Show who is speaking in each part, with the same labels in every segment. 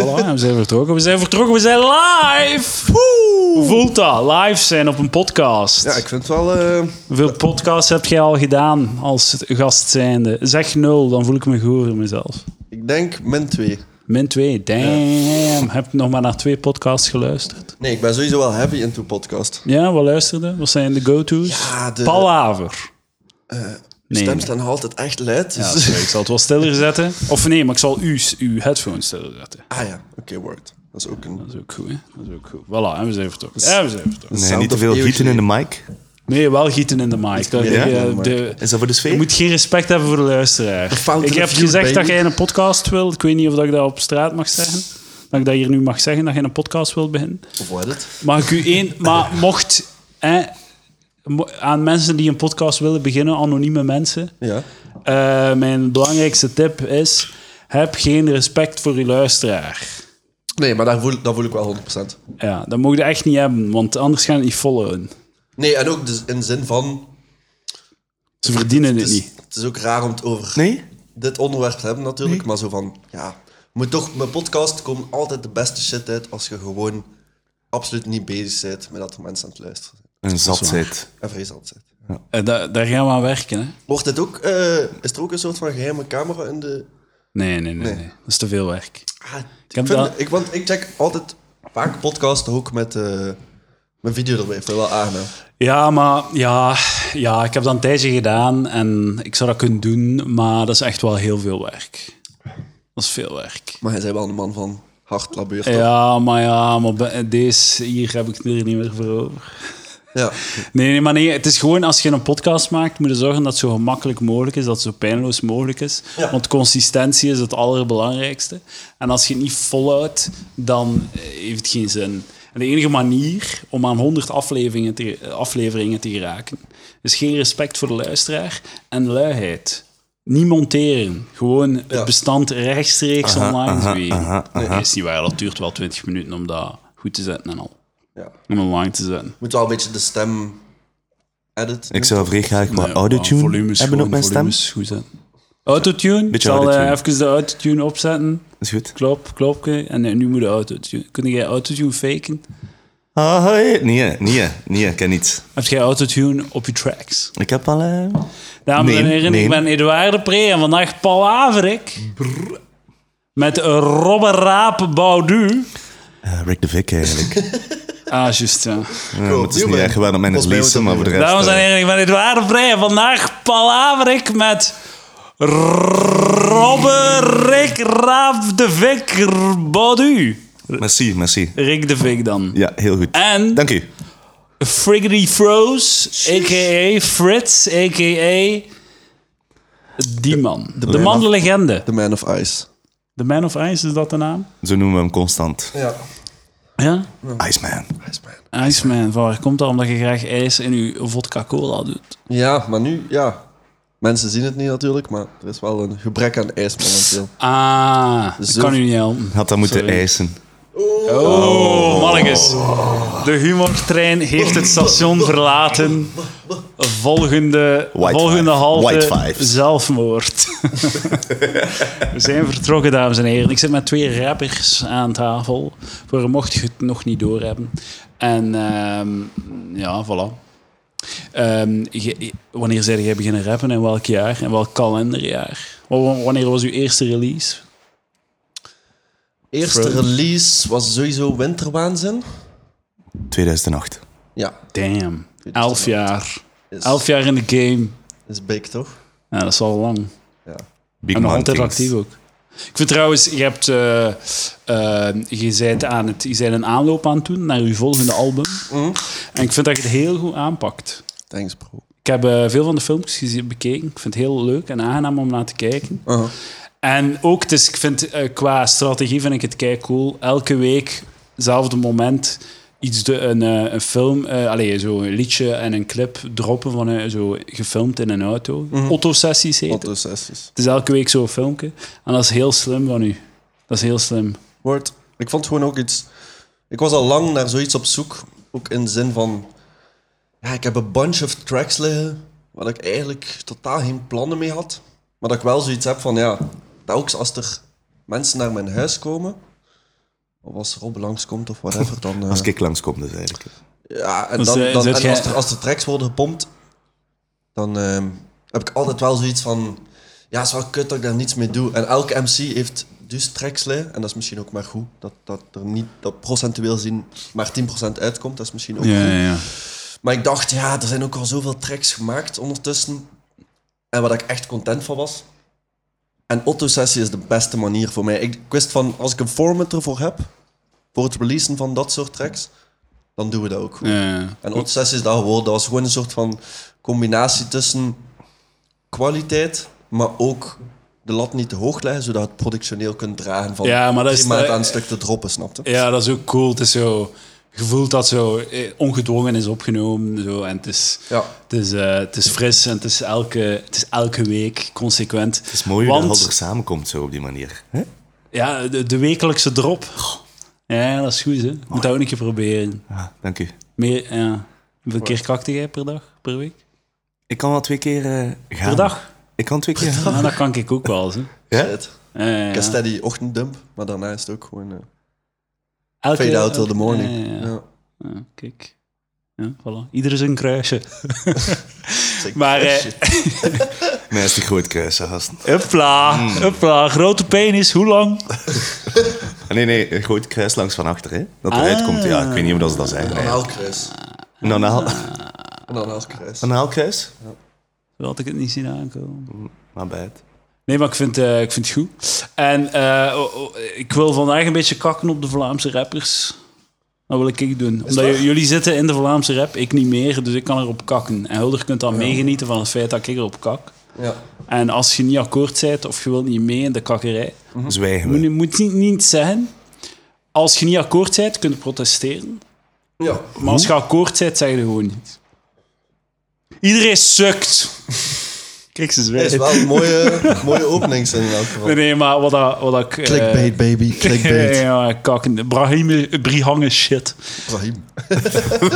Speaker 1: Voilà, we zijn vertrokken. We zijn vertrokken. We zijn live. Woe! Voelt dat? Live zijn op een podcast.
Speaker 2: Ja, ik vind het wel... eh,
Speaker 1: Hoeveel podcasts heb jij al gedaan als gast zijnde? Zeg nul, dan voel ik me goed voor mezelf.
Speaker 2: ik denk min 2.
Speaker 1: Min twee. Damn. Heb je nog maar naar twee podcasts geluisterd?
Speaker 2: Nee, ik ben sowieso wel heavy into podcast.
Speaker 1: Ja, wat luisterde? Wat zijn de go-to's?
Speaker 2: Ja, de-
Speaker 1: Palaver.
Speaker 2: De
Speaker 1: nee.
Speaker 2: stem staat nog altijd echt luid.
Speaker 1: Ja,
Speaker 2: dus-
Speaker 1: sorry, ik zal het wel stiller zetten. Of nee, maar ik zal uw, uw headphones stiller zetten.
Speaker 2: Ah ja, oké, word. Dat is ook een...
Speaker 1: Dat is ook goed, hè? Dat is ook goed. Voilà, en we zijn vertrokken. Ja, we zijn vertrokken.
Speaker 3: Nee,
Speaker 2: Sound
Speaker 3: niet te
Speaker 2: of
Speaker 3: veel
Speaker 2: eeuwig
Speaker 3: gieten in de mic.
Speaker 1: Nee, wel gieten in de mic. Dat-
Speaker 2: Ja?
Speaker 1: eh, de,
Speaker 3: Is dat voor de
Speaker 1: Je
Speaker 3: sfeer?
Speaker 1: moet geen respect hebben voor de luisteraar.
Speaker 2: fountain
Speaker 1: Ik heb
Speaker 2: of youth,
Speaker 1: gezegd dat
Speaker 2: baby.
Speaker 1: jij een podcast wil. Ik weet niet of dat ik dat op straat mag zeggen. Dat ik dat hier nu mag zeggen, dat jij een podcast wilt beginnen.
Speaker 2: Of wat het?
Speaker 1: Maar ik u één... Maar mocht... Hè, mo- aan mensen die een podcast willen beginnen, anonieme mensen...
Speaker 2: Ja.
Speaker 1: eh, mijn belangrijkste tip is... Heb geen respect voor je luisteraar.
Speaker 2: Nee, maar dat voel, dat voel ik wel 100%.
Speaker 1: Ja, dat mogen je echt niet hebben, want anders gaan ze niet followen.
Speaker 2: Nee, en ook dus in de zin van...
Speaker 1: Ze verdienen
Speaker 2: Het
Speaker 1: het
Speaker 2: is,
Speaker 1: niet.
Speaker 2: het is ook raar om het over
Speaker 3: Nee?
Speaker 2: dit onderwerp te hebben natuurlijk, maar zo van... Ja, moet toch... Mijn podcast komt altijd de beste shit uit als je gewoon absoluut niet bezig bent met dat er mensen aan het luisteren zijn.
Speaker 3: Een zatheid.
Speaker 2: En vreesant zijn.
Speaker 1: Eh, da- daar gaan we aan werken, hè.
Speaker 2: Wordt dit ook... eh, is er ook een soort van geheime camera in de...
Speaker 1: Nee, nee, nee. nee. Dat is te veel werk.
Speaker 2: Ah, ik,
Speaker 1: heb
Speaker 2: vind,
Speaker 1: dat-
Speaker 2: ik, want ik check altijd vaak podcasts ook met eh, mijn video erbij. Vind ik wel aangenaam.
Speaker 1: Ja, maar ja, ja, ik heb dat een tijdje gedaan en ik zou dat kunnen doen, maar dat is echt wel heel veel werk. Dat is veel werk.
Speaker 2: Maar hij zei wel een man van hard labuur. toch?
Speaker 1: Ja, maar ja, maar bij- deze hier heb ik het er niet meer voor over.
Speaker 2: ja.
Speaker 1: Nee, nee, maar nee, het is gewoon als je een podcast maakt, moet je zorgen dat het zo gemakkelijk mogelijk is, dat het zo pijnloos mogelijk is.
Speaker 2: Ja.
Speaker 1: Want consistentie is het allerbelangrijkste. En als je het niet volhoudt, dan eh, heeft het geen zin. En de enige manier om aan 100 afleveringen te, afleveringen te geraken, is geen respect voor de luisteraar en luiheid. Niet monteren. Gewoon het
Speaker 2: Ja.
Speaker 1: bestand rechtstreeks online zwegen.
Speaker 3: aha,
Speaker 1: Nee, is niet waar. Dat duurt wel 20 minuten om dat goed te zetten en al.
Speaker 2: ja.
Speaker 1: Om online te zetten.
Speaker 2: Moet wel een beetje de stem edit.
Speaker 3: Ik zou vrij graag wat
Speaker 1: Ja, maar
Speaker 3: autotune
Speaker 1: volumes
Speaker 3: hebben
Speaker 1: gewoon,
Speaker 3: op mijn stem.
Speaker 1: volumes goed zetten. Autotune? Ik
Speaker 3: Beetje
Speaker 1: zal eh,
Speaker 3: autotune.
Speaker 1: even de autotune opzetten.
Speaker 3: Is goed.
Speaker 1: Klop, klopje. En eh, nu moet de autotune. Kun jij autotune faken?
Speaker 3: Ah, hoi. Nee, nee, nee, ik ken niet.
Speaker 1: Heb jij autotune op je tracks?
Speaker 3: Ik heb al... eh,
Speaker 1: Dames en
Speaker 3: Nee,
Speaker 1: heren,
Speaker 3: nee.
Speaker 1: ik ben Eduard de Pre en vandaag Paul Averik. Met Robbe Raap Baudu.
Speaker 3: eh, Rick de Vick eigenlijk.
Speaker 1: Ah, juist, ja.
Speaker 3: Ja, maar het is
Speaker 2: Nieuw
Speaker 3: niet
Speaker 2: ben.
Speaker 3: echt waar dat men is
Speaker 2: Volgens mij
Speaker 3: lezen, maar
Speaker 2: wordt
Speaker 3: voor
Speaker 2: het
Speaker 3: de
Speaker 1: Dames
Speaker 3: rest...
Speaker 1: en
Speaker 3: eh,
Speaker 1: heren, ik ben Eduard de Pre en vandaag Paul Averik met... Robbe Rick Raap de Vik Baudu.
Speaker 3: Merci, merci.
Speaker 1: Rick de Vik dan.
Speaker 3: Ja, heel goed.
Speaker 1: En
Speaker 3: Dank u.
Speaker 1: Friggity Froze, a.k.a. Fritz, a.k.a. Die man. De,
Speaker 2: man
Speaker 1: man,
Speaker 2: of-
Speaker 1: de legende.
Speaker 2: The Man of Ice.
Speaker 1: De Man of Ice, is dat de naam?
Speaker 3: Zo noemen we hem constant.
Speaker 2: Ja.
Speaker 1: Ja?
Speaker 3: Iceman.
Speaker 2: Iceman.
Speaker 1: Iceman, van waar komt dat? Omdat je graag ijs in je vodka-cola doet.
Speaker 2: Ja, maar nu, ja. Mensen zien het niet natuurlijk, maar er is wel een gebrek aan ijs momenteel.
Speaker 1: Ah, dat
Speaker 2: Zo-
Speaker 1: kan u niet helpen.
Speaker 3: Had dat moeten
Speaker 1: Sorry.
Speaker 3: eisen.
Speaker 1: Oh, mannetjes. De humortrein heeft het station verlaten. Volgende,
Speaker 3: White
Speaker 1: volgende
Speaker 3: five.
Speaker 1: halte,
Speaker 3: White five.
Speaker 1: zelfmoord. We zijn vertrokken, dames en heren. Ik zit met twee rappers aan tafel. Voor mocht je het nog niet doorhebben. En ehm, ja, voilà. Ehm, je- je- wanneer zei jij beginnen rappen en welk jaar en welk kalenderjaar? Wa- Wanneer was uw eerste release?
Speaker 2: Eerste
Speaker 1: Frozen.
Speaker 2: release was sowieso Winterwaanzin.
Speaker 3: 2008.
Speaker 2: Ja,
Speaker 1: Damn. Elf jaar.
Speaker 2: is,
Speaker 1: Elf jaar in de game.
Speaker 2: is big toch?
Speaker 1: Ja, dat is al lang.
Speaker 2: Ja.
Speaker 3: Big
Speaker 1: en nog
Speaker 3: Man
Speaker 1: altijd
Speaker 3: Kings.
Speaker 1: actief ook. Ik vind trouwens, je hebt... eh, eh, je bent aan het... Je bent een aanloop aan het doen naar je volgende album. En ik vind dat je het heel goed aanpakt.
Speaker 2: Thanks bro.
Speaker 1: Ik heb eh, veel van de filmpjes gezien, bekeken. Ik vind het heel leuk en aangenaam om naar te kijken.
Speaker 2: Uh-huh.
Speaker 1: En ook, dus, ik vind, eh, qua strategie vind ik het kei cool. Elke week, hetzelfde moment, iets de, een, eh, een film, eh allee, zo een liedje en een clip droppen van een, zo gefilmd in een auto. Autosessies heet het.
Speaker 2: Wat sessies.
Speaker 1: Het is elke week zo'n filmpje. En dat is heel slim van u. Dat is heel slim.
Speaker 2: Word. Ik vond gewoon ook iets. Ik was al lang naar zoiets op zoek. Ook in de zin van. Ja, ik heb een bunch of tracks liggen. Waar ik eigenlijk totaal geen plannen mee had. Maar dat ik wel zoiets heb van ja. Telkens als er mensen naar mijn huis komen. Of als Rob langskomt of whatever, dan... eh,
Speaker 3: Als ik langskom, dus eigenlijk.
Speaker 2: Ja, en,
Speaker 1: Dus,
Speaker 2: dan,
Speaker 1: eh,
Speaker 2: dan,
Speaker 1: zet
Speaker 2: en
Speaker 1: jij-
Speaker 2: als, er, als er tracks worden gepompt, dan ehm, heb ik altijd wel zoiets van... Ja, het is wel kut dat ik daar niets mee doe. En elke MC heeft dus tracks liggen. En dat is misschien ook maar goed. Dat, dat er niet, dat procentueel zien maar 10% uitkomt. Dat is misschien ook
Speaker 1: Ja,
Speaker 2: goed.
Speaker 1: ja, ja.
Speaker 2: Maar ik dacht, ja, er zijn ook al zoveel tracks gemaakt ondertussen. En waar ik echt content van was. En Otto-sessie is de beste manier voor mij. Ik, ik wist van, als ik een format ervoor heb, voor het releasen van dat soort tracks, dan doen we dat ook goed.
Speaker 1: Ja.
Speaker 2: En Otses is dat geworden. Dat was gewoon een soort van combinatie tussen kwaliteit, maar ook de lat niet te hoog leggen, zodat het productioneel kunt dragen van
Speaker 1: Ja, maar dat is
Speaker 2: drie maanden
Speaker 1: de-
Speaker 2: aan een stuk te droppen, snapte?
Speaker 1: Ja, dat is ook cool. Het is zo gevoeld dat zo eh, ongedwongen is opgenomen. Zo. En het is,
Speaker 2: Ja.
Speaker 1: het, is, eh, het is fris en het is elke, het is elke week consequent.
Speaker 3: Het is mooi hoe
Speaker 1: Want,
Speaker 3: dat helder samenkomt zo op die manier. Hè?
Speaker 1: Ja, de, de wekelijkse drop. Ja, dat is goed, hè. Moet dat ook een keer proberen.
Speaker 3: Ah, dank u.
Speaker 1: Meer, ja. Hoeveel keer kakte jij per dag, per week?
Speaker 3: Ik kan wel twee keer eh, gaan.
Speaker 1: Per dag?
Speaker 3: Ik kan twee keer gaan.
Speaker 1: Nou, dat kan ik ook wel, eens, hè.
Speaker 3: Ja?
Speaker 2: Shit.
Speaker 1: Ja, ja, ja.
Speaker 2: Ik heb steady ochtenddump, maar daarna is het ook gewoon eh,
Speaker 1: Elke-
Speaker 2: fade out till the morning.
Speaker 1: Ja, ja, ja.
Speaker 2: Ja.
Speaker 1: Ja, kijk. Ja, voilà. Ieder zijn kruisje.
Speaker 2: Sick.
Speaker 1: Maar, eh,
Speaker 2: Shit.
Speaker 3: Nee, is die groot kruis, gasten.
Speaker 1: Hupla, hupla. Grote penis, hoe lang?
Speaker 3: Ah, Nee, nee, een groot kruis langs van achter, hè? Dat eruit
Speaker 1: Ah.
Speaker 3: komt, ja. Ik weet niet of dat ze dat zijn.
Speaker 2: Een
Speaker 3: Nee.
Speaker 2: haalkruis.
Speaker 3: Een anaal-
Speaker 2: Een haalkruis.
Speaker 3: een haalkruis?
Speaker 1: Zo had ik het niet zien aankomen.
Speaker 3: Maar bij het.
Speaker 1: Nee, maar ik vind, eh, ik vind het goed. En eh, oh, oh, ik wil vandaag een beetje kakken op de Vlaamse rappers. Dat wil ik ik doen. Omdat j- jullie zitten in de Vlaamse rap, ik niet meer, dus ik kan erop kakken. En Hulder kunt dan meegenieten van het feit dat ik erop kak.
Speaker 2: Ja.
Speaker 1: En als je niet akkoord bent of je wilt niet mee in de kakkerij,
Speaker 3: Zwijgen
Speaker 1: moet
Speaker 3: we.
Speaker 1: je moet niet, niet zeggen. Als je niet akkoord bent, kun je protesteren.
Speaker 2: ja.
Speaker 1: Maar als je akkoord bent, zeg je gewoon niet. Iedereen sukt. Kijk, ze
Speaker 2: Het is
Speaker 1: zwijgen.
Speaker 2: wel een mooie, mooie openings in elk geval.
Speaker 1: Nee, nee, maar wat, dat- wat dat ik... eh,
Speaker 2: Clickbait, baby. Clickbait.
Speaker 1: ja, kakken. Brahim, Brihangen shit.
Speaker 2: Ibrahim.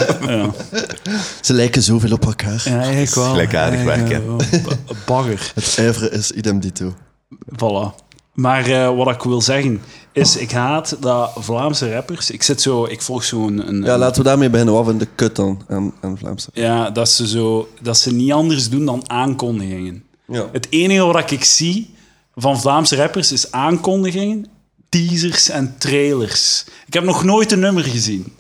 Speaker 2: Ze lijken zoveel op elkaar.
Speaker 1: Ja, eigenlijk wel.
Speaker 3: Gelijkaardig werk, hè.
Speaker 1: werken. Bagger.
Speaker 2: Het ijveren is idem dito.
Speaker 1: Voilà. Maar eh, wat ik wil zeggen, is ik haat dat Vlaamse rappers... Ik zit zo... Ik volg zo'n... Een,
Speaker 2: Ja, laten we daarmee beginnen. Wat vinden de kut dan aan, aan Vlaamse?
Speaker 1: ja, dat ze zo... Dat ze niet anders doen dan aankondigingen.
Speaker 2: Ja.
Speaker 1: Het enige wat ik zie van Vlaamse rappers is aankondigingen, teasers en trailers. Ik heb nog nooit een nummer gezien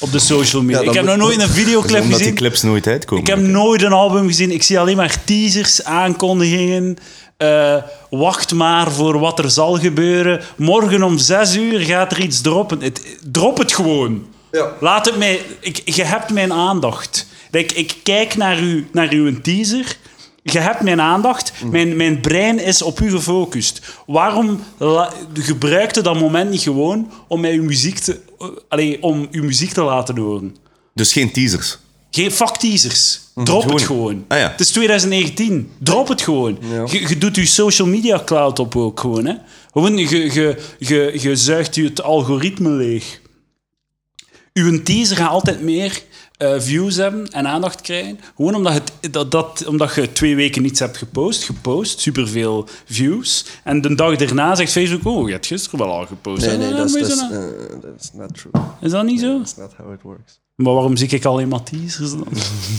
Speaker 1: op de social media.
Speaker 2: Ja,
Speaker 1: ik
Speaker 2: dat
Speaker 1: heb nog
Speaker 2: moet-
Speaker 1: nooit een videoclip
Speaker 3: Omdat
Speaker 1: gezien.
Speaker 3: die clips nooit uitkomen.
Speaker 1: Ik heb nooit een album gezien. Ik zie alleen maar teasers, aankondigingen. eh, wacht maar voor wat er zal gebeuren. Morgen om zes uur gaat er iets droppen. Het, drop het gewoon.
Speaker 2: Ja.
Speaker 1: Laat het mij... Ik, je hebt mijn aandacht. Ik, ik kijk naar, u, naar uw teaser. Je hebt mijn aandacht. Mijn, mijn brein is op u gefocust. Waarom la- gebruikte dat moment niet gewoon om, mij uw, muziek te, eh, allee, om uw muziek te laten horen?
Speaker 3: Dus geen teasers.
Speaker 1: Geen fuck teasers.
Speaker 2: Mm,
Speaker 1: Drop het gewoon.
Speaker 3: Ah, ja.
Speaker 1: Het is 2019. Drop het gewoon. Je, je doet je social media cloud op ook gewoon. Hè? Gewoon, je, je, je, je zuigt je het algoritme leeg. Uw teaser gaat altijd meer eh, views hebben en aandacht krijgen. Gewoon omdat, het, dat, dat, omdat je twee weken niets hebt gepost. Gepost, superveel views. En de dag daarna zegt Facebook, oh, je hebt gisteren wel al gepost.
Speaker 2: Nee,
Speaker 1: En
Speaker 2: nee,
Speaker 1: dan
Speaker 2: dat is,
Speaker 1: moet
Speaker 2: dat
Speaker 1: je
Speaker 2: is,
Speaker 1: zo naar-
Speaker 2: eh, dat is not true. That's
Speaker 1: Is dat niet zo?
Speaker 2: not how it works.
Speaker 1: Maar waarom zie ik alleen maar teasers dan?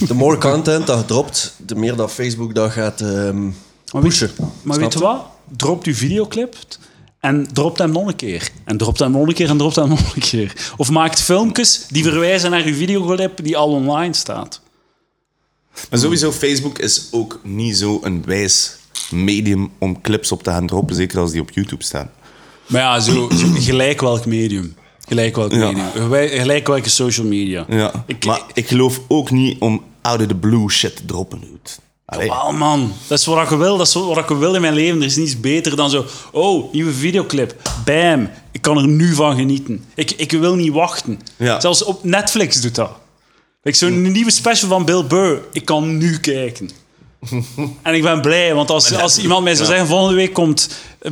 Speaker 2: De more content dat je dropt, de meer dat Facebook dat gaat ehm,
Speaker 1: Maar weet,
Speaker 2: pushen.
Speaker 1: maar
Speaker 2: Snap
Speaker 1: weet je wat? Dropt uw videoclip en dropt hem nog een keer. En dropt hem nog een keer en dropt hem nog een keer. Of maakt filmpjes die verwijzen naar uw videoclip die al online staat.
Speaker 3: Maar sowieso, Facebook is ook niet zo'n wijs medium om clips op te gaan droppen. Zeker als die op YouTube staan.
Speaker 1: Maar ja, zo, zo gelijk welk medium. Gelijk welk
Speaker 3: Ja.
Speaker 1: medium. Gewij- Gelijk welke social media.
Speaker 3: Ja.
Speaker 1: Ik,
Speaker 3: maar ik geloof ook niet om out of the blue shit te droppen. dude. Allee.
Speaker 1: Oh man, dat is wat ik wil. Dat is wat ik wil in mijn leven. Er is niets beter dan zo. Oh, nieuwe videoclip. Bam. Ik kan er nu van genieten. Ik, ik wil niet wachten.
Speaker 3: Ja.
Speaker 1: Zelfs op Netflix doet dat. Ik zo'n nieuwe special van Bill Burr. Ik kan nu kijken. en ik ben blij, want als, als iemand mij zou zeggen: volgende week komt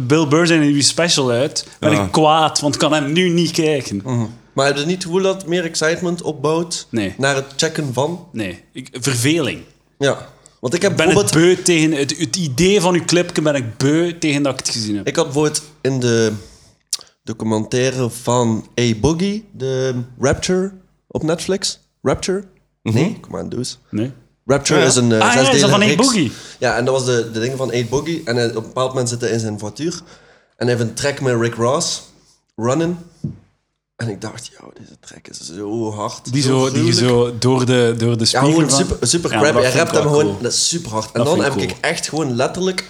Speaker 1: Bill Burr zijn nieuwe special uit, ben
Speaker 3: Ja.
Speaker 1: ik kwaad, want ik kan hem nu niet kijken.
Speaker 2: Maar heb je niet het gevoel dat het meer excitement opbouwt
Speaker 1: Nee.
Speaker 2: naar het checken van?
Speaker 1: Nee, ik, verveling.
Speaker 2: Ja. Want ik heb
Speaker 1: Ik ben het
Speaker 2: bijvoorbeeld...
Speaker 1: beu tegen het, het idee van uw clipje, ben ik beu tegen dat ik het gezien heb.
Speaker 2: Ik had bijvoorbeeld in de documentaire van A Boogie, de Rapture op Netflix. Rapture? Nee, Commando's.
Speaker 1: Nee?
Speaker 2: Rapture
Speaker 3: Ja, ja.
Speaker 2: is een
Speaker 1: Ah,
Speaker 2: eh,
Speaker 1: ja, is dat
Speaker 2: zesdelige
Speaker 1: van 8
Speaker 2: reeks.
Speaker 1: Boogie?
Speaker 2: Ja, en dat was de, de ding van 8 Boogie. En hij- op een bepaald moment zit hij in zijn voituur. En hij heeft een track met Rick Ross, Running. En ik dacht, joh, deze track is zo hard.
Speaker 1: Die zo, die
Speaker 2: gruwelijk.
Speaker 1: zo door de, door de
Speaker 2: Ja,
Speaker 1: spiegel
Speaker 2: gewoon
Speaker 1: van-
Speaker 2: super, super
Speaker 1: Ja, maar dat
Speaker 2: crap. Hij
Speaker 1: vind
Speaker 2: rapt
Speaker 1: ik
Speaker 2: hem
Speaker 1: wel
Speaker 2: gewoon,
Speaker 1: cool.
Speaker 2: dat is super hard. En
Speaker 1: Dat
Speaker 2: dan
Speaker 1: vind
Speaker 2: heb
Speaker 1: ik
Speaker 2: ik echt gewoon letterlijk, ik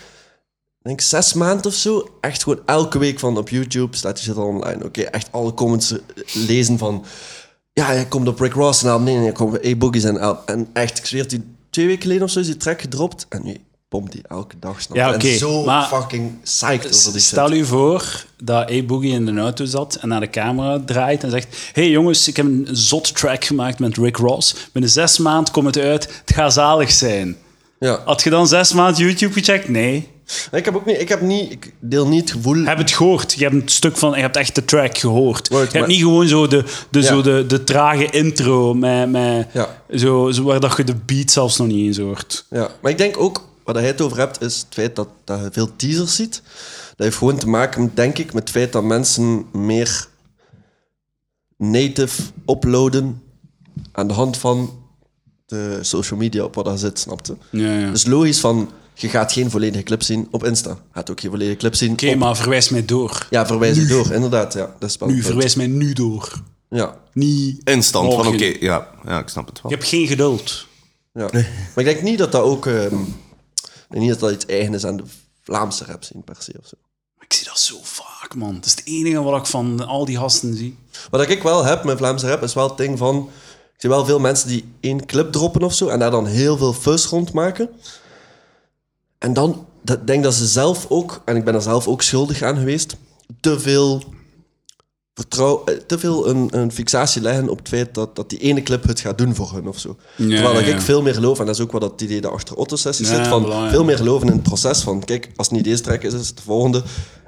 Speaker 2: denk zes maanden of zo, echt gewoon elke week van op YouTube staat die shit al online. Oké, echt alle comments eh, lezen van, ja, hij komt op Rick Ross en album. Nee, nee, hij komt op A-Boogie zijn album. En echt, ik zweer, die twee weken geleden of zo is die track gedropt. En nu pompt die elke dag snap je?
Speaker 1: Ja, oké,
Speaker 2: En zo
Speaker 1: maar-
Speaker 2: fucking psyched over die shit.
Speaker 1: Stel u voor dat E-Boogie in de auto zat en naar de camera draait en zegt: Hey jongens, ik heb een zot track gemaakt met Rick Ross. Binnen zes maanden komt het uit, het gaat zalig zijn.
Speaker 2: Ja.
Speaker 1: Had je dan zes maanden YouTube gecheckt? Nee.
Speaker 2: Ik heb ook niet, ik heb niet, ik deel niet het gevoel...
Speaker 1: Heb het gehoord. Je hebt een stuk van, je hebt echt de track gehoord. je
Speaker 2: Word,
Speaker 1: hebt
Speaker 2: maar-
Speaker 1: niet gewoon zo de, de,
Speaker 2: Ja.
Speaker 1: zo de, de trage intro met, met
Speaker 2: Ja.
Speaker 1: zo, zo waar dat je de beat zelfs nog niet eens hoort.
Speaker 2: Ja, maar ik denk ook, waar hij het over hebt, is het feit dat, dat je veel teasers ziet. Dat heeft gewoon te maken, met, denk ik, met het feit dat mensen meer native uploaden aan de hand van de social media op wat daar zit, snapte.
Speaker 1: Ja, ja.
Speaker 2: Dus logisch van, je gaat geen volledige clip zien op Insta. Je gaat ook geen volledige clip zien
Speaker 1: Oké,
Speaker 2: op...
Speaker 1: maar verwijs mij door.
Speaker 2: Ja, verwijs het door, inderdaad. Ja, dat is wel
Speaker 1: Nu,
Speaker 2: een punt.
Speaker 1: verwijs mij nu door.
Speaker 2: Ja,
Speaker 1: Niet
Speaker 3: Instant van
Speaker 1: morgen.
Speaker 3: oké, ja, ja, ik snap het
Speaker 1: Oh,
Speaker 3: wel.
Speaker 1: Je hebt geen geduld.
Speaker 2: ja. Maar ik denk niet dat dat ook... ehm, ik denk niet dat dat iets eigen is aan de Vlaamse rap zien per se of zo.
Speaker 1: Ik zie dat zo vaak, man. Dat is het enige wat ik van al die gasten zie.
Speaker 2: Wat ik wel heb met Vlaamse rap is wel het ding van. Ik zie wel veel mensen die één clip droppen of zo en daar dan heel veel fuss rond maken. En dan dat, denk dat ze zelf ook, en ik ben er zelf ook schuldig aan geweest, te veel, vertrouw, eh, te veel een, een fixatie leggen op het feit dat, dat die ene clip het gaat doen voor hun of zo. Terwijl dat
Speaker 1: ja,
Speaker 2: ik
Speaker 1: ja.
Speaker 2: veel meer geloof, en dat is ook wat dat idee dat achter Otto-sessies
Speaker 1: Ja,
Speaker 2: zit, van
Speaker 1: belangrijk.
Speaker 2: veel meer geloven in het proces van kijk, als het niet deze track is, is het de volgende.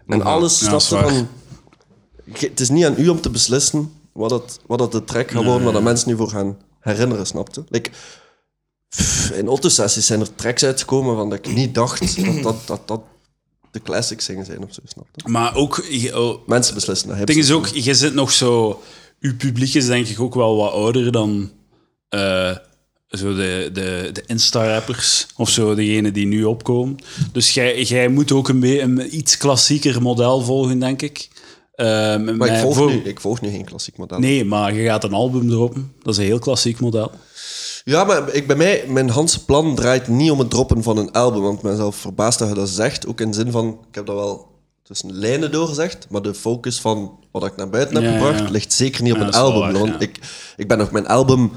Speaker 2: En alles
Speaker 1: ja, dat is
Speaker 2: snapte
Speaker 1: waar.
Speaker 2: van... Ge- Het is niet aan u om te beslissen wat dat, wat dat de track gaat worden, waar dat mensen nu voor gaan herinneren, snapte? Like, pff, in Otto-sessies zijn er tracks uitgekomen van dat ik niet dacht dat dat, dat, dat de classics zingen zijn of zo, snapte?
Speaker 1: Maar ook, je- oh, het
Speaker 2: Mensen beslissen dat.
Speaker 1: ding is ook, je zit nog zo... Uw publiek is denk ik ook wel wat ouder dan eh, zo de, de, de Insta-rappers of zo, degenen die nu opkomen. Dus jij, jij moet ook een, be- een iets klassieker model volgen, denk ik. Eh, met-
Speaker 2: Maar ik
Speaker 1: met-
Speaker 2: volg,
Speaker 1: voor-
Speaker 2: nu, ik volg nu geen klassiek model.
Speaker 1: Nee, maar je gaat een album droppen. Dat is een heel klassiek model.
Speaker 2: Ja, maar ik, bij mij, mijn Hans plan draait niet om het droppen van een album. Want ik ben zelf verbaasd dat je dat zegt. Ook in de zin van, ik heb dat wel tussen lijnen doorgezegd. Maar de focus van wat ik naar buiten heb
Speaker 1: Ja,
Speaker 2: gebracht,
Speaker 1: ja.
Speaker 2: ligt zeker niet op
Speaker 1: Ja,
Speaker 2: een
Speaker 1: dat is wel
Speaker 2: album.
Speaker 1: waar,
Speaker 2: want
Speaker 1: ja.
Speaker 2: ik, ik ben nog mijn album...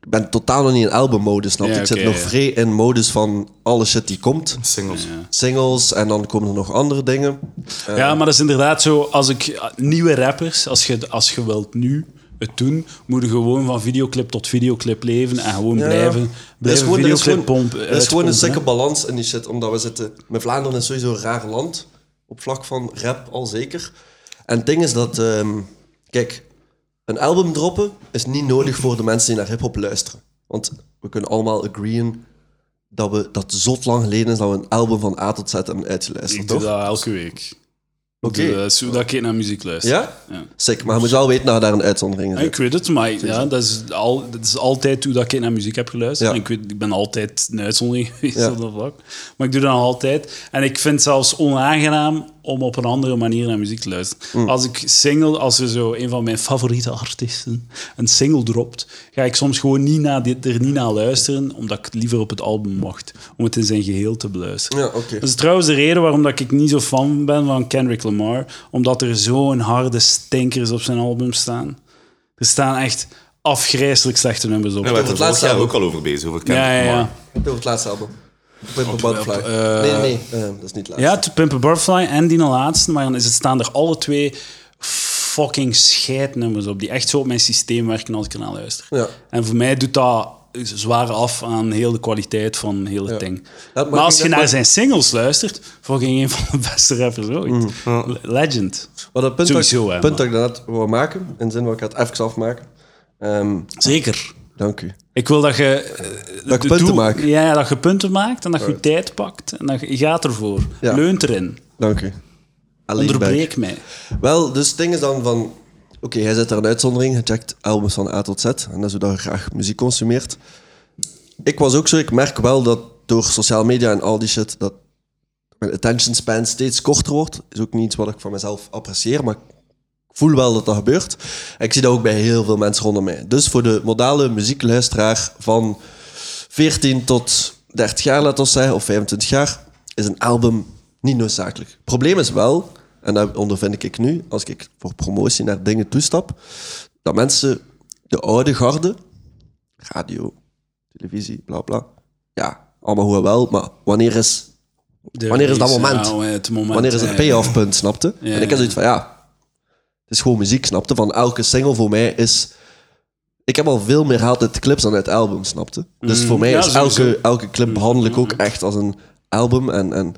Speaker 2: Ik ben totaal nog niet in albummode, snap je?
Speaker 1: Ja,
Speaker 2: ik
Speaker 1: oké,
Speaker 2: zit nog
Speaker 1: ja.
Speaker 2: vrij in modus van alle shit die komt.
Speaker 3: Singles.
Speaker 2: Singles en dan komen er nog andere dingen. Eh,
Speaker 1: Ja, maar dat is inderdaad zo. Als ik eh, nieuwe rappers, als je, als je wilt nu het doen, moet je gewoon van videoclip tot videoclip leven en gewoon blijven,
Speaker 2: Er is
Speaker 1: blijven
Speaker 2: gewoon, er is
Speaker 1: videoclip
Speaker 2: gewoon,
Speaker 1: pompen.
Speaker 2: er is gewoon een
Speaker 1: uitpompen,
Speaker 2: zikke balans in die shit, omdat we zitten... Met Vlaanderen is sowieso een raar land, op vlak van rap al zeker. En het ding is dat... ehm, kijk, een album droppen is niet nodig voor de mensen die naar hiphop luisteren. Want we kunnen allemaal agreeën dat, we, dat het zot lang geleden is dat we een album van A tot Z hebben
Speaker 1: hè.
Speaker 2: uitgeluisterd,
Speaker 1: Ik doe
Speaker 2: toch?
Speaker 1: dat elke week.
Speaker 2: Oké.
Speaker 1: Ik doe dat zo dat ik naar muziek luister.
Speaker 2: Ja? Sick, maar je moet wel weten dat je daar een uitzondering in
Speaker 1: Ja, Ah, Ik
Speaker 2: zit.
Speaker 1: weet het, maar ja, dat, is al, dat is altijd hoe dat ik naar muziek heb geluisterd.
Speaker 2: Ja.
Speaker 1: En Ik, weet, ik ben altijd een uitzondering geweest
Speaker 2: Ja.
Speaker 1: op dat vlak. Maar ik doe dat nog altijd. En ik vind het zelfs onaangenaam om op een andere manier naar muziek te luisteren.
Speaker 2: Mm.
Speaker 1: Als ik single, als er zo een van mijn favoriete artiesten een single dropt, ga ik soms gewoon niet naar dit, er niet naar luisteren, omdat ik het liever op het album wacht. Om het in zijn geheel te beluisteren.
Speaker 2: Ja, oké.
Speaker 1: Dat is trouwens de reden waarom dat ik niet zo fan ben van Kendrick Lamar. Omdat er zo'n harde stinkers op zijn album staan. Er staan echt afgrijzelijk slechte nummers op.
Speaker 3: Ja, we hebben het
Speaker 2: het laatste
Speaker 3: laatste jaar ook
Speaker 2: album.
Speaker 3: al over bezig, over Kendrick
Speaker 1: ja, ja,
Speaker 3: Lamar.
Speaker 1: ja.
Speaker 2: Over het laatste album. Pimp a Butterfly.
Speaker 1: op, eh,
Speaker 2: nee, nee, eh, dat is niet het laatste.
Speaker 1: Ja, to Pimp a Butterfly en die laatste. Maar dan is het, staan er alle twee fucking scheidnummers op. Die echt zo op mijn systeem werken als ik ernaar luister.
Speaker 2: Ja.
Speaker 1: En voor mij doet dat zwaar af aan heel de kwaliteit van heel het ding.
Speaker 2: maar
Speaker 1: maar als
Speaker 2: ik
Speaker 1: je
Speaker 2: denk
Speaker 1: naar
Speaker 2: dat-
Speaker 1: zijn singles luistert, fucking een van de beste rappers ooit.
Speaker 2: Mm,
Speaker 1: Legend.
Speaker 2: Maar dat punt,
Speaker 1: Sowieso,
Speaker 2: dat, ik-
Speaker 1: hè,
Speaker 2: punt dat ik daarnet wou maken, in de zin waar ik het even afmaken. Ehm,
Speaker 1: Zeker.
Speaker 2: dank u.
Speaker 1: Ik wil dat je... eh,
Speaker 2: Dat ik
Speaker 1: de-
Speaker 2: punten
Speaker 1: doe-
Speaker 2: maak.
Speaker 1: Ja, dat je punten maakt en dat je je tijd pakt. En dat je, je gaat ervoor.
Speaker 2: Ja.
Speaker 1: Leunt erin.
Speaker 2: Dank u. alleen
Speaker 1: Onderbreek mij.
Speaker 2: Wel, dus het ding is dan van... Oké, hij zet daar een uitzondering. Hij checkt albums van A tot Z. En dat is hoe dat je graag muziek consumeert. Ik was ook zo. Ik merk wel dat door sociale media en al die shit... dat mijn attention span steeds korter wordt. Is ook niet iets wat ik van mezelf apprecieer. Maar ik voel wel dat dat gebeurt. En ik zie dat ook bij heel veel mensen rondom mij. Dus voor de modale muziekluisteraar van 14 tot 30 jaar, laat ons zeggen, of 25 jaar, is een album niet noodzakelijk. Het probleem is wel, en dat ondervind ik nu, als ik voor promotie naar dingen toestap, dat mensen de oude garde, radio, televisie, bla bla, ja, allemaal hoe en wel, maar wanneer is, wanneer is dat moment? eh, wanneer is het payoff punt, snapte?
Speaker 1: eh, Ja,
Speaker 2: en ik
Speaker 1: ja.
Speaker 2: heb zoiets van, ja, het is gewoon muziek, snapte? Van elke single voor mij is... Ik heb al veel meer gehaald uit clips dan uit albums, snapte? Dus voor mij
Speaker 1: Mm, Ja,
Speaker 2: is
Speaker 1: sowieso. Mm,
Speaker 2: elke, elke clip behandel ik ook echt als een album en, en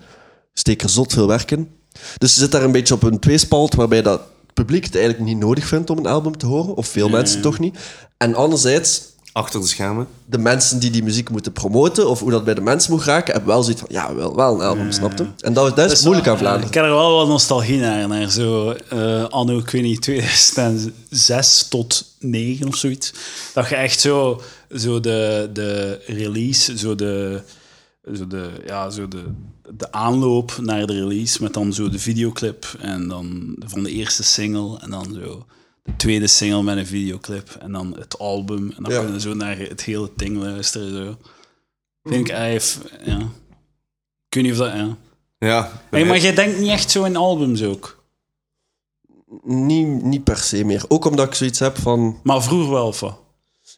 Speaker 2: steek er zot veel werk in. Dus je zit daar een beetje op een tweespalt waarbij dat het publiek het eigenlijk niet nodig vindt om een album te horen. Of veel mensen toch niet. En anderzijds,
Speaker 3: Achter de schermen.
Speaker 2: de mensen die die muziek moeten promoten of hoe dat bij de mensen moet raken, hebben wel zoiets van, ja, wel, wel een album, snapte? En dat, dat is moeilijk aan Vlaanderen.
Speaker 1: Ik heb er wel wat nostalgie naar, naar zo eh, anno, ik weet niet, 2006 tot 9 of zoiets. Dat je echt zo, zo de, de release, zo de, zo de, ja, zo de, de aanloop naar de release met dan zo de videoclip en dan van de eerste single en dan zo de tweede single met een videoclip en dan het album en dan
Speaker 2: Ja.
Speaker 1: kunnen zo naar het hele ding luisteren. Zo. Vind ik, hij heeft- ja. Ik weet niet of dat, ja.
Speaker 3: Ja.
Speaker 1: Hey, maar jij denkt niet echt zo in albums ook.
Speaker 2: Niet, niet per se meer. Ook omdat ik zoiets heb van...
Speaker 1: Maar vroeger wel van.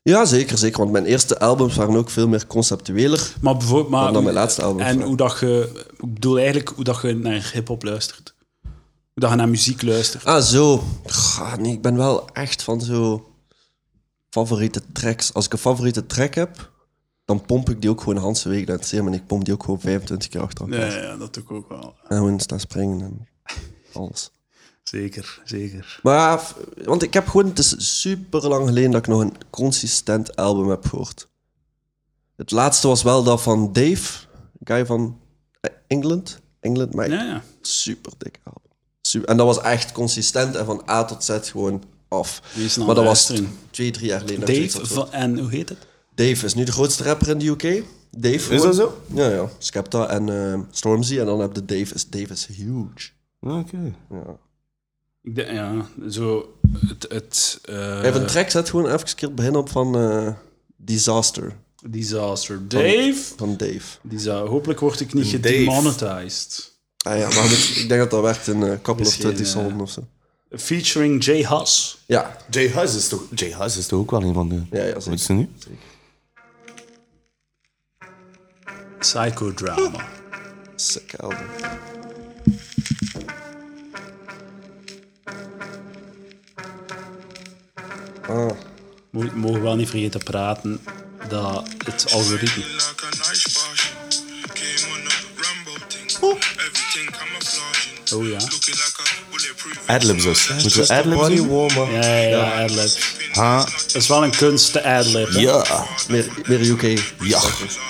Speaker 2: Ja, zeker, zeker. Want mijn eerste albums waren ook veel meer conceptueler
Speaker 1: Maar bijvoorbeeld. Maar,
Speaker 2: dan mijn laatste albums.
Speaker 1: Ah, en
Speaker 2: waren.
Speaker 1: hoe dat je. Ik bedoel eigenlijk hoe dat je naar hip-hop luistert. Hoe dat je naar muziek luistert.
Speaker 2: Ah, zo. Goh, nee, ik ben wel echt van zo... Favoriete tracks. Als ik een favoriete track heb, dan pomp ik die ook gewoon Hans week naar het zeer. En ik pomp die ook gewoon 25 keer achter elkaar.
Speaker 1: Ja, ja, ja, dat doe ik ook wel.
Speaker 2: En gewoon staan springen en alles.
Speaker 1: Zeker, zeker.
Speaker 2: Maar ja, f- want ik heb gewoon, het is super lang geleden dat ik nog een consistent album heb gehoord. Het laatste was wel dat van Dave, een guy van eh, England. England, maar
Speaker 1: Ja, ja.
Speaker 2: super dik album. Super, en dat was echt consistent en van A tot Z gewoon af.
Speaker 1: Die is nou
Speaker 2: maar dat was
Speaker 1: luisteren.
Speaker 2: twee, drie jaar geleden. dat ik
Speaker 1: Dave,
Speaker 2: zoiets had
Speaker 1: van, en hoe heet het?
Speaker 2: gehoord. Dave is nu de grootste rapper in de UK. Dave
Speaker 3: Is dat zo?
Speaker 2: Ja, ja. Skepta en eh, Stormzy. En dan heb je Dave. Is, Dave is huge.
Speaker 3: Ah, Oké.
Speaker 1: Ik denk- ja, zo. Het. het eh,
Speaker 2: Even een track zet gewoon even een keer het begin op van eh, Disaster.
Speaker 1: Disaster. Dave.
Speaker 2: Van Dave.
Speaker 1: Disa Hopelijk word ik niet
Speaker 3: Dave.
Speaker 1: gedemonetized.
Speaker 2: Ah ja, maar goed, ik denk dat dat werkt in een couple
Speaker 1: Misschien,
Speaker 2: of 20
Speaker 1: eh,
Speaker 2: seconden of zo.
Speaker 1: Featuring Jay Huss.
Speaker 2: Ja,
Speaker 3: Jay Huss is toch... Jay Huss is toch ook wel een van de...
Speaker 2: ja, ja.
Speaker 3: Wat
Speaker 2: Zeker.
Speaker 3: is er nu?
Speaker 1: Psychodrama.
Speaker 2: Sick album.
Speaker 1: Mo- Mogen we wel niet vergeten te praten dat het algoritme.
Speaker 4: Like a nice version. Came on a Rambo thing. Everything camouflaging.
Speaker 1: Oh ja.
Speaker 4: Looking like a bulletproof.
Speaker 3: Adlibs dus. Moeten we adlibs
Speaker 2: Body
Speaker 3: doen?
Speaker 2: warmer.
Speaker 1: Ja, ja, ja, adlib.
Speaker 3: Ha.
Speaker 1: Dat is wel een kunst, de adlib. hè.
Speaker 3: Ja.
Speaker 2: Meer, meer UK.
Speaker 3: Ja.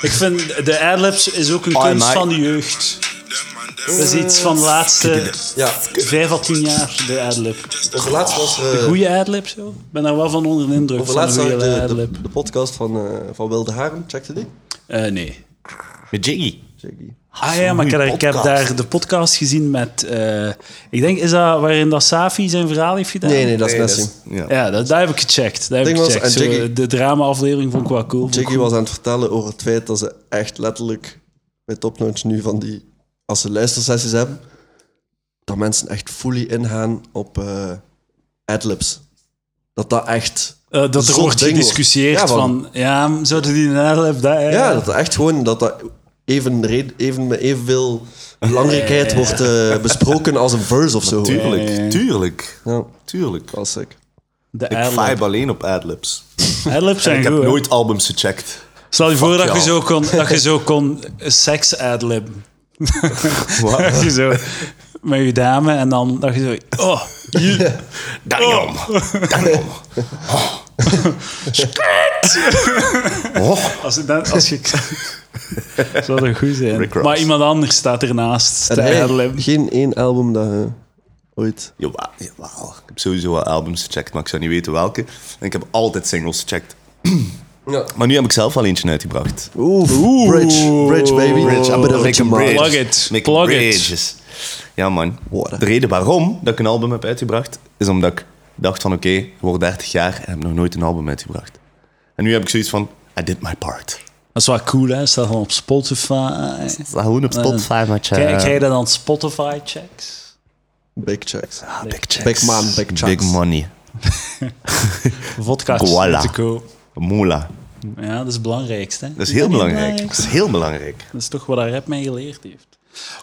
Speaker 1: Ik vind de adlibs is ook een
Speaker 3: Oh,
Speaker 1: kunst
Speaker 3: my.
Speaker 1: van de jeugd.
Speaker 4: Them and them.
Speaker 1: Dat is iets van de laatste
Speaker 2: Ja,
Speaker 1: vijf à tien jaar, de adlib.
Speaker 2: overlaatst was, eh,
Speaker 1: Goeie adlib, zo. Ik ben daar wel van onder de indruk van
Speaker 2: overlaatst
Speaker 1: de
Speaker 2: zag ik
Speaker 1: hele
Speaker 2: de,
Speaker 1: adlib.
Speaker 2: de, de podcast van, eh, van Wilde Haren. Checkte die?
Speaker 1: Eh, nee.
Speaker 3: Met Jiggy.
Speaker 2: Jiggy.
Speaker 1: Ah ja, maar ik heb, daar- ik heb
Speaker 3: podcast.
Speaker 1: daar de podcast gezien met... eh, ik denk, is dat waarin dat Safi zijn verhaal heeft gedaan?
Speaker 2: Nee, nee, dat is
Speaker 3: Nee, dat
Speaker 2: Nessie.
Speaker 3: is- Ja.
Speaker 1: Ja, dat, dat heb ik gecheckt. Dat heb ik
Speaker 2: Ding was-
Speaker 1: gecheckt.
Speaker 2: en
Speaker 1: Zo,
Speaker 2: Jiggy-
Speaker 1: de drama-aflevering vond ik wel cool. vond ik
Speaker 2: eh, Jiggy was aan het vertellen over het feit dat ze echt letterlijk bij topnotch nu van die, als ze luistersessies hebben, dat mensen echt fully ingaan op eh adlibs. Dat dat echt.
Speaker 1: Eh, dat er
Speaker 2: zot
Speaker 1: wordt
Speaker 2: ding
Speaker 1: gediscussieerd
Speaker 2: Ja,
Speaker 1: van,
Speaker 2: van-
Speaker 1: ja, zouden die een adlib dat... eh,
Speaker 2: Ja, dat dat echt gewoon dat dat even, re- even met evenveel belangrijkheid wordt eh, besproken als een verse of zo.
Speaker 3: Tuurlijk. Tuurlijk.
Speaker 2: Ja,
Speaker 3: Tuurlijk.
Speaker 2: dat is sick.
Speaker 1: de
Speaker 3: Ik
Speaker 1: adlib.
Speaker 3: vibe alleen op adlibs.
Speaker 1: Adlibs zijn
Speaker 3: Ik heb
Speaker 1: goed. hè.
Speaker 3: nooit albums gecheckt.
Speaker 1: Stel je voor dat je,
Speaker 3: jou.
Speaker 1: zo kon, dat je zo kon seks adlib.
Speaker 3: Wat?
Speaker 1: Dat je zo met je dame en dan dat je zo... Oh,
Speaker 3: Damn. Damn. Oh. Oh.
Speaker 1: als, je dan, als je... Zou dat goed zijn.
Speaker 3: Rick Ross.
Speaker 1: Maar iemand anders staat ernaast
Speaker 2: En
Speaker 1: te
Speaker 2: hij-
Speaker 1: adlib.
Speaker 2: geen één album dat je Ooit.
Speaker 3: Jawel, jawel. Ik heb sowieso wel albums gecheckt, maar ik zou niet weten welke. En ik heb altijd singles gecheckt.
Speaker 2: Ja.
Speaker 3: Maar nu heb ik zelf al eentje uitgebracht.
Speaker 2: Oeh, Bridge. Bridge, baby. Bridge. I'm
Speaker 3: Make
Speaker 2: bridge.
Speaker 3: a
Speaker 2: man.
Speaker 1: Plug it,
Speaker 3: Make
Speaker 1: plug it.
Speaker 3: bridges. Ja, man.
Speaker 2: Water.
Speaker 3: De reden waarom dat ik een album heb uitgebracht, is omdat ik dacht van oké, ik word 30 jaar en heb nog nooit een album uitgebracht. En nu heb ik zoiets van, I did my part.
Speaker 1: Dat is wel cool, hè? Staat dan op Spotify.
Speaker 3: Gewoon op Spotify, maar
Speaker 1: Krijg, krijg je dat dan Spotify checks?
Speaker 2: Big checks.
Speaker 3: Ah, big checks.
Speaker 2: Big man, big checks.
Speaker 3: Big money.
Speaker 1: Vodka
Speaker 3: Voilà.
Speaker 1: te koop.
Speaker 3: Moela.
Speaker 1: Ja, dat is het belangrijkste. Hè?
Speaker 3: Dat is heel belangrijk. Dat is heel belangrijk.
Speaker 1: Dat is toch wat dat rap mij geleerd heeft.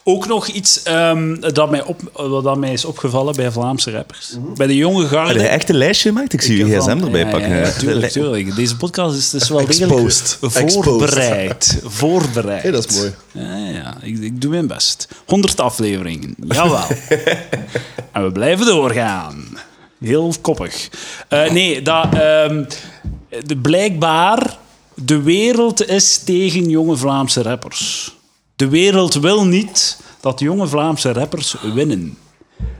Speaker 1: Ook nog iets ehm, dat, mij op, wat dat mij is opgevallen bij Vlaamse rappers. Bij de jonge garde.
Speaker 3: Heb je echt een lijstje gemaakt? Ik zie je
Speaker 1: heb
Speaker 3: gsm
Speaker 1: van-
Speaker 3: erbij
Speaker 1: ja,
Speaker 3: pakken.
Speaker 1: Ja,
Speaker 3: hè.
Speaker 1: ja, tuurlijk, tuurlijk. Deze podcast is dus wel degelijk
Speaker 2: Exposed. Exposed.
Speaker 1: voorbereid. Voorbereid.
Speaker 2: Hey, dat is mooi.
Speaker 1: Ja, ja. Ik, ik doe mijn best. 100 afleveringen. Jawel. en we blijven doorgaan. Heel koppig. Eh, nee, dat, ehm, de, blijkbaar de wereld is tegen jonge Vlaamse rappers. De wereld wil niet dat jonge Vlaamse rappers winnen.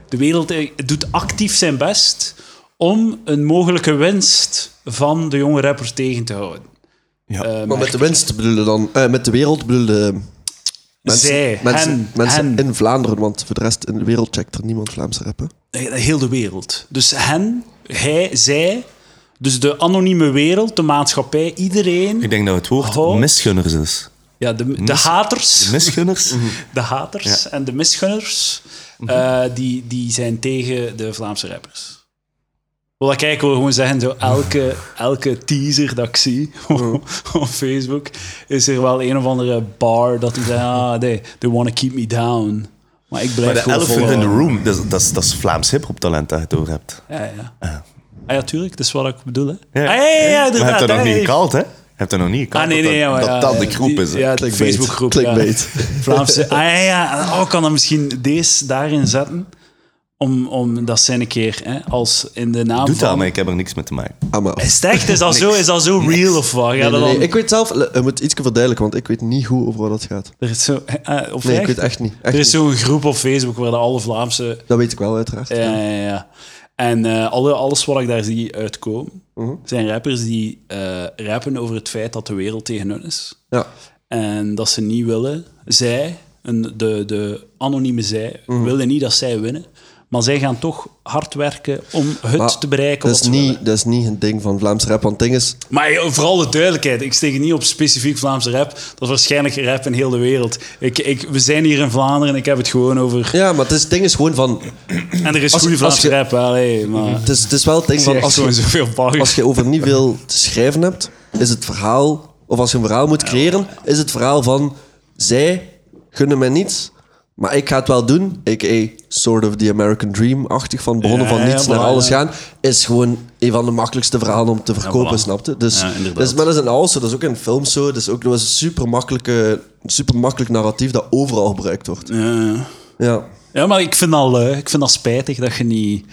Speaker 1: De wereld eh, doet actief zijn best om een mogelijke winst van de jonge rappers tegen te houden.
Speaker 3: Ja.
Speaker 1: Eh,
Speaker 2: Maar met de winst bedoelde dan... eh, met de wereld bedoelde... Mensen,
Speaker 1: Zij,
Speaker 2: mensen,
Speaker 1: hen,
Speaker 2: mensen
Speaker 1: hen.
Speaker 2: in Vlaanderen, want voor de rest in de wereld checkt er niemand Vlaamse rappen.
Speaker 1: Heel de wereld. Dus hen, hij, zij, dus de anonieme wereld, de maatschappij, iedereen.
Speaker 3: Ik denk dat het woord
Speaker 1: Oh.
Speaker 3: misgunners is.
Speaker 1: Ja, de, de haters,
Speaker 3: Misgunners?
Speaker 1: de haters en de misgunners,
Speaker 3: Mhm.
Speaker 1: eh, die, die zijn tegen de Vlaamse rappers. Wil dat kijken, wil gewoon zeggen, zo elke, elke teaser dat ik zie op Facebook, is er wel een of andere bar dat die zegt, ah, they, they want to keep me down. Maar ik blijf
Speaker 3: Maar
Speaker 1: gewoon
Speaker 3: de elephant in the
Speaker 1: volhouden.
Speaker 3: room, dat is, dat is, dat is Vlaams hip-hop talent dat je door hebt.
Speaker 1: Ja, ja. Ah ja, tuurlijk, dat is wat ik bedoel. Hè.
Speaker 3: Ja.
Speaker 1: Ah, ja, ja, ja,
Speaker 3: maar je hebt
Speaker 1: inderdaad.
Speaker 3: dat nog niet
Speaker 1: hè.
Speaker 3: gekald, hè? Je hebt dat nog niet gekald.
Speaker 1: Ah, nee, nee, ja,
Speaker 3: dat
Speaker 1: maar
Speaker 3: dat,
Speaker 1: ja,
Speaker 3: dat de
Speaker 1: ja,
Speaker 3: groep
Speaker 1: die-
Speaker 3: is. hè.
Speaker 1: Ja, de
Speaker 2: Clickbait.
Speaker 1: Facebookgroep.
Speaker 2: Clickbait.
Speaker 1: Ja. Vlaamse. Ah ja, ja. Oh, kan dan misschien deze daarin zetten? Om, om dat zijn een keer, hè, als in de naam
Speaker 3: Doe dat,
Speaker 1: van...
Speaker 3: maar ik heb er niks mee te maken.
Speaker 2: Ah, maar-
Speaker 1: Is het echt? Is dat zo, is dat zo real of wat? Ga
Speaker 2: Nee,
Speaker 1: dat
Speaker 2: nee,
Speaker 1: dan...
Speaker 2: nee. Ik weet zelf, je moet iets verduidelijken, want ik weet niet hoe over wat dat gaat.
Speaker 1: Er is zo... eh, of
Speaker 2: Nee, ik
Speaker 1: echt?
Speaker 2: weet echt niet. Echt
Speaker 1: er is
Speaker 2: niet.
Speaker 1: zo'n groep op Facebook waar de alle Vlaamse
Speaker 2: Dat weet ik wel, uiteraard.
Speaker 1: Ja, ja, ja. En eh, alle, alles wat ik daar zie uitkomen,
Speaker 2: Mhm.
Speaker 1: zijn rappers die eh rappen over het feit dat de wereld tegen hun is.
Speaker 2: Ja.
Speaker 1: En dat ze niet willen, zij, een, de, de anonieme zij,
Speaker 2: Mhm.
Speaker 1: willen niet dat zij winnen. Maar zij gaan toch hard werken om het
Speaker 2: Maar
Speaker 1: te bereiken
Speaker 2: dat
Speaker 1: wat
Speaker 2: is,
Speaker 1: ze
Speaker 2: niet,
Speaker 1: willen.
Speaker 2: dat is niet een ding van Vlaamse rap, want het ding is...
Speaker 1: Maar eh, vooral de duidelijkheid. Ik steek niet op specifiek Vlaamse rap. Dat is waarschijnlijk rap in heel de wereld. Ik, ik, we zijn hier in Vlaanderen en ik heb het gewoon over...
Speaker 2: Ja, maar het, is, het ding is gewoon van...
Speaker 1: En er is
Speaker 2: Als-
Speaker 1: goede
Speaker 2: als
Speaker 1: Vlaamse
Speaker 2: je-
Speaker 1: rap, wel, hé, maar...
Speaker 2: Het is, het is wel het ding
Speaker 1: Ik zie
Speaker 2: van...
Speaker 1: echt
Speaker 2: Als
Speaker 1: gewoon
Speaker 2: je,
Speaker 1: zoveel barren.
Speaker 2: als je over niet veel te schrijven hebt, is het verhaal... Of als je een verhaal moet creëren, is het verhaal van... Zij gunnen mij niets, maar ik ga het wel doen. A.k.a. sort of the American Dream-achtig, van bronnen
Speaker 1: Ja,
Speaker 2: van
Speaker 1: ja,
Speaker 2: niets naar
Speaker 1: voilà,
Speaker 2: alles
Speaker 1: ja.
Speaker 2: gaan. Is gewoon een van de makkelijkste verhalen om te verkopen,
Speaker 1: voilà.
Speaker 2: snapte? Dus,
Speaker 1: Ja,
Speaker 2: dus
Speaker 1: inderdaad.
Speaker 2: maar dat is in alles zo, dat is ook in films zo. Dat is ook dat is een super, makkelijke, super makkelijk narratief dat overal gebruikt wordt.
Speaker 1: Ja.
Speaker 2: Ja.
Speaker 1: Ja, maar ik vind dat leuk. Ik vind dat spijtig dat je niet...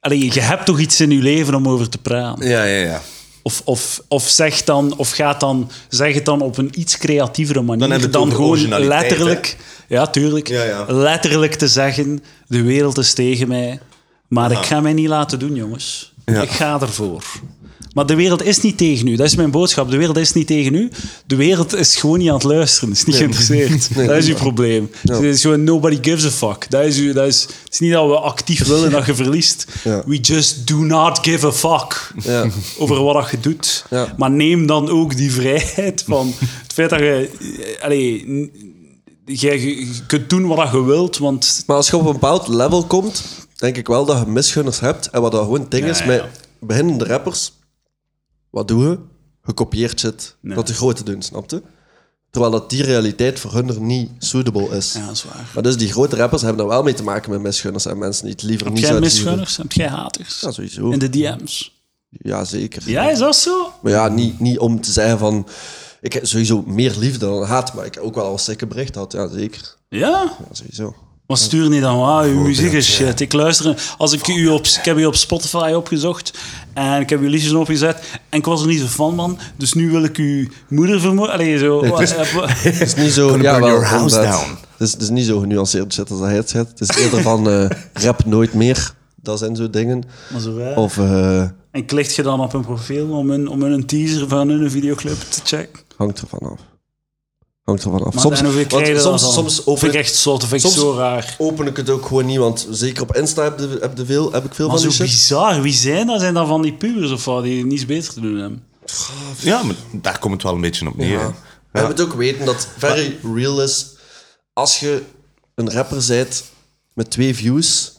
Speaker 1: Allee, je hebt toch iets in je leven om over te praten.
Speaker 3: Ja, ja, ja.
Speaker 1: Of, of, of zeg dan, of gaat dan, zeg het dan op een iets creatievere manier
Speaker 3: Dan heb je het over
Speaker 1: gewoon
Speaker 3: originaliteit,
Speaker 1: letterlijk... Ja, tuurlijk.
Speaker 3: Ja, ja.
Speaker 1: Letterlijk te zeggen, de wereld is tegen mij. Maar ik ga mij niet laten doen, jongens.
Speaker 3: Ja.
Speaker 1: Ik ga ervoor. Maar de wereld is niet tegen u. Dat is mijn boodschap. De wereld is niet tegen u. De wereld is gewoon niet aan het luisteren. Is niet geïnteresseerd. dat is uw probleem. Het is gewoon nobody gives a fuck. Dat is, uw- dat is, het is niet dat we actief willen dat je verliest.
Speaker 2: Ja.
Speaker 1: We just do not give a fuck
Speaker 2: Ja.
Speaker 1: over wat dat je doet.
Speaker 2: Ja.
Speaker 1: Maar neem dan ook die vrijheid van het feit dat je... eh, Allee, n- jij- je kunt doen wat dat je wilt, want
Speaker 2: Maar als je op een bepaald level komt, denk ik wel dat je misgunners hebt. En wat dat gewoon het ding is
Speaker 1: ja,
Speaker 2: met
Speaker 1: ja.
Speaker 2: beginnende rappers. Wat doen we? Gekopieerd shit.
Speaker 1: Nee.
Speaker 2: Dat de grote doen, snapte? Terwijl dat die realiteit voor hun er niet suitable is.
Speaker 1: Ja, dat is waar.
Speaker 2: Maar dus die grote rappers hebben daar wel mee te maken met misgunners en mensen die het liever
Speaker 1: Heb
Speaker 2: niet
Speaker 1: jij
Speaker 2: zouden zien.
Speaker 1: misgunners? Heb jij haters?
Speaker 2: Ja, sowieso.
Speaker 1: In de DM's?
Speaker 2: Ja, zeker.
Speaker 1: Ja, is dat zo?
Speaker 2: Maar ja, niet, niet om te zeggen van... Ik heb sowieso meer liefde dan haat, maar ik heb ook wel al stikke bericht had. Ja, zeker.
Speaker 1: Ja?
Speaker 2: Ja, sowieso.
Speaker 1: Maar stuur niet dan, wauw, uw muziek is shit. Ik luister, als ik, u op, ik heb u op Spotify opgezocht en ik heb uw liedjes opgezet en ik was er niet zo fan van, dus nu wil ik uw moeder vermoorden. Allee, zo. wat- eh, wat-
Speaker 2: Het is niet zo...
Speaker 3: Gonna
Speaker 2: Ja,
Speaker 3: burn
Speaker 2: wel,
Speaker 3: your house
Speaker 2: inderdaad.
Speaker 3: down.
Speaker 2: Het is, het is niet zo genuanceerd shit als hij het zegt. Het is eerder van eh, rap nooit meer. Dat zijn zo dingen.
Speaker 1: Maar zo, hè.
Speaker 2: Of eh,
Speaker 1: En klikt je dan op hun profiel om hun, om hun een teaser van hun videoclip te checken?
Speaker 2: hangt ervan af. Hangt ervan af.
Speaker 1: Maar
Speaker 2: soms,
Speaker 1: en hoeveel
Speaker 2: want
Speaker 1: krijg je dat
Speaker 2: soms,
Speaker 1: dan?
Speaker 2: soms
Speaker 1: Vind ik
Speaker 2: open,
Speaker 1: echt zot, vind ik
Speaker 2: soms-
Speaker 1: zo raar.
Speaker 2: open ik het ook gewoon niet. Want zeker op Insta heb, de, heb, de veel, heb ik veel
Speaker 1: Maar
Speaker 2: van
Speaker 1: zo
Speaker 2: die shit.
Speaker 1: bizar, wie zijn dat? Zijn dat van die pubers of wat, die niets beter te doen hebben?
Speaker 3: Ja, maar daar komt het wel een beetje op neer. hè.
Speaker 2: Ja. We hebben het ook weten dat very real is. Als je een rapper bent met twee views.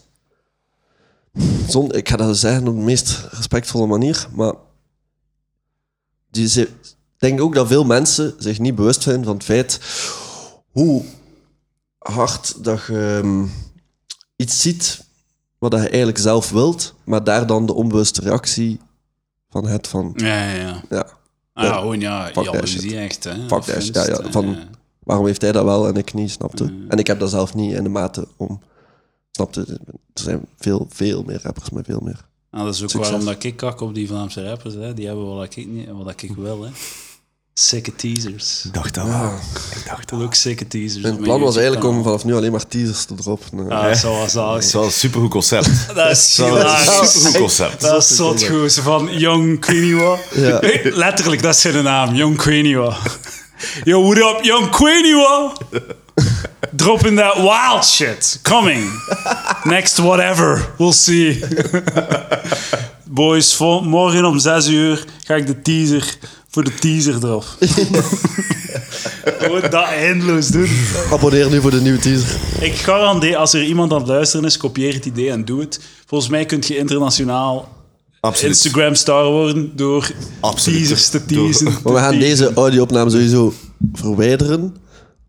Speaker 2: Zon, ik ga dat zeggen op de meest respectvolle manier. Maar. Die ze, ik denk ook dat veel mensen zich niet bewust zijn van het feit. hoe hard dat je ehm, iets ziet. wat dat je eigenlijk zelf wilt. maar daar dan de onbewuste reactie van hebt van.
Speaker 1: Ja, ja, ja.
Speaker 2: Ja,
Speaker 1: Ah, ja, gewoon ja,
Speaker 2: that
Speaker 1: jaloezie
Speaker 2: shit.
Speaker 1: echt, hè.
Speaker 2: Fuck
Speaker 1: Of
Speaker 2: that shit,
Speaker 1: winst,
Speaker 2: ja, ja,
Speaker 3: eh,
Speaker 1: hè.
Speaker 2: van- waarom heeft hij dat wel en ik niet, snapte? En ik heb dat zelf niet in de mate om, snapte? Er zijn veel, veel meer rappers met veel meer.
Speaker 1: Nou, dat is ook
Speaker 2: Succes.
Speaker 1: waarom dat ik kak op die Vlaamse rappers, hè. Die hebben wat ik, niet, wat ik wil, hè. Sikke teasers.
Speaker 3: Ik dacht dat wel. Ik dacht dat
Speaker 1: Ook sikke teasers.
Speaker 2: Mijn plan was eigenlijk om vanaf nu alleen maar teasers te droppen. eh. Nee.
Speaker 1: Ah, zoals
Speaker 3: Het is
Speaker 1: dat.
Speaker 3: wel een supergoed concept.
Speaker 1: Dat is
Speaker 3: Dat is een
Speaker 1: hilarisch.
Speaker 3: supergoed concept.
Speaker 1: Dat is zot goed. Zo Van Young Quiniwa.
Speaker 2: Ja.
Speaker 1: Letterlijk, dat is zijn naam. Young Quiniwa. Yo, what up, Young Quiniwa? Dropping that wild shit. Coming. Next whatever. We'll see. Boys, vol- morgen om 6 uur ga ik de teaser voor de teaser erop. Gewoon dat eindeloos doen.
Speaker 2: Abonneer nu voor de nieuwe teaser.
Speaker 1: Ik garandeer, als er iemand aan het luisteren is, kopieer het idee en doe het. Volgens mij kun je internationaal
Speaker 3: Absoluut.
Speaker 1: Instagram star worden door
Speaker 3: Absoluut.
Speaker 1: teasers te
Speaker 3: Door-
Speaker 1: teasen.
Speaker 2: Maar we gaan
Speaker 1: Te
Speaker 2: deze audio-opname sowieso verwijderen.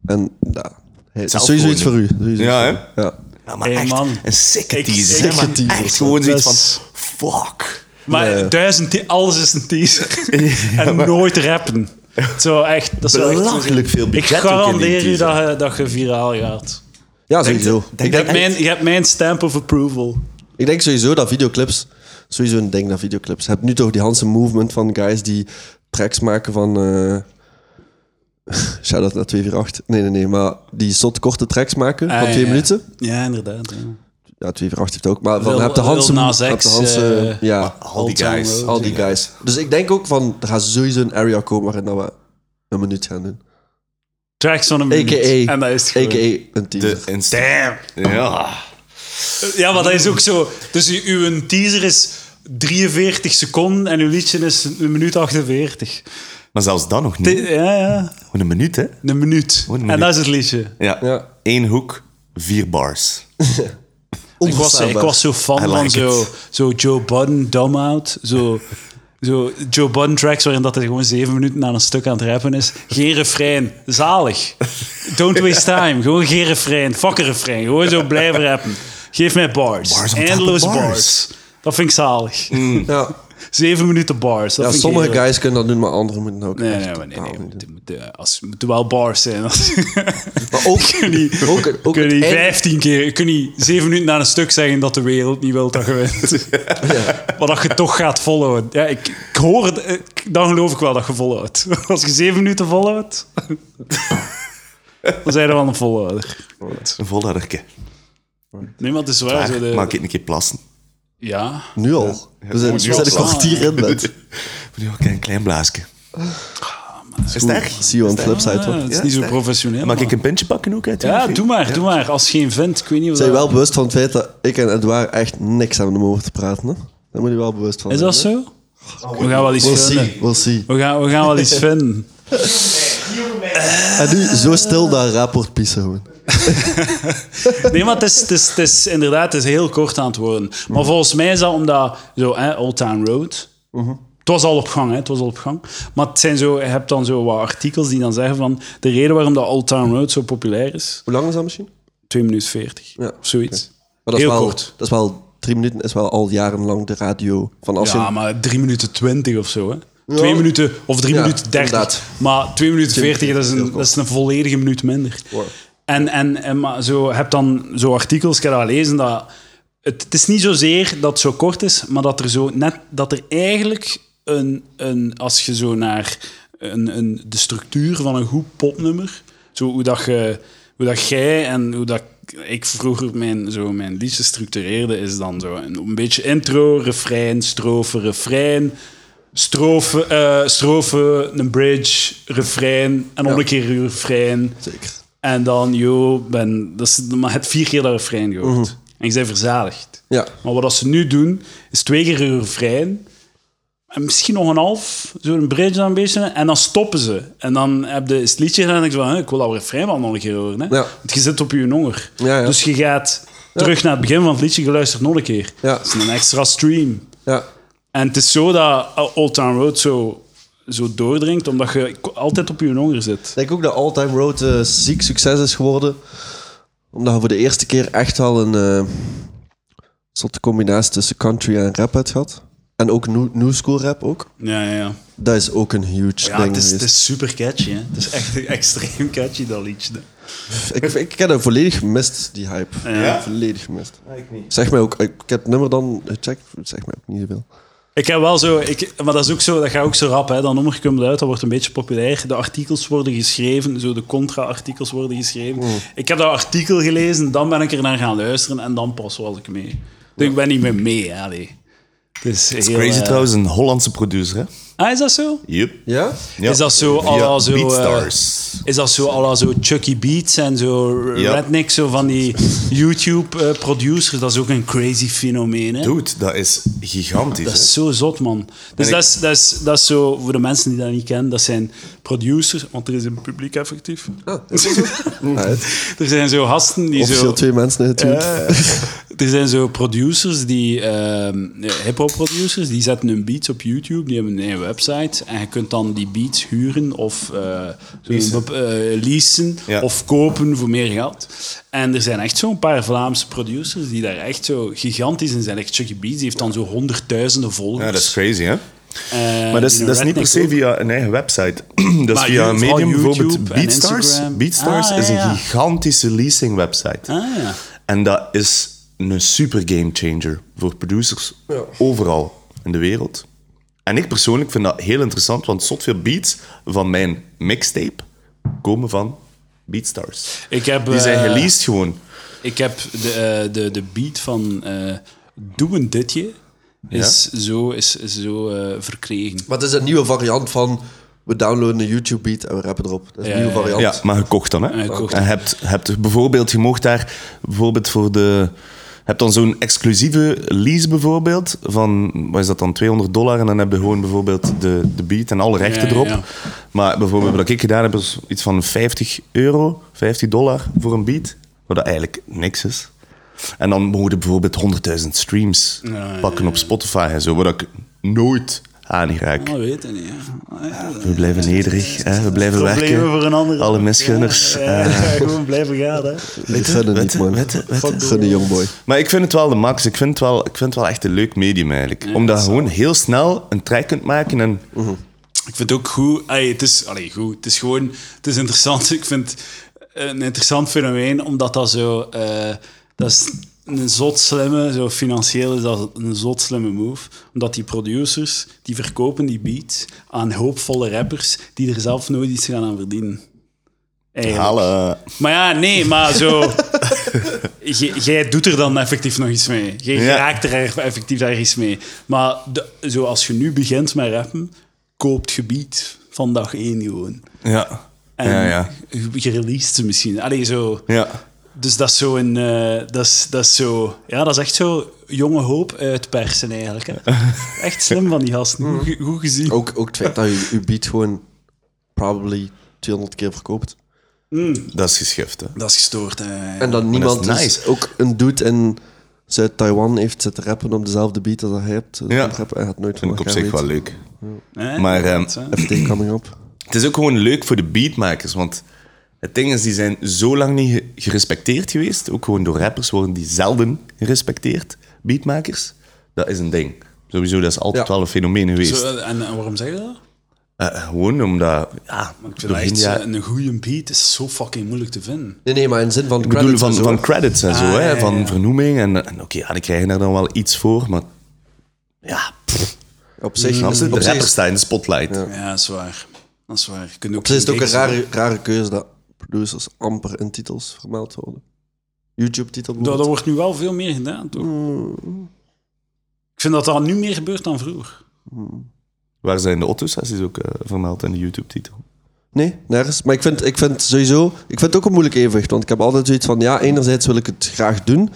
Speaker 2: En ja, hey,
Speaker 3: Zelf
Speaker 2: sowieso
Speaker 3: gewoon
Speaker 2: iets
Speaker 3: doen.
Speaker 2: voor u. Sowieso
Speaker 3: Ja,
Speaker 2: iets voor u. Ja.
Speaker 3: Ja, maar
Speaker 1: Hey,
Speaker 3: echt
Speaker 1: man.
Speaker 3: een sikke
Speaker 1: Ik-
Speaker 3: teaser.
Speaker 1: sikke
Speaker 3: hè, maar
Speaker 2: teaser.
Speaker 3: Echt gewoon zoiets van...
Speaker 1: Dat
Speaker 3: Fuck.
Speaker 1: Maar duizend, te- alles is een teaser. en nooit rappen. Zo echt, dat is wel echt-
Speaker 3: Belachelijk veel
Speaker 1: Ik
Speaker 3: budget ook in die
Speaker 1: garandeer je dat,
Speaker 3: teaser.
Speaker 1: je dat je viraal gaat.
Speaker 2: ja, sowieso.
Speaker 1: Je
Speaker 3: Denk
Speaker 1: hebt,
Speaker 3: dat echt-
Speaker 1: mijn, je hebt mijn stamp of approval.
Speaker 2: Ik denk sowieso dat videoclips, sowieso een ding dat videoclips. Heb nu toch die Hansen movement van guys die tracks maken van. eh shout out naar 248. Nee, nee, nee, maar die zot korte tracks maken
Speaker 1: Ah,
Speaker 2: van
Speaker 1: ja,
Speaker 2: twee
Speaker 1: ja.
Speaker 2: minuten.
Speaker 1: Ja, inderdaad. Ja.
Speaker 2: Ja, 248 heeft ook. Maar
Speaker 1: Lil-
Speaker 2: van heb de
Speaker 1: Lil
Speaker 2: Hansen.
Speaker 1: Nas
Speaker 2: heb de
Speaker 1: X,
Speaker 2: Hansen-
Speaker 1: eh,
Speaker 2: ja,
Speaker 3: Al die
Speaker 1: Old Town
Speaker 3: guys.
Speaker 1: Road.
Speaker 2: al die guys. Dus ik denk ook van, er gaat sowieso een area komen waarin dat we een minuut gaan doen.
Speaker 1: Tracks van een minuut.
Speaker 2: AKA,
Speaker 1: En dat is het gewoon.
Speaker 2: AKA een
Speaker 3: De
Speaker 2: teaser.
Speaker 3: Insta- Ja.
Speaker 1: Ja, maar dat is ook zo. Dus u- uw teaser is 43 seconden en uw liedje is een minuut 48.
Speaker 3: Maar zelfs dan nog
Speaker 1: Te-
Speaker 3: niet.
Speaker 1: Ja, ja.
Speaker 3: Gewoon een minuut, hè?
Speaker 1: Een minuut.
Speaker 3: een minuut.
Speaker 1: En dat is het liedje.
Speaker 3: Ja.
Speaker 2: Ja.
Speaker 3: Eén hoek, vier bars.
Speaker 1: Ik was, ik
Speaker 2: Onvoorstelbaar.
Speaker 1: was zo fan
Speaker 3: I like
Speaker 1: van
Speaker 3: it.
Speaker 1: zo, zo Joe Budden, Dumb Out. Zo, zo Joe Budden tracks waarin dat hij gewoon zeven minuten aan een stuk aan het rappen is. Geen refrein. Zalig. Don't waste time. Gewoon geen refrein. Fuck een refrein. Gewoon zo blijven rappen. Geef mij bars.
Speaker 3: Bars on top of
Speaker 1: Eindeloos bars.
Speaker 3: bars. Mm.
Speaker 1: Dat vind ik zalig.
Speaker 2: Ja,
Speaker 1: Zeven minuten bars. Dat
Speaker 2: ja
Speaker 1: vind ik
Speaker 2: sommige
Speaker 1: heerlijk.
Speaker 2: guys kunnen dat doen, maar anderen moeten dat ook
Speaker 1: Nee,
Speaker 2: echt
Speaker 1: nee, maar nee,
Speaker 2: totaal
Speaker 1: nee.
Speaker 2: niet doen.
Speaker 1: moet- moet- eh, als, moeten wel bars zijn. Als,
Speaker 2: Maar ook,
Speaker 1: kun je,
Speaker 2: ook, het- ook
Speaker 1: kun
Speaker 2: het
Speaker 1: je
Speaker 2: einde-
Speaker 1: 15 keer, kun je 7 minuten na een stuk zeggen dat de wereld niet wil dat je wint. Maar dat je toch gaat volhouden. Ja, ik, ik hoor het, eh, ik- dan geloof ik wel dat je volhoudt. Als je 7 minuten volhoudt, dan zijn je wel een volhouder.
Speaker 3: Een volhouderke.
Speaker 1: Nee, maar het is waar.
Speaker 3: Daar
Speaker 1: Zo de,
Speaker 3: maak ik een keer plassen.
Speaker 1: Ja.
Speaker 2: Nu al. we zijn, we
Speaker 1: nu al
Speaker 2: zijn een
Speaker 1: klaar.
Speaker 2: kwartier in bed.
Speaker 3: Nu ook een klein blaasje. is het erg?
Speaker 2: See you on the flip side.
Speaker 1: Ah,
Speaker 2: hoor.
Speaker 1: het is
Speaker 3: Ja,
Speaker 1: niet zo
Speaker 3: sterk.
Speaker 1: professioneel.
Speaker 3: Mag ik
Speaker 1: maar-
Speaker 3: een pintje pakken ook uit? die
Speaker 1: Ja,
Speaker 3: koffie?
Speaker 1: doe maar, doe maar. Als je geen vindt, ik weet niet of
Speaker 2: Zijn je
Speaker 1: dat-
Speaker 2: wel bewust van het feit dat ik en Edouard echt niks hebben om over te praten? Hè? Daar moet je wel bewust van
Speaker 1: Is
Speaker 2: zijn.
Speaker 1: dat zo? We gaan wel iets
Speaker 2: We'll
Speaker 1: vinden.
Speaker 2: see, we'll see.
Speaker 1: We gaan, we gaan wel iets vinden.
Speaker 2: En nu zo stil dat rapport pissen gewoon.
Speaker 1: Nee, maar het is, het is, het is inderdaad het is heel kort aan het worden.
Speaker 2: Mhm.
Speaker 1: Maar volgens mij is dat omdat zo, hè, Old Town Road.
Speaker 2: Mhm.
Speaker 1: Het was al op gang, hè? Het was al op gang. Maar het zijn zo, je hebt dan zo wat artikels die dan zeggen van de reden waarom dat Old Town Road zo populair is.
Speaker 2: Hoe lang is dat misschien?
Speaker 1: 2 minuten 40
Speaker 2: Ja,
Speaker 1: of zoiets.
Speaker 2: Maar dat is
Speaker 1: Heel
Speaker 2: wel,
Speaker 1: kort.
Speaker 2: Dat is wel, drie minuten is wel al jarenlang de radio. Van als
Speaker 1: Ja,
Speaker 2: je,
Speaker 1: maar 3 minuten 20 of zo, hè? 2 minuten of 3
Speaker 2: Ja,
Speaker 1: minuten 30.
Speaker 2: inderdaad.
Speaker 1: Maar 2 minuten 40, dat is
Speaker 2: Heel
Speaker 1: een,
Speaker 2: kort.
Speaker 1: dat is een volledige minuut minder. En, en, en maar zo, heb dan zo artikels, ik heb dat gelezen, dat het, het is niet zozeer dat het zo kort is, maar dat er, zo net, dat er eigenlijk een, een, als je zo naar een, een, de structuur van een goed popnummer, zo hoe dat je hoe dat jij en hoe dat ik vroeger mijn, zo mijn liedjes structureerde, is dan zo een, een beetje intro, refrein, strofe, refrein. Strofe, eh, strofe, een bridge, refrein en nog een keer een refrein.
Speaker 2: Zeker.
Speaker 1: En dan, yo, ben, dat is, maar het vier keer dat refrein gehoord. En je bent verzadigd.
Speaker 2: Mhm. Ja.
Speaker 1: Maar wat dat ze nu doen, is twee keer een refrein. En misschien nog een half, zo'n bridge dan een beetje. En dan stoppen ze. En dan heb je het liedje gedaan en denk je van, hè, ik wil dat refrein wel nog een keer horen. Hè?
Speaker 2: Ja.
Speaker 1: Want je zit op je honger.
Speaker 2: Ja, ja.
Speaker 1: Dus je gaat terug naar het begin van het liedje, je luistert nog een keer.
Speaker 2: Ja.
Speaker 1: Dat is een extra stream.
Speaker 2: Ja.
Speaker 1: En het is zo dat eh, Old Town Road zo, zo doordringt, omdat je ko- altijd op je honger zit.
Speaker 2: Ik denk ook dat All Time Road eh, ziek succes is geworden. Omdat je voor de eerste keer echt wel een eh, soort combinatie tussen country en rap hebt gehad. En ook new, new school rap ook.
Speaker 1: Ja, ja, ja.
Speaker 2: Dat is ook een huge
Speaker 1: Ja,
Speaker 2: ding
Speaker 1: het is, het
Speaker 2: geweest.
Speaker 1: is super catchy. Hè? Het is echt extreem catchy, dat liedje.
Speaker 2: Ik, ik heb dat volledig gemist, die hype.
Speaker 1: Ja?
Speaker 2: Volledig gemist. Zeg mij ook, ik ik heb het nummer dan gecheckt, zeg mij ook niet zoveel.
Speaker 1: Ik heb wel zo, ik, maar dat is ook zo, dat gaat ook zo rap. Hè? Dat nummer komt uit, dat wordt een beetje populair. De artikels worden geschreven, zo de contra-artikels worden geschreven. Ik heb dat artikel gelezen, dan ben ik er naar gaan luisteren en dan pas was ik mee. Dus ik ben niet meer mee, hè, allee. Het is heel,
Speaker 3: Crazy
Speaker 1: eh,
Speaker 3: trouwens, een Hollandse producer, hè?
Speaker 1: Ah, is dat zo?
Speaker 3: Yep.
Speaker 2: Ja?
Speaker 3: Ja.
Speaker 1: Is dat zo, à la zo, eh,
Speaker 3: Beatstars.
Speaker 1: Is dat zo, à la zo Chucky Beats en zo
Speaker 3: Ja.
Speaker 1: Redneck, zo van die YouTube-producers? dat is ook een crazy fenomeen, hè?
Speaker 3: Dude, dat is gigantisch.
Speaker 1: Ah, Dat is zo zot, man. Dus
Speaker 3: ik-
Speaker 1: dat, is, dat, is, dat is zo, voor de mensen die dat niet kennen, dat zijn producers, want er is een publiek effectief.
Speaker 2: Ja, het-
Speaker 1: Er zijn zo gasten die
Speaker 2: Officieel
Speaker 1: zo...
Speaker 2: twee mensen in het team.
Speaker 3: Eh,
Speaker 1: Er zijn zo producers die, ehm hip-hop producers, die zetten hun beats op YouTube, die hebben een eigen website. En je kunt dan die beats huren of eh, zo'n bep- eh, leasen
Speaker 3: Ja.
Speaker 1: of kopen voor meer geld. En er zijn echt zo'n paar Vlaamse producers die daar echt zo gigantisch in zijn. Like Chucky Beats, die heeft dan zo honderdduizenden volgers.
Speaker 3: Ja, dat is crazy, hè?
Speaker 1: Eh,
Speaker 3: Maar dat is,
Speaker 1: die
Speaker 3: dat is niet per
Speaker 1: redneck
Speaker 3: se
Speaker 1: ook.
Speaker 3: via een eigen website. dat is
Speaker 1: Maar
Speaker 3: via een
Speaker 1: YouTube,
Speaker 3: medium,
Speaker 1: vooral
Speaker 3: bijvoorbeeld
Speaker 1: YouTube en
Speaker 3: Beatstars.
Speaker 1: Instagram.
Speaker 3: Beatstars
Speaker 1: Ah, ja,
Speaker 3: is
Speaker 1: ja.
Speaker 3: een gigantische leasing website.
Speaker 1: Ah, ja.
Speaker 3: En dat is een super game changer voor producers overal in de wereld. En ik persoonlijk vind dat heel interessant, want zot veel beats van mijn mixtape komen van Beatstars.
Speaker 1: Ik heb,
Speaker 3: Die zijn
Speaker 1: eh,
Speaker 3: geleased gewoon.
Speaker 1: Ik heb de, eh, de, de beat van eh Doe een ditje is zo, is, is zo eh, verkregen.
Speaker 2: Maar het is een nieuwe variant van, we downloaden een YouTube beat en we rappen erop. Dat is een
Speaker 1: Ja,
Speaker 2: nieuwe
Speaker 1: ja, ja.
Speaker 2: variant.
Speaker 3: Ja, maar gekocht dan, hè?
Speaker 1: Ja, Ah, gekocht.
Speaker 3: En hebt, hebt bijvoorbeeld, je mocht daar bijvoorbeeld voor de... Heb dan zo'n exclusieve lease bijvoorbeeld, van, wat is dat dan, 200 dollar. En dan heb je gewoon bijvoorbeeld de, de beat en alle rechten
Speaker 1: ja,
Speaker 3: erop.
Speaker 1: ja.
Speaker 3: Maar bijvoorbeeld wat ik gedaan heb, is iets van 50 euro, 50 dollar voor een beat. Wat dat eigenlijk niks is. En dan mogen je bijvoorbeeld 100.000 streams pakken op Spotify en zo. Wat ik nooit aangeraak.
Speaker 1: Dat weten niet. hè. Ja,
Speaker 3: We blijven nederig, hè? we blijven
Speaker 1: Problemen
Speaker 3: werken.
Speaker 1: voor een ander.
Speaker 3: Alle misgunners. eh,
Speaker 1: Ja, ja, ja, gewoon blijven gaan, hè.
Speaker 2: Ik gun het niet,
Speaker 3: Wetten,
Speaker 2: man.
Speaker 3: wetten, wetten.
Speaker 2: Ik gun het, jongboy.
Speaker 3: Maar ik vind het wel de max. Ik vind het wel, ik vind het wel echt een leuk medium eigenlijk. Omdat je gewoon heel snel een track kunt maken. En,
Speaker 1: Ik vind het ook goed. Ay, het is, allee, goed. Het is gewoon, het is interessant. Ik vind het een interessant fenomeen, omdat dat zo, eh, dat is een zot slimme, zo financieel is dat een zot slimme move. Omdat die producers, die verkopen die beats aan hoopvolle rappers, die er zelf nooit iets gaan aan verdienen. Eigenlijk.
Speaker 3: Halen.
Speaker 1: Maar ja, nee, maar zo. J- Jij doet er dan effectief nog iets mee. Jij
Speaker 3: Ja.
Speaker 1: raakt er erg- effectief daar iets mee. Maar de, zo als je nu begint met rappen, koopt gebied van dag één gewoon.
Speaker 3: Ja.
Speaker 1: En
Speaker 3: ja, ja.
Speaker 1: je, je released ze misschien. Allee, zo.
Speaker 3: Ja.
Speaker 1: Dus dat is zo een... eh, dat, is, dat is zo... Ja, dat is echt zo jonge hoop uitpersen eigenlijk. Hè. Echt slim van die gasten. Oh, Goed, ge- goed gezien.
Speaker 2: Ook, ook het feit dat je, je beat gewoon probably 200 keer verkoopt.
Speaker 3: Dat is geschift, hè.
Speaker 1: Dat is gestoord. eh. hè.
Speaker 2: En dan
Speaker 3: Maar dat is
Speaker 2: niemand is
Speaker 3: nice.
Speaker 2: ook een dude in Zuid-Taiwan heeft zitten rappen op dezelfde beat als hij hebt. eh,
Speaker 3: Ja.
Speaker 2: Rappen, en hij had nooit van
Speaker 3: Vind ik op
Speaker 2: elkaar
Speaker 3: zich wel
Speaker 2: weten.
Speaker 3: leuk.
Speaker 1: Hè?
Speaker 3: Maar ehm,
Speaker 1: Dat, hè.
Speaker 2: FT coming up.
Speaker 3: het is ook gewoon leuk voor de beatmakers, want... Het ding is, die zijn zo lang niet ge- gerespecteerd geweest. Ook gewoon door rappers worden die zelden gerespecteerd. Beatmakers, dat is een ding. Sowieso, dat is altijd
Speaker 2: Ja.
Speaker 3: wel een fenomeen geweest.
Speaker 1: Zo, eh, en, en waarom zeg je dat?
Speaker 3: Eh, gewoon omdat... Ja,
Speaker 1: Ik vind
Speaker 3: doorheen
Speaker 1: echt
Speaker 3: de jaren-
Speaker 1: eh, een goede beat is zo fucking moeilijk te vinden.
Speaker 2: Nee, nee, maar in zin van
Speaker 3: Ik bedoel,
Speaker 2: credits
Speaker 3: van,
Speaker 2: en zo.
Speaker 3: van credits en zo, hè,
Speaker 1: ja, ja,
Speaker 3: van
Speaker 1: ja.
Speaker 3: vernoeming. En, en oké, ja, die krijgen daar dan wel iets voor, maar... Ja, pff,
Speaker 2: op zich,
Speaker 3: snap je?
Speaker 2: op zich
Speaker 3: De rapper
Speaker 2: Mm, is,
Speaker 3: staat in de spotlight.
Speaker 1: Ja, dat is waar. Dat is waar. Je kunt ook
Speaker 2: op zich is het ook
Speaker 1: geen
Speaker 2: een
Speaker 1: tekst-
Speaker 2: rare, rare keuze dat producers amper in titels vermeld worden. YouTube-titel
Speaker 1: Dat, dat
Speaker 2: bijvoorbeeld.
Speaker 1: wordt nu wel veel meer gedaan, toch?
Speaker 2: Mm,
Speaker 1: Ik vind dat dat nu meer gebeurt dan vroeger.
Speaker 2: mm.
Speaker 3: Waar zijn de Otto-sessies ook eh, vermeld in de YouTube-titel?
Speaker 2: Nee, nergens. Maar ik vind, ik vind sowieso... Ik vind het ook een moeilijk evenwicht. Want ik heb altijd zoiets van... Ja, enerzijds wil ik het graag doen.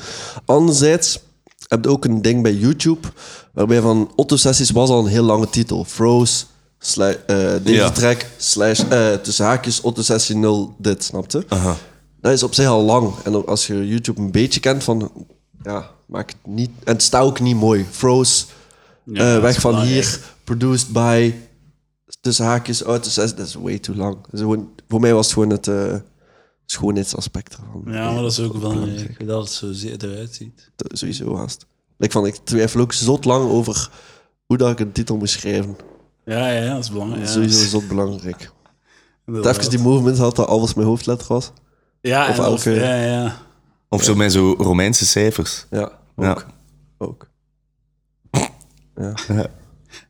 Speaker 2: Anderzijds heb je ook een ding bij YouTube... Waarbij van... Otto Sessies was al een heel lange titel. Froze... Sli- eh, deze
Speaker 3: Ja.
Speaker 2: track... Slash, eh, tussen haakjes... Otto Sessie 0... Dit, snapte? Dat is op zich al lang. En als je YouTube een beetje kent van... Ja, maak het niet... En het staat ook niet mooi. Froze...
Speaker 1: Ja,
Speaker 2: eh,
Speaker 1: dat
Speaker 2: weg
Speaker 1: is
Speaker 2: van
Speaker 1: belangrijk.
Speaker 2: hier, produced by tussen haakjes uit de zes. Dat is way too lang. Dat is gewoon, voor mij was het gewoon het eh, schoonheidsaspect ervan.
Speaker 1: Ja, maar dat is ook belangrijk, dat het zo zeer eruit ziet.
Speaker 2: Dat is Sowieso haast. Ik, van, ik twijfel ook zot lang over hoe dat ik een titel moet schrijven.
Speaker 1: Ja, ja, ja, dat is
Speaker 2: Dat
Speaker 1: belangrijk.
Speaker 2: is
Speaker 1: Ja, dus-
Speaker 2: sowieso zot belangrijk.
Speaker 1: inderdaad.
Speaker 2: Even die movement had dat alles mijn hoofdletter was.
Speaker 1: Ja,
Speaker 2: of
Speaker 1: en
Speaker 2: elke-
Speaker 1: ja, ja.
Speaker 3: Of zo met zo Romeinse cijfers.
Speaker 2: Ja, ook.
Speaker 3: Ja.
Speaker 2: ook.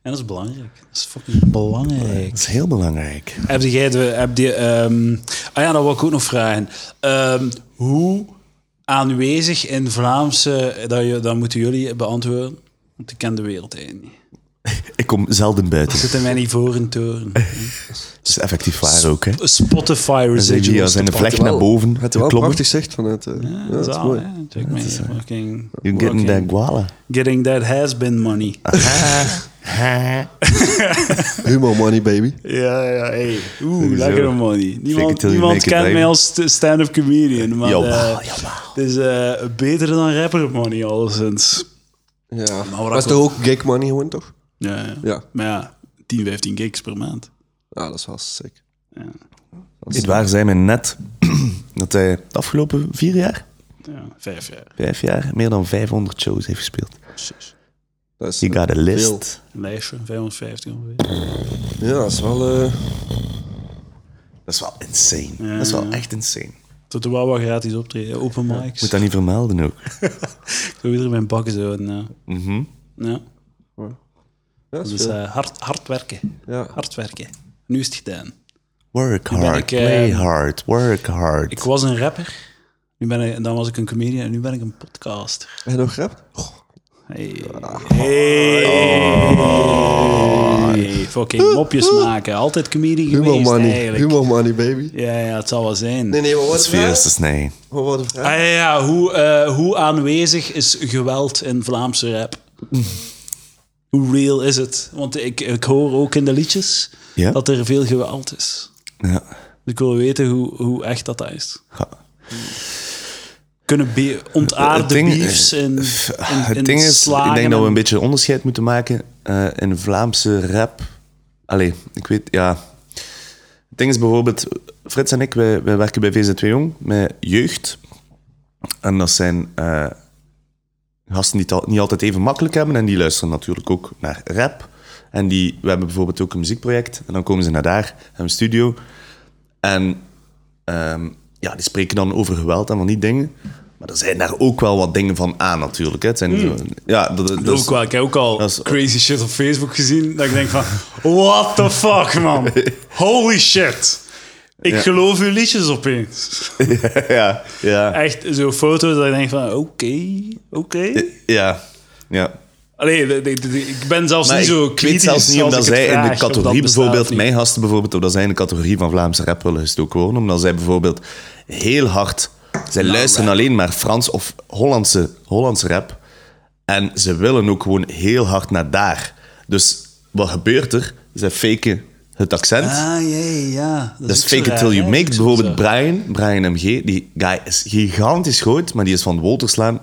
Speaker 1: En dat is belangrijk. Dat is fucking belangrijk.
Speaker 3: Dat is heel belangrijk.
Speaker 1: Heb jij de... Heb die, ehm, ah ja, dat wil ik ook nog vragen. Ehm, hoe aanwezig in Vlaamse... Dat, je, dat moeten jullie beantwoorden. Want ik ken de wereld eigenlijk niet.
Speaker 3: Ik kom zelden buiten.
Speaker 1: Ik zit in mijn ivoren toren.
Speaker 3: Het is effectief waar ook, hè.
Speaker 1: Spotify
Speaker 3: Zit je
Speaker 1: residuals.
Speaker 3: als in
Speaker 1: te
Speaker 3: een vlecht
Speaker 2: Terwijl-
Speaker 3: naar boven
Speaker 2: Het is wel
Speaker 3: geklommen?
Speaker 2: prachtig zicht vanuit... eh, ja,
Speaker 1: pakken.
Speaker 2: dat is mooi.
Speaker 1: hè. Check me fucking...
Speaker 3: You getting that
Speaker 1: fucking-
Speaker 3: guala.
Speaker 1: getting that has been money.
Speaker 2: Humor money, baby.
Speaker 1: Ja, ja, hey. Oeh,
Speaker 3: Sowieso.
Speaker 1: lekker money. Niemand,
Speaker 3: till you
Speaker 1: niemand
Speaker 3: make it,
Speaker 1: kent
Speaker 3: baby.
Speaker 1: mij als st- stand-up comedian, maar
Speaker 3: Jawel,
Speaker 1: eh, het is eh, beter dan rapper money, alleszins.
Speaker 2: Ja. Maar
Speaker 1: wat
Speaker 2: dat is
Speaker 1: ik-
Speaker 2: toch ook gig money gewoon, toch?
Speaker 1: Ja, ja.
Speaker 2: Ja.
Speaker 1: Maar ja, 10, 15 gigs per maand.
Speaker 2: Ja, dat is wel sick.
Speaker 1: Ja.
Speaker 3: Dit waar zei mij net dat hij de afgelopen vier jaar,
Speaker 1: ja, vijf jaar.
Speaker 3: vijf jaar, meer dan 500 shows heeft gespeeld.
Speaker 2: Dat is,
Speaker 3: You got a list.
Speaker 1: Een lijstje, 550 ongeveer.
Speaker 2: Ja, dat is wel... eh,
Speaker 3: Dat is wel insane. Dat is wel echt insane.
Speaker 1: Tot er wel wat gratis optreden. Open mics.
Speaker 3: Moet dat niet vermelden ook.
Speaker 1: Ik wil iedereen mijn bakken zo. En, eh,
Speaker 3: Mhm.
Speaker 1: ja.
Speaker 2: ja, dat is
Speaker 1: Dus
Speaker 2: veel.
Speaker 1: eh, hard, hard werken.
Speaker 2: Ja.
Speaker 1: Hard werken. Nu is het gedaan.
Speaker 3: Work
Speaker 1: ben
Speaker 3: hard,
Speaker 1: ik, eh,
Speaker 3: play hard, work hard.
Speaker 1: Ik was een rapper. Nu ben ik, dan was ik een comedian en nu ben ik een podcaster.
Speaker 2: Heb je nog rap?
Speaker 1: Hey. Hey. Hey. Fucking mopjes maken. Altijd comedian
Speaker 2: Humor
Speaker 1: geweest
Speaker 2: money.
Speaker 1: eigenlijk.
Speaker 2: Humor money, baby.
Speaker 1: Ja, ja, het zal wel zijn.
Speaker 2: Nee, nee, maar wat
Speaker 3: dat is veel te snij.
Speaker 2: Wat wordt de vraag?
Speaker 1: Ah, ja, ja, hoe, eh, hoe aanwezig is geweld in Vlaamse rap? hoe real is het? Want ik, ik hoor ook in de liedjes
Speaker 3: Ja?
Speaker 1: dat er veel geweld is.
Speaker 3: Ja.
Speaker 1: Dus ik wil weten hoe, hoe echt dat is.
Speaker 3: Ja.
Speaker 1: Kunnen be-
Speaker 3: Het
Speaker 1: ontaarde
Speaker 3: ding-
Speaker 1: beefs in, in,
Speaker 3: het
Speaker 1: in
Speaker 3: ding is,
Speaker 1: slagen?
Speaker 3: ik denk dat we
Speaker 1: en-
Speaker 3: een beetje onderscheid moeten maken eh, in Vlaamse rap. Allee, ik weet, ja. Het ding is bijvoorbeeld, Frits en ik, wij, wij werken bij VZ2 Jong met jeugd. En dat zijn eh, gasten die het al- niet altijd even makkelijk hebben. En die luisteren natuurlijk ook naar rap. En die, we hebben bijvoorbeeld ook een muziekproject. En dan komen ze naar daar, hebben een studio. En Ehm, ja, die spreken dan over geweld en van die dingen. Maar er zijn daar ook wel wat dingen van aan, natuurlijk. Hè. Het zijn, Ja, dat, dat,
Speaker 1: Dat
Speaker 3: is-
Speaker 1: Hmm. ook wel. Ik heb ook al
Speaker 3: dat is-
Speaker 1: crazy shit op Facebook gezien. Dat ik denk van, what the fuck, man. Holy shit. Ik
Speaker 3: Ja.
Speaker 1: geloof uw liedjes opeens.
Speaker 3: ja, ja,
Speaker 1: Echt zo'n foto dat ik denk van, oké, oké.
Speaker 3: ja, ja.
Speaker 1: Allee, de- de- de- ik ben zelfs
Speaker 3: Maar
Speaker 1: niet
Speaker 3: ik,
Speaker 1: zo
Speaker 3: ik
Speaker 1: kritisch.
Speaker 3: weet zelfs niet
Speaker 1: als
Speaker 3: omdat
Speaker 1: ik het
Speaker 3: zij in de
Speaker 1: vraag of dat
Speaker 3: categorie
Speaker 1: bestaat
Speaker 3: bijvoorbeeld,
Speaker 1: of niet.
Speaker 3: mijn gasten bijvoorbeeld, of dat zij in de categorie van Vlaamse rap willen gestoken worden, omdat zij bijvoorbeeld heel hard, zij
Speaker 1: Nou,
Speaker 3: luisteren alleen maar Frans of Hollandse, Hollandse rap en ze willen ook gewoon heel hard naar daar. Dus wat gebeurt er? Zij faken het accent.
Speaker 1: Ah, ja, ja, ja.
Speaker 3: Dat is
Speaker 1: ook zo
Speaker 3: Fake It
Speaker 1: raar,
Speaker 3: Till You
Speaker 1: hè?
Speaker 3: Make.
Speaker 1: Dat
Speaker 3: it.
Speaker 1: is ook
Speaker 3: Bijvoorbeeld
Speaker 1: zo.
Speaker 3: Brian, Brian MG, die guy is gigantisch groot, maar die is van Wolterslaan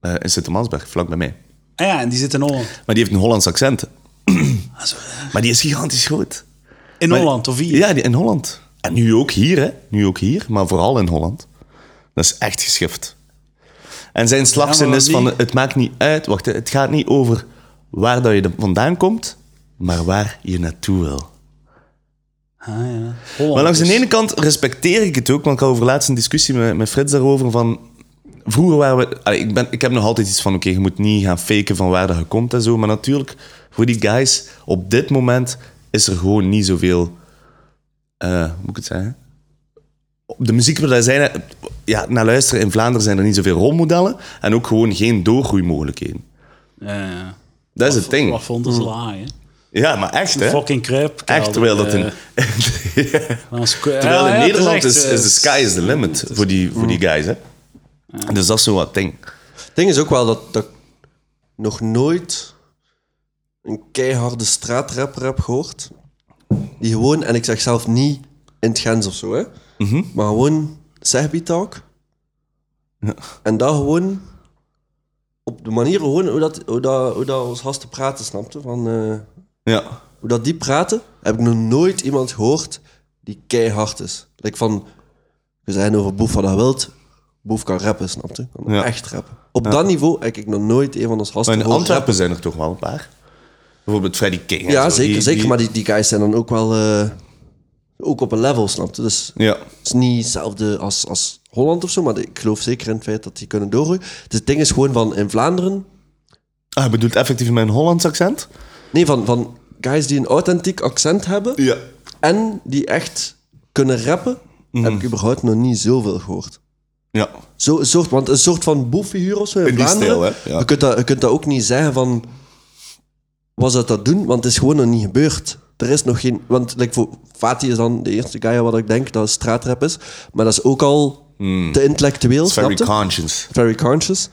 Speaker 3: eh in Sint-Mansberg, vlak bij mij.
Speaker 1: Ah, ja, en die zit in Holland.
Speaker 3: Maar die heeft een Hollands accent.
Speaker 1: Ah, zo, ja.
Speaker 3: Maar die is gigantisch groot.
Speaker 1: In
Speaker 3: Maar-
Speaker 1: Holland, of hier?
Speaker 3: Ja, die, in Holland. En nu ook hier, hè. Nu ook hier, maar vooral in Holland. Dat is echt geschift. En zijn slagzin
Speaker 1: Ja, maar
Speaker 3: is van,
Speaker 1: niet-
Speaker 3: het maakt niet uit, wacht, hè, het gaat niet over waar dat je de- vandaan komt, maar waar je naartoe wil.
Speaker 1: Ah, ja. Holland
Speaker 3: Maar langs de
Speaker 1: dus.
Speaker 3: ene kant respecteer ik het ook, want ik had over laatst een discussie met, met Frits daarover van... Vroeger waren we... allee, ik, ben, ik heb nog altijd iets van, oké, je moet niet gaan faken van waar dat je komt en zo. Maar natuurlijk, voor die guys, op dit moment is er gewoon niet zoveel... eh, hoe moet ik het zeggen? de muziek wil daar zijn, eh, ja, naar luisteren in Vlaanderen zijn er niet zoveel rolmodellen en ook gewoon geen doorgroeimogelijkheden.
Speaker 1: Ja.
Speaker 3: Dat is het ding.
Speaker 1: Wat vonden ze laag, hè?
Speaker 3: Ja, maar echt, hè?
Speaker 1: Fucking eh, crap.
Speaker 3: Echt, terwijl dat in, terwijl in Nederland is, is de
Speaker 1: eh,
Speaker 2: eh,
Speaker 3: sky is the limit voor die, voor die
Speaker 2: Mm.
Speaker 3: guys, hè? Dus dat is zo wat ding.
Speaker 2: Het ding is ook wel dat, dat ik nog nooit een keiharde straatrapper heb gehoord. Die gewoon, en ik zeg zelf niet in het Gens of zo, hè, maar gewoon Segbi Talk. En dat gewoon op de manier gewoon hoe dat, hoe dat, hoe dat ons gasten praten, snapte? Van, eh,
Speaker 3: Ja.
Speaker 2: hoe dat die praten, heb ik nog nooit iemand gehoord die keihard is. Like van, we zijn over Boef van dat wild. Boef kan rappen, snap je? Kan
Speaker 3: Ja.
Speaker 2: Echt rappen. Op dat niveau heb ik nog nooit een van ons gasten
Speaker 3: Maar in
Speaker 2: gehoord
Speaker 3: Antwerpen
Speaker 2: rappen.
Speaker 3: zijn er toch wel een paar. Bijvoorbeeld Freddy King. en
Speaker 2: Ja,
Speaker 3: zo.
Speaker 2: zeker,
Speaker 3: Die-
Speaker 2: zeker.
Speaker 3: die-
Speaker 2: Maar die, die guys zijn dan ook wel eh, ook op een level, snap je? Dus
Speaker 3: Ja. Ah,
Speaker 2: het is niet hetzelfde als, als Holland of zo, maar ik geloof zeker in het feit dat die kunnen doorgroeien. Dus het ding is gewoon van in Vlaanderen
Speaker 3: Ah, je bedoelt effectief mijn Hollands accent?
Speaker 2: Nee, van, van guys die een authentiek accent hebben.
Speaker 3: Ja.
Speaker 2: En die echt kunnen rappen. Heb
Speaker 3: Mhm.
Speaker 2: ik überhaupt nog niet zoveel gehoord.
Speaker 3: Ja.
Speaker 2: Zo, een soort, want een soort van boeffiguur of zo in,
Speaker 3: In die
Speaker 2: Vlaanderen.
Speaker 3: stijl, hè? Ja.
Speaker 2: je, kunt dat, je kunt dat ook niet zeggen van... Was dat dat doen? Want het is gewoon nog niet gebeurd. Er is nog geen... Want like, voor Fatih is dan de eerste guy wat ik denk dat straatrap is. Maar dat is ook al te intellectueel,
Speaker 3: Hmm. It's very
Speaker 2: snap je?
Speaker 3: conscious.
Speaker 2: Very conscious. En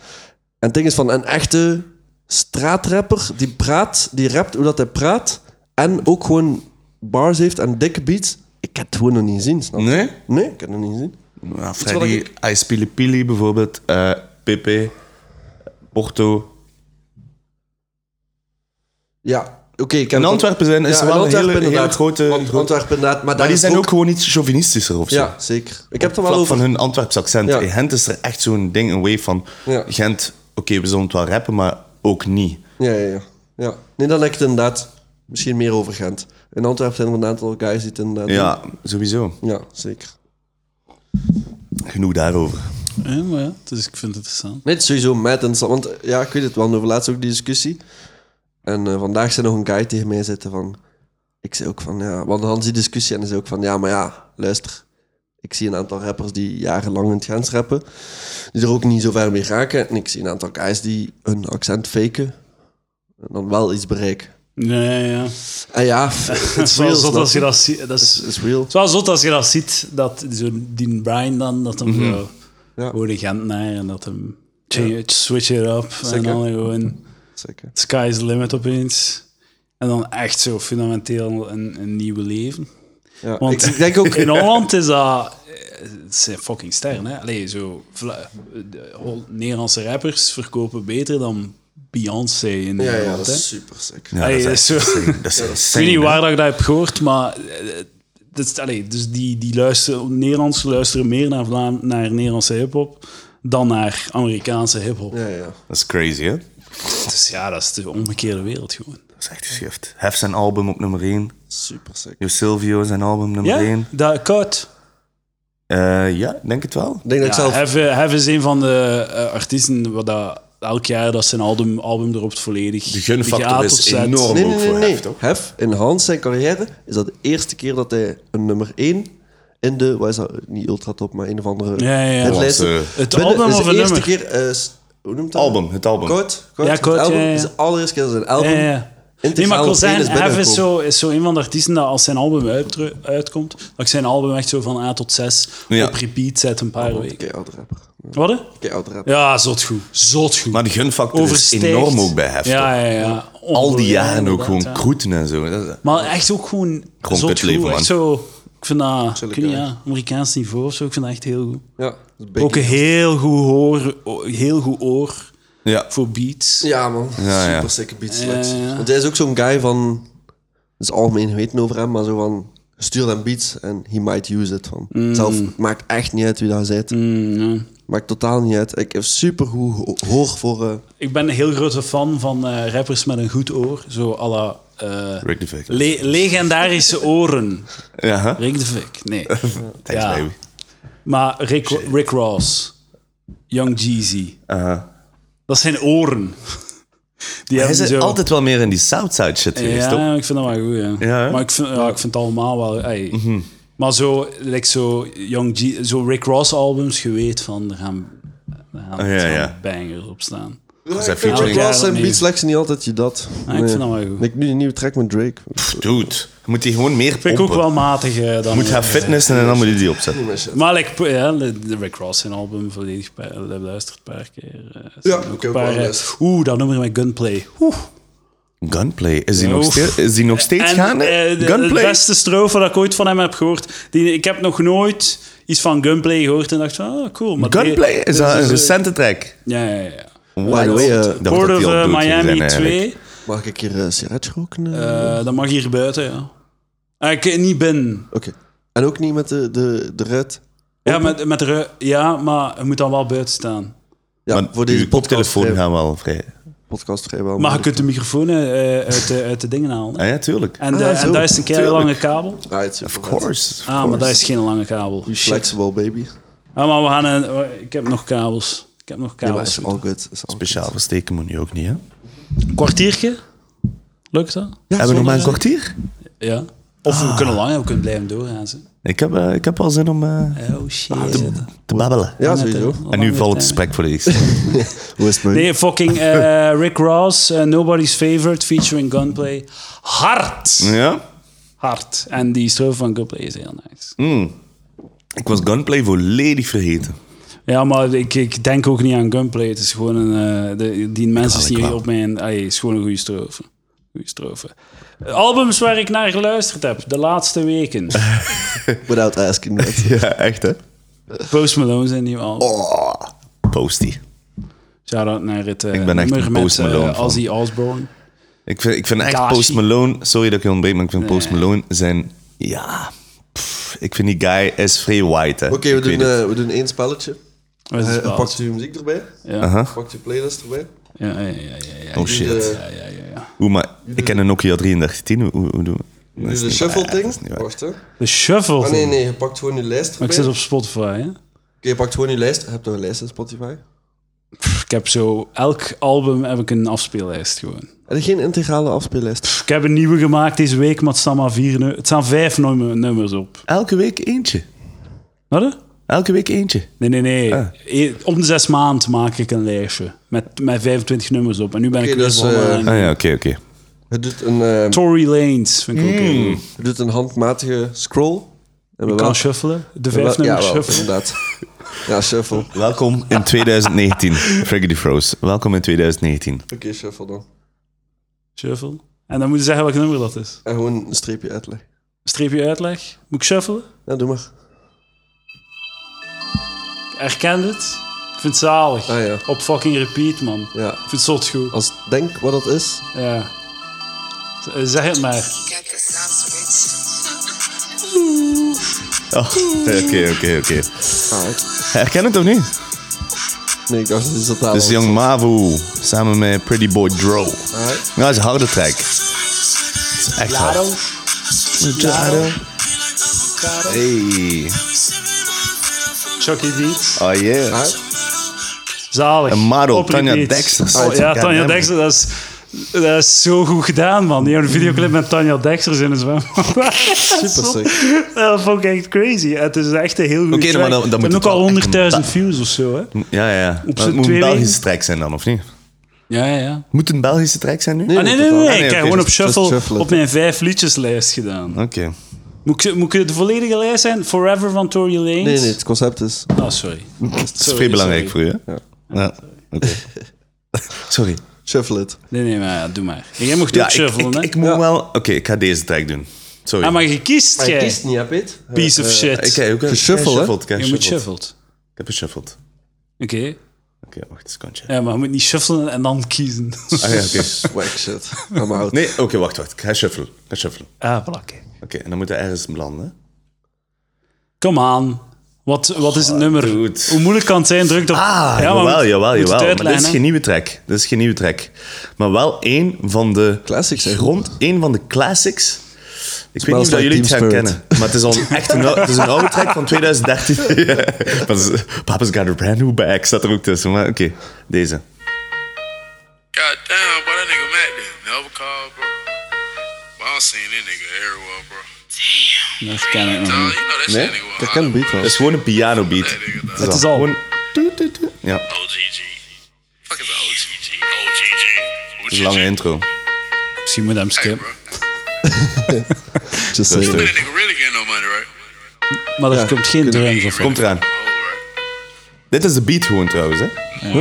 Speaker 2: het ding is van een echte straatrapper die praat, die rapt hoe dat hij praat. En ook gewoon bars heeft en dikke beats. Ik heb het gewoon nog niet gezien, snap je?
Speaker 3: Nee?
Speaker 2: Nee, ik heb het nog niet gezien.
Speaker 3: Ja,
Speaker 2: wat
Speaker 3: Freddy, Nou, Ice Pili Pili bijvoorbeeld, eh Pepe, Porto.
Speaker 2: Ja, oké. ik heb
Speaker 3: In
Speaker 2: het-
Speaker 3: Antwerpen zijn, is
Speaker 2: Ja,
Speaker 3: er
Speaker 2: in
Speaker 3: wel een hele,
Speaker 2: Antwerpen
Speaker 3: hele
Speaker 2: inderdaad.
Speaker 3: grote...
Speaker 2: Want
Speaker 3: grote-
Speaker 2: Antwerpen inderdaad, maar, daar
Speaker 3: maar die
Speaker 2: is
Speaker 3: zijn ook gewoon iets chauvinistischer of zo.
Speaker 2: Ja, zeker. Ik heb het er wel
Speaker 3: Vlak
Speaker 2: over.
Speaker 3: van hun Antwerps accent.
Speaker 2: Ja.
Speaker 3: In Gent is er echt zo'n ding, een wave van...
Speaker 2: Ja.
Speaker 3: Gent, oké, we zullen het wel rappen, maar ook niet.
Speaker 2: Ja, ja, ja. ja. Nee, dan heb ik het inderdaad misschien meer over Gent. In Antwerpen zijn er een aantal guys die het inderdaad
Speaker 3: Ja, sowieso.
Speaker 2: doen. Ja, zeker.
Speaker 3: Genoeg daarover.
Speaker 1: Ja, maar ja, dus ik vind het interessant.
Speaker 2: Nee, het is sowieso mad interessant. Want eh, ja, ik weet het, we hadden over laatst ook die discussie. En eh, vandaag zei nog een guy tegen mij zitten van... Ik zei ook van, ja... We hadden Hans die discussie en hij zei ook van... Ja, maar ja, luister. Ik zie een aantal rappers die jarenlang in het grens rappen. Die er ook niet zo ver mee raken. En ik zie een aantal guys die hun accent faken. En dan wel iets bereiken.
Speaker 1: Nee, ja.
Speaker 2: En ja,
Speaker 1: Het
Speaker 2: het
Speaker 1: is wel zot als je
Speaker 2: dat...
Speaker 1: dat ziet. Dat is,
Speaker 2: Het is real.
Speaker 1: het is wel zot als je dat ziet, dat zo die Brian dan, dat
Speaker 3: Mhm.
Speaker 1: hem zo...
Speaker 2: Ja.
Speaker 1: Gewoon de Gentenaar en dat hem... change it, Switch it up. En dan
Speaker 3: Mhm.
Speaker 1: gewoon...
Speaker 2: Zeker.
Speaker 1: Sky's the limit opeens. En dan echt zo fundamenteel een, een nieuwe leven.
Speaker 2: Ja.
Speaker 1: Want
Speaker 2: ik denk ook...
Speaker 1: in Holland is dat... eh, Het zijn fucking sterren, hè. Allee, zo... Vla- de Hol- Nederlandse rappers verkopen beter dan Beyoncé in
Speaker 2: Ja,
Speaker 1: Nederland,
Speaker 2: ja, dat
Speaker 1: hè.
Speaker 2: is super sick.
Speaker 3: Ja,
Speaker 1: Hey,
Speaker 3: dat is
Speaker 1: dat
Speaker 3: echt
Speaker 1: is zo-
Speaker 3: insane. Dat is
Speaker 1: Ik
Speaker 3: insane,
Speaker 1: weet niet
Speaker 3: hè.
Speaker 1: waar dat ik dat heb gehoord, maar... eh, dat is- allee, dus die, die luisteren, Nederlanders luisteren meer naar, Vlaam, naar Nederlandse hip-hop dan naar Amerikaanse hip-hop.
Speaker 2: Ja, ja.
Speaker 3: Dat is crazy, hè?
Speaker 1: Dus ja, dat is de omgekeerde wereld gewoon.
Speaker 3: Dat is echt geschift. Hef zijn album op nummer 1.
Speaker 2: Super sick.
Speaker 3: Jo Silvio zijn album nummer
Speaker 1: Ja,
Speaker 3: 1.
Speaker 1: dat koud.
Speaker 3: Eh, ja, denk het wel.
Speaker 2: Ik denk dat ik
Speaker 1: Ja,
Speaker 2: zelf...
Speaker 1: Hef, eh, Hef is een van de eh, artiesten waar dat elk jaar dat zijn album, album dropt volledig.
Speaker 3: De gunfactor
Speaker 1: A tot
Speaker 3: is
Speaker 1: Z.
Speaker 3: enorm.
Speaker 2: Nee,
Speaker 3: ook
Speaker 2: nee, nee.
Speaker 3: voor
Speaker 2: nee.
Speaker 3: Hef, toch?
Speaker 2: Hef, in Hans zijn carrière, is dat de eerste keer dat hij een nummer 1 in de, wat is dat, niet ultratop, maar een of andere
Speaker 1: Ja, ja, ja.
Speaker 2: hitlijsten.
Speaker 3: Hollandse-
Speaker 1: Het
Speaker 2: Binnen-
Speaker 1: album
Speaker 2: is
Speaker 1: of
Speaker 2: de
Speaker 1: een
Speaker 2: eerste
Speaker 1: nummer?
Speaker 2: keer, eh, s- hoe noemt dat?
Speaker 3: Album, het album.
Speaker 2: Kort, kort,
Speaker 1: Ja,
Speaker 2: het
Speaker 1: kort,
Speaker 2: album
Speaker 1: ja, ja.
Speaker 2: is de allereerste keer dat zijn album
Speaker 1: Ja, ja, ja. Nee, maar
Speaker 2: integraal
Speaker 1: ik wil
Speaker 2: op één
Speaker 1: zeggen,
Speaker 2: is
Speaker 1: Hef is
Speaker 2: binnengekomen.
Speaker 1: zo, is zo een van de artiesten dat als zijn album uit- uitkomt, dat ik zijn album echt zo van A tot 6
Speaker 3: Ja.
Speaker 1: op repeat zet een
Speaker 2: Oh,
Speaker 1: paar weken.
Speaker 2: Keiharde rapper.
Speaker 1: Wat? hè?
Speaker 2: Keiharde rapper.
Speaker 1: Ja, zot goed. Zot goed.
Speaker 3: Maar de gunfactor
Speaker 1: Overstijgt.
Speaker 3: is enorm ook bij Hef.
Speaker 1: Ja,
Speaker 3: toch?
Speaker 1: ja, ja.
Speaker 3: Al die jaren ook
Speaker 1: Inderdaad,
Speaker 3: gewoon
Speaker 1: ja.
Speaker 3: kroeten en zo. Dat is-
Speaker 1: Maar echt ook gewoon,
Speaker 3: Gewoon
Speaker 1: zot
Speaker 3: pitleven,
Speaker 1: goed.
Speaker 3: man.
Speaker 1: Echt zo, ik vind dat, ik weet niet,
Speaker 2: guy.
Speaker 1: ja, Amerikaans niveau of zo, ik vind dat echt heel goed.
Speaker 2: Ja, dat is big.
Speaker 1: Ook een heel goed oor, o- heel goed oor
Speaker 3: Ja.
Speaker 1: voor beats.
Speaker 2: Ja, man.
Speaker 3: Ja, ja.
Speaker 2: Super sikke beat
Speaker 1: Ja, ja.
Speaker 2: Want hij is ook zo'n guy van... Dat is algemeen geweten over hem, maar zo van... Stuur hem beats en he might use it. Van.
Speaker 1: Mm.
Speaker 2: Zelf het maakt echt niet uit wie dat zit. Maakt totaal niet uit. Ik heb super goed hoor voor... eh,
Speaker 1: Ik ben een heel grote fan van eh, rappers met een goed oor. Zo à la... eh,
Speaker 3: Rick de Vick.
Speaker 1: le- legendarische oren.
Speaker 3: Ja, hè?
Speaker 1: Rick de Vick, nee.
Speaker 3: Thanks,
Speaker 1: Ja.
Speaker 3: baby.
Speaker 1: Maar Rick, Rick Ross, Young Jeezy. Dat zijn oren. Die
Speaker 3: Hij
Speaker 1: hebben
Speaker 3: zit
Speaker 1: zo...
Speaker 3: altijd wel meer in die Southside shit geweest, toch?
Speaker 1: Ja, ik vind dat wel goed, ja.
Speaker 3: Ja, hè? Mhm.
Speaker 1: maar ik vind, ja, ik vind het allemaal wel... ey, Maar zo, like zo, Young G, zo Rick Ross albums, je weet van, er gaan, er gaan,
Speaker 3: Ah, ja,
Speaker 1: er gaan
Speaker 3: ja.
Speaker 1: bangers op staan.
Speaker 3: Dat is
Speaker 2: Rick
Speaker 3: featuring.
Speaker 1: Ja,
Speaker 2: Ross
Speaker 1: dat
Speaker 2: en
Speaker 1: niet.
Speaker 2: Beats Lex niet altijd je dat.
Speaker 1: Ah, ik vind dat wel goed.
Speaker 2: Ik nu een nieuwe track met Drake.
Speaker 3: Dude, moet hij gewoon meer
Speaker 1: Vind ik ook
Speaker 3: pompen.
Speaker 1: wel matig. eh, dan
Speaker 3: Moet hij
Speaker 1: eh,
Speaker 3: fitness en dan moet hij die opzetten.
Speaker 1: Maar like, ja, de de Rick Ross zijn album volledig pa- beluisterd een paar keer. eh, zijn
Speaker 2: Ja,
Speaker 1: ook
Speaker 2: ik
Speaker 1: een
Speaker 2: heb ook
Speaker 1: paar,
Speaker 2: wel
Speaker 1: eh,
Speaker 2: beluisterd.
Speaker 1: Oeh, dat nummer met Gunplay. Oeh.
Speaker 3: Gunplay, is die, nog,
Speaker 1: Oef.
Speaker 3: stil- is die nog steeds
Speaker 1: En,
Speaker 3: gaande?
Speaker 1: eh, de,
Speaker 3: Gunplay?
Speaker 1: de beste strofe dat ik ooit van hem heb gehoord. Die, ik heb nog nooit iets van Gunplay gehoord en dacht van, ah, cool. Maar die-
Speaker 3: Gunplay? Is dat een
Speaker 1: eh,
Speaker 3: recente track?
Speaker 1: Ja, ja, ja.
Speaker 2: By the way, eh,
Speaker 3: Dat
Speaker 1: Port
Speaker 3: wordt
Speaker 1: of
Speaker 3: die al
Speaker 1: eh,
Speaker 3: dood zijn
Speaker 1: Miami
Speaker 3: eigenlijk.
Speaker 1: 2.
Speaker 2: mag ik hier eh sigaretje roken? eh?
Speaker 1: Eh, dat mag hier buiten, ja. Ah, ik niet binnen.
Speaker 2: Oké. En ook niet met de, de, de ruit.
Speaker 1: Ja, met, met ru- ja, maar je moet dan wel buiten staan.
Speaker 2: Ja,
Speaker 3: Maar
Speaker 2: voor deze
Speaker 3: uw
Speaker 2: podcast eh,
Speaker 3: koptelefoon
Speaker 2: vrij,
Speaker 3: gaan wel vrij.
Speaker 2: podcast vrijwel.
Speaker 1: Maar je kunt de microfoon eh, uit, de, uit de dingen halen. hè.
Speaker 3: Ah, ja, tuurlijk.
Speaker 1: En, de,
Speaker 2: Ah, zo.
Speaker 1: en dat is een keer lange kabel.
Speaker 2: Right,
Speaker 3: Of course. of
Speaker 1: Ah, maar dat
Speaker 3: course.
Speaker 1: is geen lange kabel. Shit.
Speaker 2: Flexible, baby.
Speaker 1: Ah, maar we gaan... Een, ik heb nog kabels. Ik heb nog
Speaker 2: Ja, maar
Speaker 1: kabels.
Speaker 2: is all good. Is all
Speaker 3: Speciaal versteken moet je ook niet, hè?
Speaker 1: Een kwartiertje? Lukt dat?
Speaker 2: good. Ja, Ah.
Speaker 3: Hebben we nog maar een
Speaker 2: zonder-
Speaker 3: kwartier?
Speaker 1: Ja. Of we kunnen langer, we kunnen blijven doorgaan. ze.
Speaker 3: Ik heb, eh, ik heb al zin om eh,
Speaker 2: Ah,
Speaker 1: Oh shit.
Speaker 3: te babbelen.
Speaker 2: Ja, sowieso.
Speaker 3: En nu valt het gesprek volledig stil.
Speaker 2: Hoe is het met u?
Speaker 1: Nee, fucking eh, Rick Ross, eh, Nobody's Favorite, featuring Gunplay. Hard!
Speaker 3: Ja?
Speaker 1: Hard. En die strofe van Gunplay is heel nice.
Speaker 3: Ik was Gunplay volledig vergeten.
Speaker 1: Ja, maar ik, ik denk ook niet aan Gunplay. Het is gewoon een... eh, de, die mensen
Speaker 3: ik
Speaker 1: zien hier
Speaker 3: wel.
Speaker 1: op mijn... Allee, het is gewoon een goede strofe. Goeie strofe. Albums waar ik naar geluisterd heb de laatste weken.
Speaker 2: Without asking that.
Speaker 3: Ja, echt, hè?
Speaker 1: Post Malone zijn nieuw album.
Speaker 3: Oh, postie.
Speaker 1: Shout-out naar het eh,
Speaker 3: Ik ben echt
Speaker 1: nummer
Speaker 3: een
Speaker 1: met
Speaker 3: Post
Speaker 1: eh,
Speaker 3: Malone fan.
Speaker 1: Ozzy Osbourne.
Speaker 3: Ik vind, ik vind echt
Speaker 1: Gashi.
Speaker 3: Post Malone... Sorry dat ik je ontbreek, maar ik vind Post Malone zijn... Ja... pff, ik vind die guy is vrij white, hè.
Speaker 2: Oké,
Speaker 3: Ik
Speaker 2: we doen
Speaker 3: weet het.
Speaker 2: eh, we doen één spelletje.
Speaker 1: Dat is
Speaker 2: Eh,
Speaker 1: wel-
Speaker 2: pakt u muziek erbij?
Speaker 1: ja.
Speaker 2: Pakt u playlist erbij?
Speaker 1: Ja, ja, ja, ja, ja,
Speaker 3: Oh, shit.
Speaker 2: De,
Speaker 1: ja, ja, ja, ja.
Speaker 3: Oeh, maar ik ken een Nokia 3310. Hoe, hoe, hoe doen we...
Speaker 2: doe
Speaker 3: Dat is
Speaker 2: de
Speaker 3: niet
Speaker 2: shuffle
Speaker 3: waar, dat is niet
Speaker 2: ding.
Speaker 3: waar.
Speaker 2: Wacht, hè.
Speaker 1: De shuffle.
Speaker 2: Ah, nee, nee, je pakt gewoon je lijst erbij.
Speaker 1: Maar ik zit op Spotify. Hè?
Speaker 2: Oké, je pakt gewoon je lijst. Heb je nog een lijst in Spotify?
Speaker 1: Pff, Ik heb zo elk album heb ik een afspeellijst gewoon.
Speaker 2: En geen integrale afspeellijst.
Speaker 1: Pff, Ik heb een nieuwe gemaakt deze week, maar het staan maar vier. nu- Het staan vijf nummer- nummers op.
Speaker 3: Elke week eentje.
Speaker 1: Wat? hè?
Speaker 3: Elke week eentje.
Speaker 1: Nee, nee, nee. E- Om de zes maanden maak ik een lijstje met, met 25 nummers op. En nu ben ik
Speaker 2: Oké,
Speaker 1: weer
Speaker 2: dus,
Speaker 1: begonnen
Speaker 2: eh,
Speaker 1: aan-
Speaker 3: Ah ja, oké, oké.
Speaker 2: Het doet een, eh,
Speaker 1: Tory Lanes vind ik ook heel goed.
Speaker 2: het doet een handmatige scroll. En we
Speaker 1: Ik kan shuffelen. De vijf
Speaker 2: ja,
Speaker 1: nummers
Speaker 2: wel,
Speaker 1: shuffelen.
Speaker 2: inderdaad. Ja, shuffle. Oké,
Speaker 3: Welkom in 2019, Friggy Froze. Welkom in 2019.
Speaker 2: shuffle dan.
Speaker 1: Shuffle. En dan moet je zeggen welk nummer dat is.
Speaker 2: En gewoon een streepje uitleg.
Speaker 1: Streepje uitleg. Moet ik shuffelen?
Speaker 2: Ja, doe maar.
Speaker 1: Ik herken dit. Ik vind het zalig.
Speaker 2: Ah, ja.
Speaker 1: Op fucking repeat, man. Ik
Speaker 2: Ja,
Speaker 1: vind het zot goed.
Speaker 2: als ik denk wat dat is.
Speaker 1: Ja. Z- eh, Zeg het maar.
Speaker 3: Oh, oké, oké, oké.
Speaker 2: Ah, ik-
Speaker 3: Herken het of niet?
Speaker 2: nee, ik dacht dat is dat
Speaker 3: Dat is Young Mavu samen met Pretty Boy Dro.
Speaker 2: Alright.
Speaker 3: Nou, dat is een harde track. Dat is echt hard. Hey.
Speaker 1: Chucky Deeds.
Speaker 3: Oh yeah.
Speaker 1: Zalig.
Speaker 3: En Maro,
Speaker 1: Op
Speaker 3: Tanja
Speaker 1: repeat.
Speaker 3: Dexter.
Speaker 1: Oh, ja,
Speaker 3: Goddamn.
Speaker 1: Tanja Dexter, dat is, dat is zo goed gedaan, man. Die hebben een videoclip met Tanja Dexter in het zwembad.
Speaker 2: Super sick.
Speaker 1: dat vond ik echt crazy. Het is echt een heel goed.
Speaker 3: Oké, maar dan- dan moet het
Speaker 1: ook al
Speaker 3: wel echt
Speaker 1: 100.000
Speaker 3: een-
Speaker 1: views of zo, hè?
Speaker 3: Ja, ja. Maar
Speaker 1: z'n
Speaker 3: Het moet een
Speaker 1: twee
Speaker 3: Belgische
Speaker 1: weken.
Speaker 3: track zijn dan, of niet?
Speaker 1: Ja, ja, ja.
Speaker 3: Moet een Belgische track zijn nu?
Speaker 1: Ah, nee, nee, nee.
Speaker 3: Ah, nee,
Speaker 1: ik
Speaker 3: oké,
Speaker 1: heb gewoon op
Speaker 3: just-
Speaker 2: just
Speaker 1: shuffle
Speaker 2: shuffle.
Speaker 1: op mijn vijf liedjeslijst gedaan.
Speaker 3: Oké.
Speaker 1: Moet ik, moet ik de volledige lijst zijn? Forever van Tory Lanez?
Speaker 2: Nee, nee, het concept is...
Speaker 1: Oh, sorry.
Speaker 3: Dat is vrij belangrijk voor je, hè?
Speaker 2: Ja.
Speaker 3: Ja. Oké. Sorry.
Speaker 2: Shuffle it.
Speaker 1: Nee, nee, maar ja, doe maar. En Jij mocht
Speaker 3: Ja,
Speaker 1: ook
Speaker 3: ik,
Speaker 1: shuffelen,
Speaker 3: ik,
Speaker 1: hè?
Speaker 3: ik moet wel... Oké, ik ga deze track doen. Sorry.
Speaker 1: Ah, maar je kiest,
Speaker 2: Maar je
Speaker 1: jij.
Speaker 2: kiest niet, heb je het? Eh,
Speaker 1: Piece
Speaker 3: Eh,
Speaker 1: of shit.
Speaker 3: Ik heb ook een
Speaker 2: Geshuffle, hè?
Speaker 3: geshuffled, ik heb
Speaker 1: je moet
Speaker 3: geshuffled.
Speaker 1: shuffled.
Speaker 3: Ik heb geshuffled.
Speaker 1: Oké.
Speaker 3: Oké, wacht een secondje.
Speaker 1: Ja, maar je moet niet shuffelen en dan kiezen.
Speaker 3: Ah, ja, oké.
Speaker 2: Wack shit. I'm out.
Speaker 3: Nee, oké, wacht, wacht. Ik ga shuffelen. Ik ga shuffelen.
Speaker 1: ah, plakken.
Speaker 3: Oké, en dan moet hij ergens belanden.
Speaker 1: Kom aan. Wat, wat is het nummer?
Speaker 3: Ah, dude.
Speaker 1: Hoe moeilijk kan het zijn? Druk op...
Speaker 3: Ah,
Speaker 1: maar
Speaker 3: jawel,
Speaker 1: moet-
Speaker 3: jawel,
Speaker 1: moet het
Speaker 3: jawel. Maar dit is
Speaker 1: uitlijnen.
Speaker 3: geen nieuwe track. Dit is geen nieuwe track. Maar wel één van de...
Speaker 2: Classics, hè?
Speaker 3: Grond, één van de classics. Ik weet niet of
Speaker 2: like
Speaker 3: dat jullie het
Speaker 2: Team
Speaker 3: gaan
Speaker 2: Spirit.
Speaker 3: kennen. Maar het is al echt een, ou- het is een oude track van 2013. Ja. Maar het is- Papa's got a brand new bag staat er ook tussen. Maar oké, deze.
Speaker 4: God damn, boy, that nigga Mac did never call, bro. But I seen this nigga everywhere, bro.
Speaker 1: Dat ken ik nog niet.
Speaker 2: Nee? Ik herken de beat wel.
Speaker 3: Het is gewoon een piano beat.
Speaker 1: Het is al.
Speaker 3: Gewoon... toet, toet, toet. Ja,
Speaker 4: OGG. Fuck is OGG? OGG.
Speaker 3: het is een lange intro.
Speaker 1: Misschien moet je hem
Speaker 4: Hey,
Speaker 1: skippen.
Speaker 4: bro.
Speaker 2: Just
Speaker 3: is
Speaker 2: saying.
Speaker 3: het.
Speaker 4: That nigga really getting no money, right?
Speaker 1: Maar er
Speaker 2: Ja.
Speaker 1: komt geen drums of
Speaker 3: Komt eraan.
Speaker 4: Oh, right.
Speaker 3: Dit is de beat gewoon trouwens, hè?
Speaker 4: Yeah.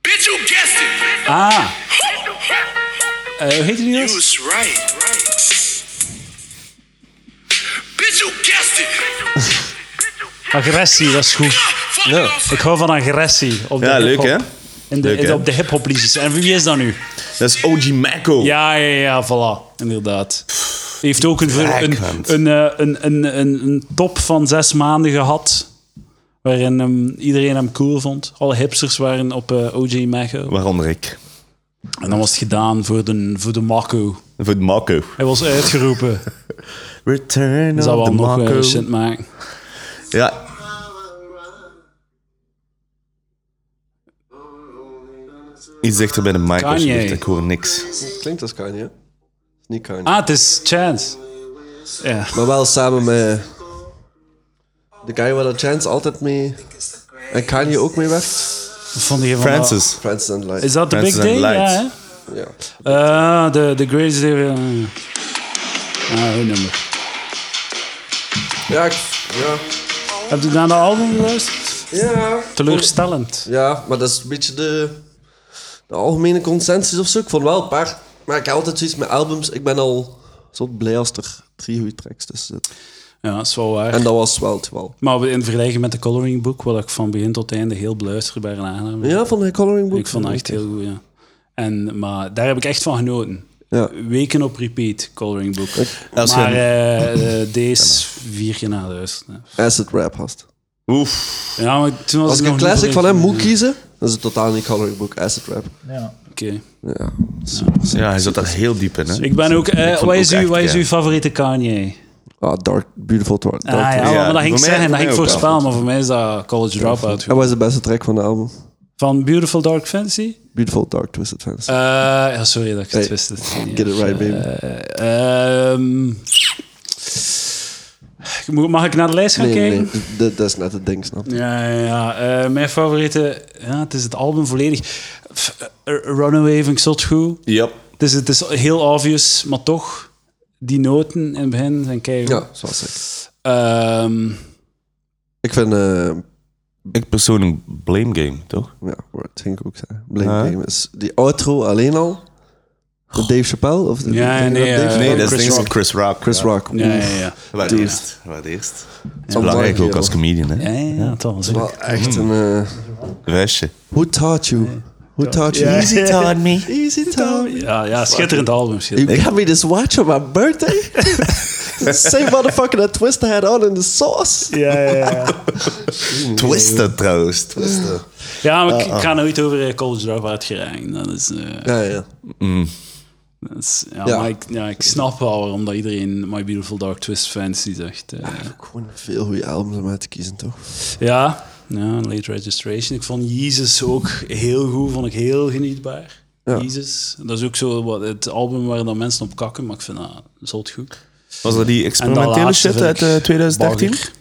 Speaker 4: Bitch, you guessed it.
Speaker 1: Ah, eh, hoe heet die
Speaker 4: You
Speaker 1: jongens?
Speaker 4: was right. Bitch, you guessed it.
Speaker 1: Agressie, dat is goed.
Speaker 4: Fuck
Speaker 2: Ja.
Speaker 4: off.
Speaker 1: Ik hou van agressie. Op de
Speaker 3: Ja, leuk,
Speaker 1: hiphop.
Speaker 3: hè?
Speaker 1: In de,
Speaker 3: Leuk,
Speaker 1: in-
Speaker 3: hè?
Speaker 1: op de hip-hop liedjes. En wie is dat nu?
Speaker 3: Dat is OG Macco.
Speaker 1: Ja, ja, ja, voilà. Inderdaad. Hij heeft ook een, een,
Speaker 3: Krakhand.
Speaker 1: een, eh, een, een, een, een top van zes maanden gehad. Waarin hem, iedereen hem cool vond. Alle hipsters waren op eh, OJ Macho.
Speaker 3: Waaronder ik.
Speaker 1: En dan was het gedaan voor de, voor de Marco.
Speaker 3: Voor het Macco.
Speaker 1: Hij was uitgeroepen.
Speaker 3: Return
Speaker 1: Dat zou
Speaker 3: of the
Speaker 1: wel nog
Speaker 3: Macco.
Speaker 1: eh, recent maken.
Speaker 3: ja. Iets dichter bij de mic
Speaker 1: Kanye.
Speaker 3: alsjeblieft, ik hoor niks.
Speaker 2: Klinkt als Kanye. hè? Is niet Kanye.
Speaker 1: Ah, het is Chance. Ja.
Speaker 2: Maar wel samen met de guy waar dat Chance altijd mee en Kanye ook mee werkt.
Speaker 1: Wat Vond je van dat?
Speaker 3: Francis.
Speaker 2: Friends and Light.
Speaker 1: Is dat de
Speaker 3: Francis
Speaker 1: big
Speaker 3: and
Speaker 1: day? Ja,
Speaker 3: Lights.
Speaker 1: hè?
Speaker 2: Ja.
Speaker 1: Ah, de, de greatest day. eh. Ah, hoe nummer.
Speaker 2: Ja, ik- ja.
Speaker 1: Heb je naar de album geluisterd?
Speaker 2: Ja.
Speaker 1: Teleurstellend.
Speaker 2: Ja, maar dat is een beetje de, de algemene consensus of zo. Ik vond wel een paar. Maar ik heb altijd zoiets met albums. Ik ben al zo blij als er drie goede tracks tussen zitten.
Speaker 1: Ja, dat is wel waar.
Speaker 2: En dat was wel het wel.
Speaker 1: Maar we- in vergelijking met de Coloring Book, wat ik van begin tot einde heel beluisterbaar en aangenaam vind.
Speaker 2: Ja, van de Coloring Book.
Speaker 1: Ik vond het echt heel goed, ja. En, maar daar heb ik echt van genoten.
Speaker 2: Ja.
Speaker 1: Weken op repeat, Coloring Book.
Speaker 3: Als je-
Speaker 1: maar eh, eh, deze vier keer na luisteren.
Speaker 2: Acid rap hast.
Speaker 3: eh, Oef.
Speaker 1: Ja, maar toen was
Speaker 2: Als
Speaker 1: ik
Speaker 2: ik
Speaker 1: nog
Speaker 2: een classic
Speaker 1: niet
Speaker 2: van hem
Speaker 1: verlegen.
Speaker 2: moet kiezen, dan is het totaal niet Coloring Book, Acid rap.
Speaker 1: Oké.
Speaker 2: Ja.
Speaker 3: Ja, hij zat daar heel diep in, hè?
Speaker 1: Ik ben ook... eh,
Speaker 3: vond
Speaker 1: wat
Speaker 3: ook
Speaker 1: is, uw,
Speaker 3: echt,
Speaker 1: wat is
Speaker 3: ja.
Speaker 1: uw favoriete Kanye?
Speaker 2: Ah, Dark, Beautiful Dark.
Speaker 1: Ah, ja,
Speaker 3: Ja,
Speaker 1: maar dat ging ik zeggen.
Speaker 3: voor mij- voor
Speaker 1: Dat ging ik
Speaker 3: mij ook
Speaker 1: voorspellen, maar voor mij is dat College Dropout.
Speaker 2: En wat is de beste track van de album?
Speaker 1: Van Beautiful Dark Fantasy?
Speaker 2: Beautiful Dark Twisted Fantasy.
Speaker 1: Eh, ja, sorry dat ik het
Speaker 2: Hey,
Speaker 1: wist. het niet.
Speaker 2: Get it right, baby.
Speaker 1: Eh, ehm, ik moet- mag ik naar de lijst gaan
Speaker 2: nee, nee,
Speaker 1: kijken?
Speaker 2: nee. Dat, dat is net het ding, snap je?
Speaker 1: Ja, ja, ja. Eh, mijn favoriete... Ja, het is het album volledig. F- eh, Runaway vind ik zot goed.
Speaker 3: Yep.
Speaker 1: Het is, het is heel obvious, maar toch... Die noten in het begin zijn keigoed.
Speaker 2: Ja, zoals ik.
Speaker 1: Ehm,
Speaker 2: Ik vind... eh,
Speaker 3: Ik persoonlijk Blame Game, toch?
Speaker 2: Ja, dat denk ik ook. zeggen. Blame
Speaker 3: Ja.
Speaker 2: Game is die outro alleen al. De Dave Chappelle? Of de,
Speaker 1: Ja,
Speaker 2: denk je
Speaker 1: nee,
Speaker 2: dat
Speaker 1: eh,
Speaker 2: Chappelle-
Speaker 3: Nee, dat
Speaker 1: Chris
Speaker 3: is ding
Speaker 1: Rock.
Speaker 3: van Chris Rock.
Speaker 2: Chris Rock.
Speaker 1: ja, ja, ja.
Speaker 3: Wat
Speaker 2: Dude.
Speaker 3: eerst. Wat eerst.
Speaker 2: Dat
Speaker 3: Belangrijk ook als comedian, hè?
Speaker 1: Ja, ja, ja, het was
Speaker 2: Wel echt een... eh,
Speaker 3: Wijsje.
Speaker 2: who taught you? Who taught you?
Speaker 1: Easy
Speaker 3: taught me.
Speaker 2: Easy taught me.
Speaker 1: Ja, ja, schitterend album.
Speaker 2: You
Speaker 1: Schitterend.
Speaker 2: got me dus this watch on my birthday? The Same motherfucker that Twista had on in the sauce?
Speaker 1: Ja, ja, ja.
Speaker 3: Twister trouwens. Twister.
Speaker 1: Ja, maar
Speaker 2: Ah,
Speaker 1: ik ik ga nooit over eh, College Dropout geraken. Dat is, eh,
Speaker 2: Ja, ja.
Speaker 1: dat is- ja,
Speaker 2: Ja.
Speaker 1: Maar ik, ja, ik snap wel waarom dat iedereen My Beautiful Dark Twist fancy zegt. eh.
Speaker 2: Gewoon veel goede albums om uit te kiezen, toch?
Speaker 1: ja. ja, Late Registration. Ik vond Jesus ook heel goed, vond ik heel genietbaar.
Speaker 2: Ja.
Speaker 1: Jesus. Dat is ook zo wat, het album waar dan mensen op kakken, maar ik vind dat zot goed.
Speaker 3: Was dat die
Speaker 1: En dat
Speaker 3: experimentele
Speaker 1: laatste
Speaker 3: shit
Speaker 1: vind
Speaker 3: uit
Speaker 1: ik
Speaker 3: eh, 2013?
Speaker 1: bagger.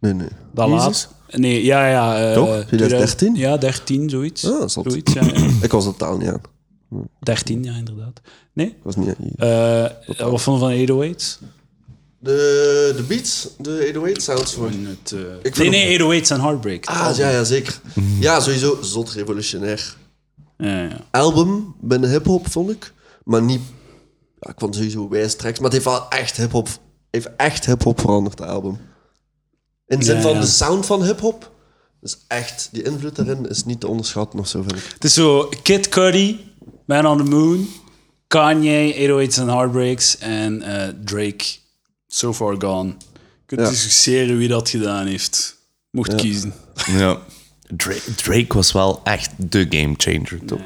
Speaker 2: Nee, nee.
Speaker 1: Dat
Speaker 3: Jesus?
Speaker 1: laatste. Nee, ja, ja. eh,
Speaker 3: Toch?
Speaker 2: 2013?
Speaker 1: Ja, 13, zoiets.
Speaker 2: Ah, zot.
Speaker 1: zoiets ja, ja.
Speaker 2: Ik was totaal niet aan.
Speaker 1: 13, ja, inderdaad. Nee?
Speaker 2: Ik was niet aan.
Speaker 1: Eh, wat vond je van 808's?
Speaker 2: De, de beats, de 808 sounds voor
Speaker 1: Het, eh, nee,
Speaker 2: vind hem-
Speaker 1: nee, 808's en Heartbreak.
Speaker 2: Ah, ja, ja, zeker. Ja, sowieso zot revolutionair
Speaker 1: Ja, ja.
Speaker 2: album binnen hip-hop, vond ik. Maar niet. Ja, ik vond sowieso wijs tracks, maar het heeft wel echt hip-hop. Heeft echt hip-hop veranderd, het album. In de zin
Speaker 1: Ja,
Speaker 2: van
Speaker 1: ja.
Speaker 2: de sound van hip-hop. Dus echt, die invloed daarin is niet te onderschatten of zo, vind ik.
Speaker 1: Het is zo Kid Cudi, Man on the Moon, Kanye, 808's en Heartbreaks en eh, Drake. So far gone. Je kunt
Speaker 2: Ja.
Speaker 1: discussiëren wie dat gedaan heeft. Mocht kiezen.
Speaker 3: Ja. Drake, Drake was wel echt de gamechanger, toch?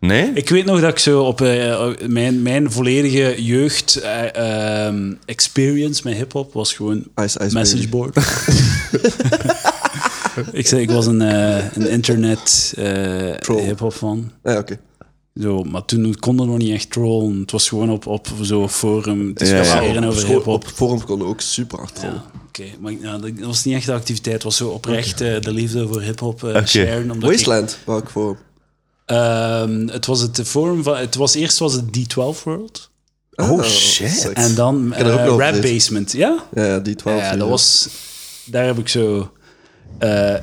Speaker 3: Nee?
Speaker 1: Ik weet nog dat ik zo op eh, mijn, mijn volledige jeugd eh, ehm, experience met hip-hop was gewoon
Speaker 2: Ice, ice,
Speaker 1: message
Speaker 2: baby.
Speaker 1: board. ik zei, ik was een, eh, een internet eh
Speaker 2: Troll.
Speaker 1: hip-hop fan.
Speaker 2: Ah, ja, oké.
Speaker 1: Zo, maar toen konden we nog niet echt trollen. Het was gewoon op, op zo'n forum
Speaker 3: Ja,
Speaker 1: discussiëren
Speaker 2: op,
Speaker 1: over
Speaker 2: school-
Speaker 1: hip-hop.
Speaker 2: op forum konden we ook super hard rollen.
Speaker 1: Ja, Oké, maar ik- nou, dat was niet echt de activiteit. Het was zo oprecht eh, de liefde voor hip-hop eh
Speaker 3: Oké.
Speaker 1: sharen. Omdat ik-
Speaker 2: Wasteland, welk forum?
Speaker 1: Ehm, het was het forum van. Het was eerst was het D12 World.
Speaker 3: Oh shit.
Speaker 2: sick.
Speaker 1: En dan
Speaker 2: heb er ook
Speaker 1: eh,
Speaker 2: nog over
Speaker 1: Rap
Speaker 2: gelezen.
Speaker 1: Basement. Ja?
Speaker 2: Ah, Ja, ja, die 12.
Speaker 1: Ja, dat was. Daar heb ik zo. eh,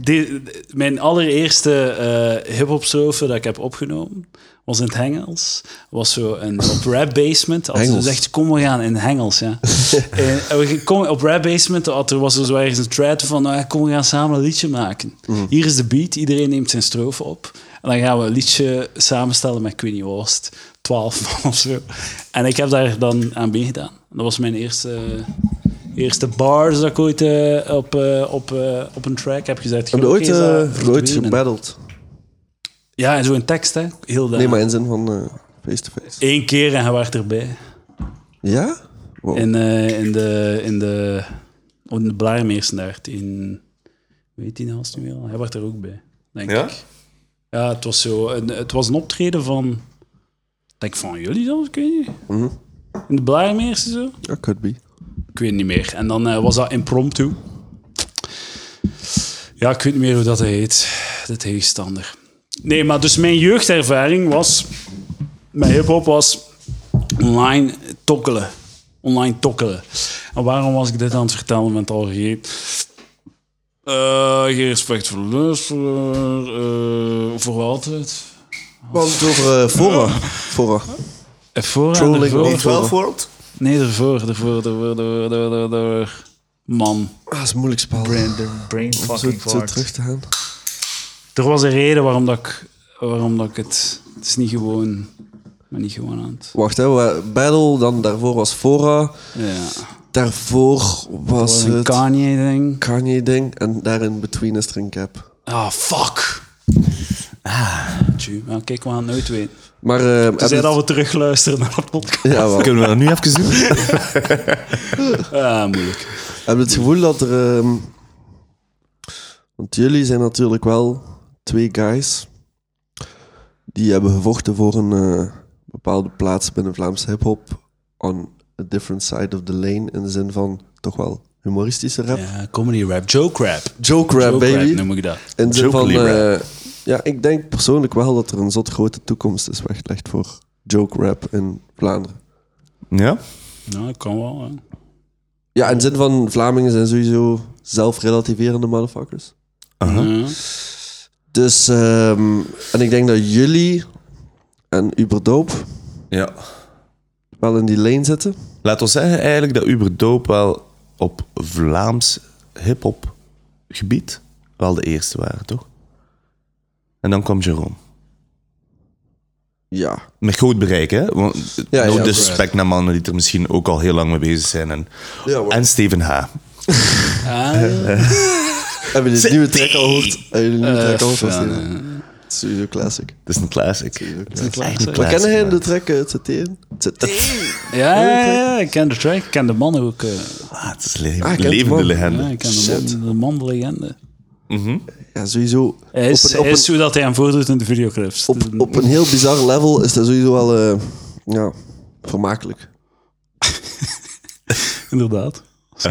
Speaker 1: die- mijn allereerste eh hip-hop strofe dat ik heb opgenomen was in het Hengels. Was zo een op rap basement. Als ze
Speaker 2: Hengels.
Speaker 1: zegt, kom we gaan in het Hengels. Ja. Eh, en, we gingen- kom, op rap basement had, er was er zo ergens een thread van, nou ja, kom we gaan samen een liedje maken. Hier is de beat, iedereen neemt zijn strofe op. En dan gaan we een liedje samenstellen met Queenie Worst. 12 man of zo. En ik heb daar dan aan meegedaan. Dat was mijn eerste, eerste bars dat ik ooit eh, op, eh, op, eh, op een track heb gezet.
Speaker 2: Heb je ooit,
Speaker 1: Oké, is dat
Speaker 2: eh, nooit
Speaker 1: verdwenen?
Speaker 2: gebatteld?
Speaker 1: Ja, en zo in tekst, hè. Heel daar.
Speaker 2: Nee, maar in zin van eh, face-to-face.
Speaker 1: Eén keer en hij was erbij.
Speaker 2: Ja? Wow.
Speaker 1: In, eh, in de... In de op de Blaarmeersendaard in... Weet hij nou als het nu weer al? Hij was er ook bij, denk
Speaker 3: Ja?
Speaker 1: ik. Ja, het was zo... Een, het was een optreden van... ik Denk van jullie dan, ik weet niet.
Speaker 2: Mhm.
Speaker 1: In de Blaarmeersen zo.
Speaker 2: Ja, could be.
Speaker 1: Ik weet niet meer. En dan eh, was dat impromptu. Ja, ik weet niet meer hoe dat heet. De tegenstander. Nee, maar dus mijn jeugdervaring was... Mijn hip-hop was online tokkelen. Online tokkelen. En waarom was ik dit aan het vertellen met al geen... Eh, geen respect voor de luisteraar. eh, voor altijd.
Speaker 2: Want het over eh, fora. Fora.
Speaker 1: Ervoor en
Speaker 2: Trolling
Speaker 1: ervoor.
Speaker 2: of-
Speaker 3: D12 World?
Speaker 1: Nee, ervoor, ervoor, ervoor, ervoor, ervoor, ervoor. Man.
Speaker 2: Ah, dat is een moeilijk spel.
Speaker 5: Brain, de brain
Speaker 2: Zo,
Speaker 5: fucking
Speaker 2: zo
Speaker 5: fart.
Speaker 2: terug te gaan.
Speaker 1: Er was een reden waarom dat ik, waarom dat ik het. Het is niet gewoon. Maar niet gewoon aan het.
Speaker 2: Wacht, hè. we- Battle, dan daarvoor was fora.
Speaker 1: Ja.
Speaker 2: Daarvoor
Speaker 1: Dat
Speaker 2: was
Speaker 1: was een
Speaker 2: het
Speaker 1: Kanye-ding.
Speaker 2: Kanye-ding. En daar in between is er een cap.
Speaker 1: Ah, fuck. Ah. Tju, maar kijk, we gaan het nooit weten.
Speaker 2: Maar... eh, heb
Speaker 1: Tenzij
Speaker 2: je-
Speaker 1: dat we terugluisteren naar de podcast.
Speaker 2: Ja, wel.
Speaker 3: Kunnen we dat nu even doen?
Speaker 1: Ah, moeilijk.
Speaker 2: Heb je het gevoel dat er... ehm, want jullie zijn natuurlijk wel twee guys die hebben gevochten voor een eh, bepaalde plaats binnen Vlaamse hip-hop on a different side of the lane, in de zin van toch wel humoristische rap.
Speaker 1: Ja, comedy rap, joke rap.
Speaker 2: Joke rap,
Speaker 1: Joke
Speaker 2: baby.
Speaker 1: rap noem ik dat.
Speaker 2: in de zin van...
Speaker 3: Jokely
Speaker 2: eh, ja, ik denk persoonlijk wel dat er een zot grote toekomst is weggelegd voor joke rap in Vlaanderen.
Speaker 3: Ja?
Speaker 1: Nou, dat kan wel. hè.
Speaker 2: Ja, in de zin van Vlamingen zijn sowieso zelfrelativerende motherfuckers.
Speaker 3: Aha.
Speaker 1: Ja.
Speaker 2: Dus, ehm, en ik denk dat jullie en Uberdoop
Speaker 3: Ja.
Speaker 2: wel in die lane zitten.
Speaker 3: Laat ons zeggen eigenlijk dat Uber Doop wel op Vlaams hip-hop gebied wel de eerste waren, toch? En dan kwam Jerome.
Speaker 2: Ja.
Speaker 3: Met groot bereik, hè? Want
Speaker 2: Ja,
Speaker 3: no
Speaker 2: ja,
Speaker 3: disrespect naar mannen die er misschien ook al heel lang mee bezig zijn. En,
Speaker 2: Ja, hoor.
Speaker 3: en Steven H.
Speaker 1: Ah,
Speaker 2: Hebben jullie de nieuwe track al gehoord? Hebben jullie de nieuwe track al
Speaker 1: eh,
Speaker 2: gehoord?
Speaker 1: ja,
Speaker 2: van
Speaker 1: nee.
Speaker 2: Steven? Het is sowieso classic.
Speaker 3: Dat is een classic.
Speaker 2: Dat
Speaker 3: Dat is echt een
Speaker 2: Maar
Speaker 3: classic.
Speaker 2: kennen jij
Speaker 3: man.
Speaker 2: de track eh, ZTN? ZTN?
Speaker 1: ja, ja, ja, ik ken de track. Ik ken de man ook. eh.
Speaker 3: Ah, het is le-
Speaker 2: ik ken
Speaker 3: levende
Speaker 2: het, man.
Speaker 1: Ja,
Speaker 3: legende.
Speaker 1: ik ken de man, de man, de legende.
Speaker 2: Ja, sowieso.
Speaker 1: Hij is,
Speaker 2: op, een,
Speaker 1: hij
Speaker 2: op,
Speaker 1: is hoe dat hij hem voordoet in de videoclips.
Speaker 2: een, op, op een heel bizar level is dat sowieso wel eh, ja, vermakelijk.
Speaker 1: Inderdaad. Zo.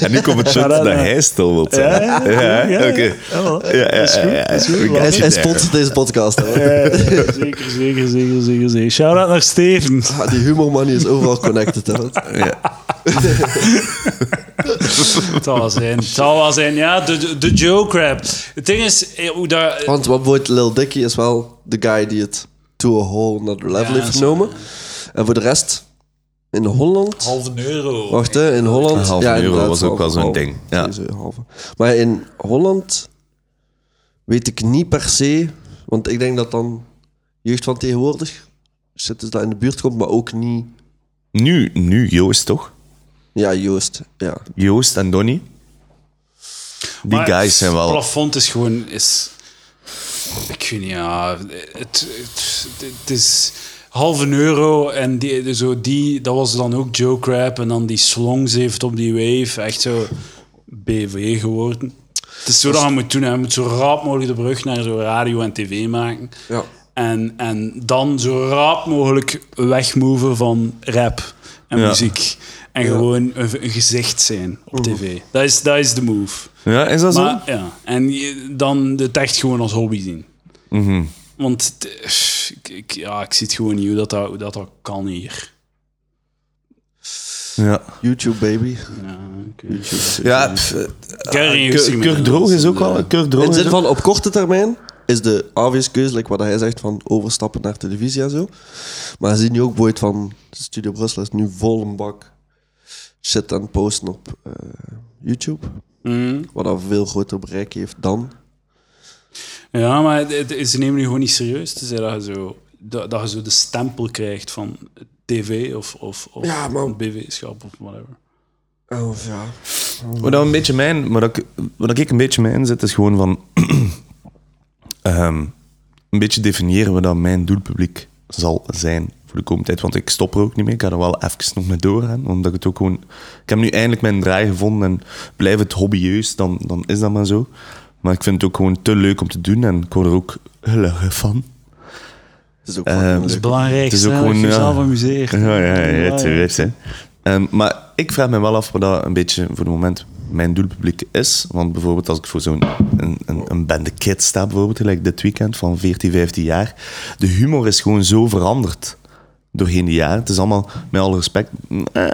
Speaker 3: En nu komt het punt
Speaker 1: dat-
Speaker 3: dat hij stil wil zijn.
Speaker 1: Ja, ja, ja,
Speaker 3: hè?
Speaker 1: ja,
Speaker 3: Oké.
Speaker 1: ja, wel.
Speaker 3: Ja, ja, ja, ja. We
Speaker 2: Hij,
Speaker 3: get
Speaker 2: hij
Speaker 3: you there.
Speaker 2: sponsort deze podcast. hè.
Speaker 1: Eh, zeker, zeker, zeker, zeker, zeker. Shout-out naar Steven.
Speaker 2: Ah, die humormanie is overal connected. Hè.
Speaker 1: Het zal wel zijn. Het zal wel zijn. Ja, de, de, de joke rap. Het ding is, eh, hoe daar... eh,
Speaker 2: Want wat wordt Lil Dicky is wel de guy die het to a whole another level
Speaker 1: Ja,
Speaker 2: heeft
Speaker 1: zo,
Speaker 2: genomen. En voor de rest, in Holland.
Speaker 1: Halve euro.
Speaker 2: Wacht, hè, in Holland.
Speaker 3: Een halve
Speaker 2: ja,
Speaker 3: euro
Speaker 2: inderdaad,
Speaker 3: was ook wel zo'n
Speaker 2: halve,
Speaker 3: ding, ja.
Speaker 2: sowieso een halve. Maar in Holland weet ik niet per se, want ik denk dat dan jeugd van tegenwoordig zit dus dat in de buurt komt, maar ook niet.
Speaker 3: Nu, nu Joost, toch?
Speaker 2: Ja, Joost. Ja.
Speaker 3: Joost en Donny. Die
Speaker 1: Maar
Speaker 3: guys zijn wel...
Speaker 1: Het plafond is gewoon... Is, ik weet niet, ja... Het, het, het is halve euro en die, zo die, dat was dan ook joke rap. En dan die slongs heeft op die wave. Echt zo BV geworden. Het is zo dat je moet doen. hè. Je moet zo rap mogelijk de brug naar zo radio en tv maken.
Speaker 2: ja.
Speaker 1: En, en dan zo rap mogelijk wegmoven van rap en
Speaker 3: Ja.
Speaker 1: muziek. En gewoon een, een gezicht zijn op tv. Dat is, dat is de move.
Speaker 3: Ja, is dat
Speaker 1: Maar, ja. En je- dan het echt gewoon als hobby zien.
Speaker 3: Mhm.
Speaker 1: Want het- ik, ik- ja, ik zie het gewoon niet hoe dat, dat, hoe dat, dat kan hier.
Speaker 3: zo? Ja.
Speaker 2: YouTube, baby.
Speaker 1: Ja, oké.
Speaker 2: YouTube.
Speaker 3: Ja, pff, eh,
Speaker 1: Ik heb er geen
Speaker 3: Kur-
Speaker 1: goesting meer in.
Speaker 3: Kurk Droog is ook al... Kurk Droog
Speaker 2: In
Speaker 3: is
Speaker 2: zin
Speaker 3: ook-
Speaker 2: van op korte termijn is de obvious keuze, like wat hij zegt van overstappen naar televisie en zo. Maar zie nu ook Boyd van Studio Brussel is nu vol een bak shit aan het posten op eh, YouTube.
Speaker 1: Mm.
Speaker 2: Wat een veel groter bereik heeft dan.
Speaker 1: Ja, maar het- het- ze nemen je gewoon niet serieus. te zeggen dat je zo, dat, dat je zo de stempel krijgt van tv of, of, of
Speaker 2: Ja, maar-
Speaker 1: BV-schap of whatever.
Speaker 2: Oh ja.
Speaker 3: Wat dat een beetje mijn, wat ik, wat ik een beetje mijn inzet is gewoon van ehm, een beetje definiëren wat dat mijn doelpubliek zal zijn voor de komende tijd. Want ik stop er ook niet mee. Ik ga er wel even nog mee doorgaan. Omdat ik het ook gewoon. Ik heb nu eindelijk mijn draai gevonden en blijf het hobbyeus, dan, dan is dat maar zo. Maar ik vind het ook gewoon te leuk om te doen en ik word er ook gelukkig van.
Speaker 2: Het is ook
Speaker 3: Eh,
Speaker 2: fucking
Speaker 3: het
Speaker 1: Het
Speaker 2: leuk.
Speaker 1: is belangrijk,
Speaker 3: Het is ook
Speaker 1: hè,
Speaker 3: gewoon,
Speaker 1: dat je
Speaker 3: ja.
Speaker 1: jezelf amuseert.
Speaker 3: Ja, ja, ja,
Speaker 1: ja.
Speaker 3: het weet hè. Ehm, maar ik vraag me wel af wat dat een beetje voor het moment mijn doelpubliek is. Want bijvoorbeeld als ik voor zo'n een, een, een bende kids sta, bijvoorbeeld, gelijk dit weekend van 14, 15 jaar. De humor is gewoon zo veranderd doorheen de jaren. Het is allemaal, met alle respect, eh,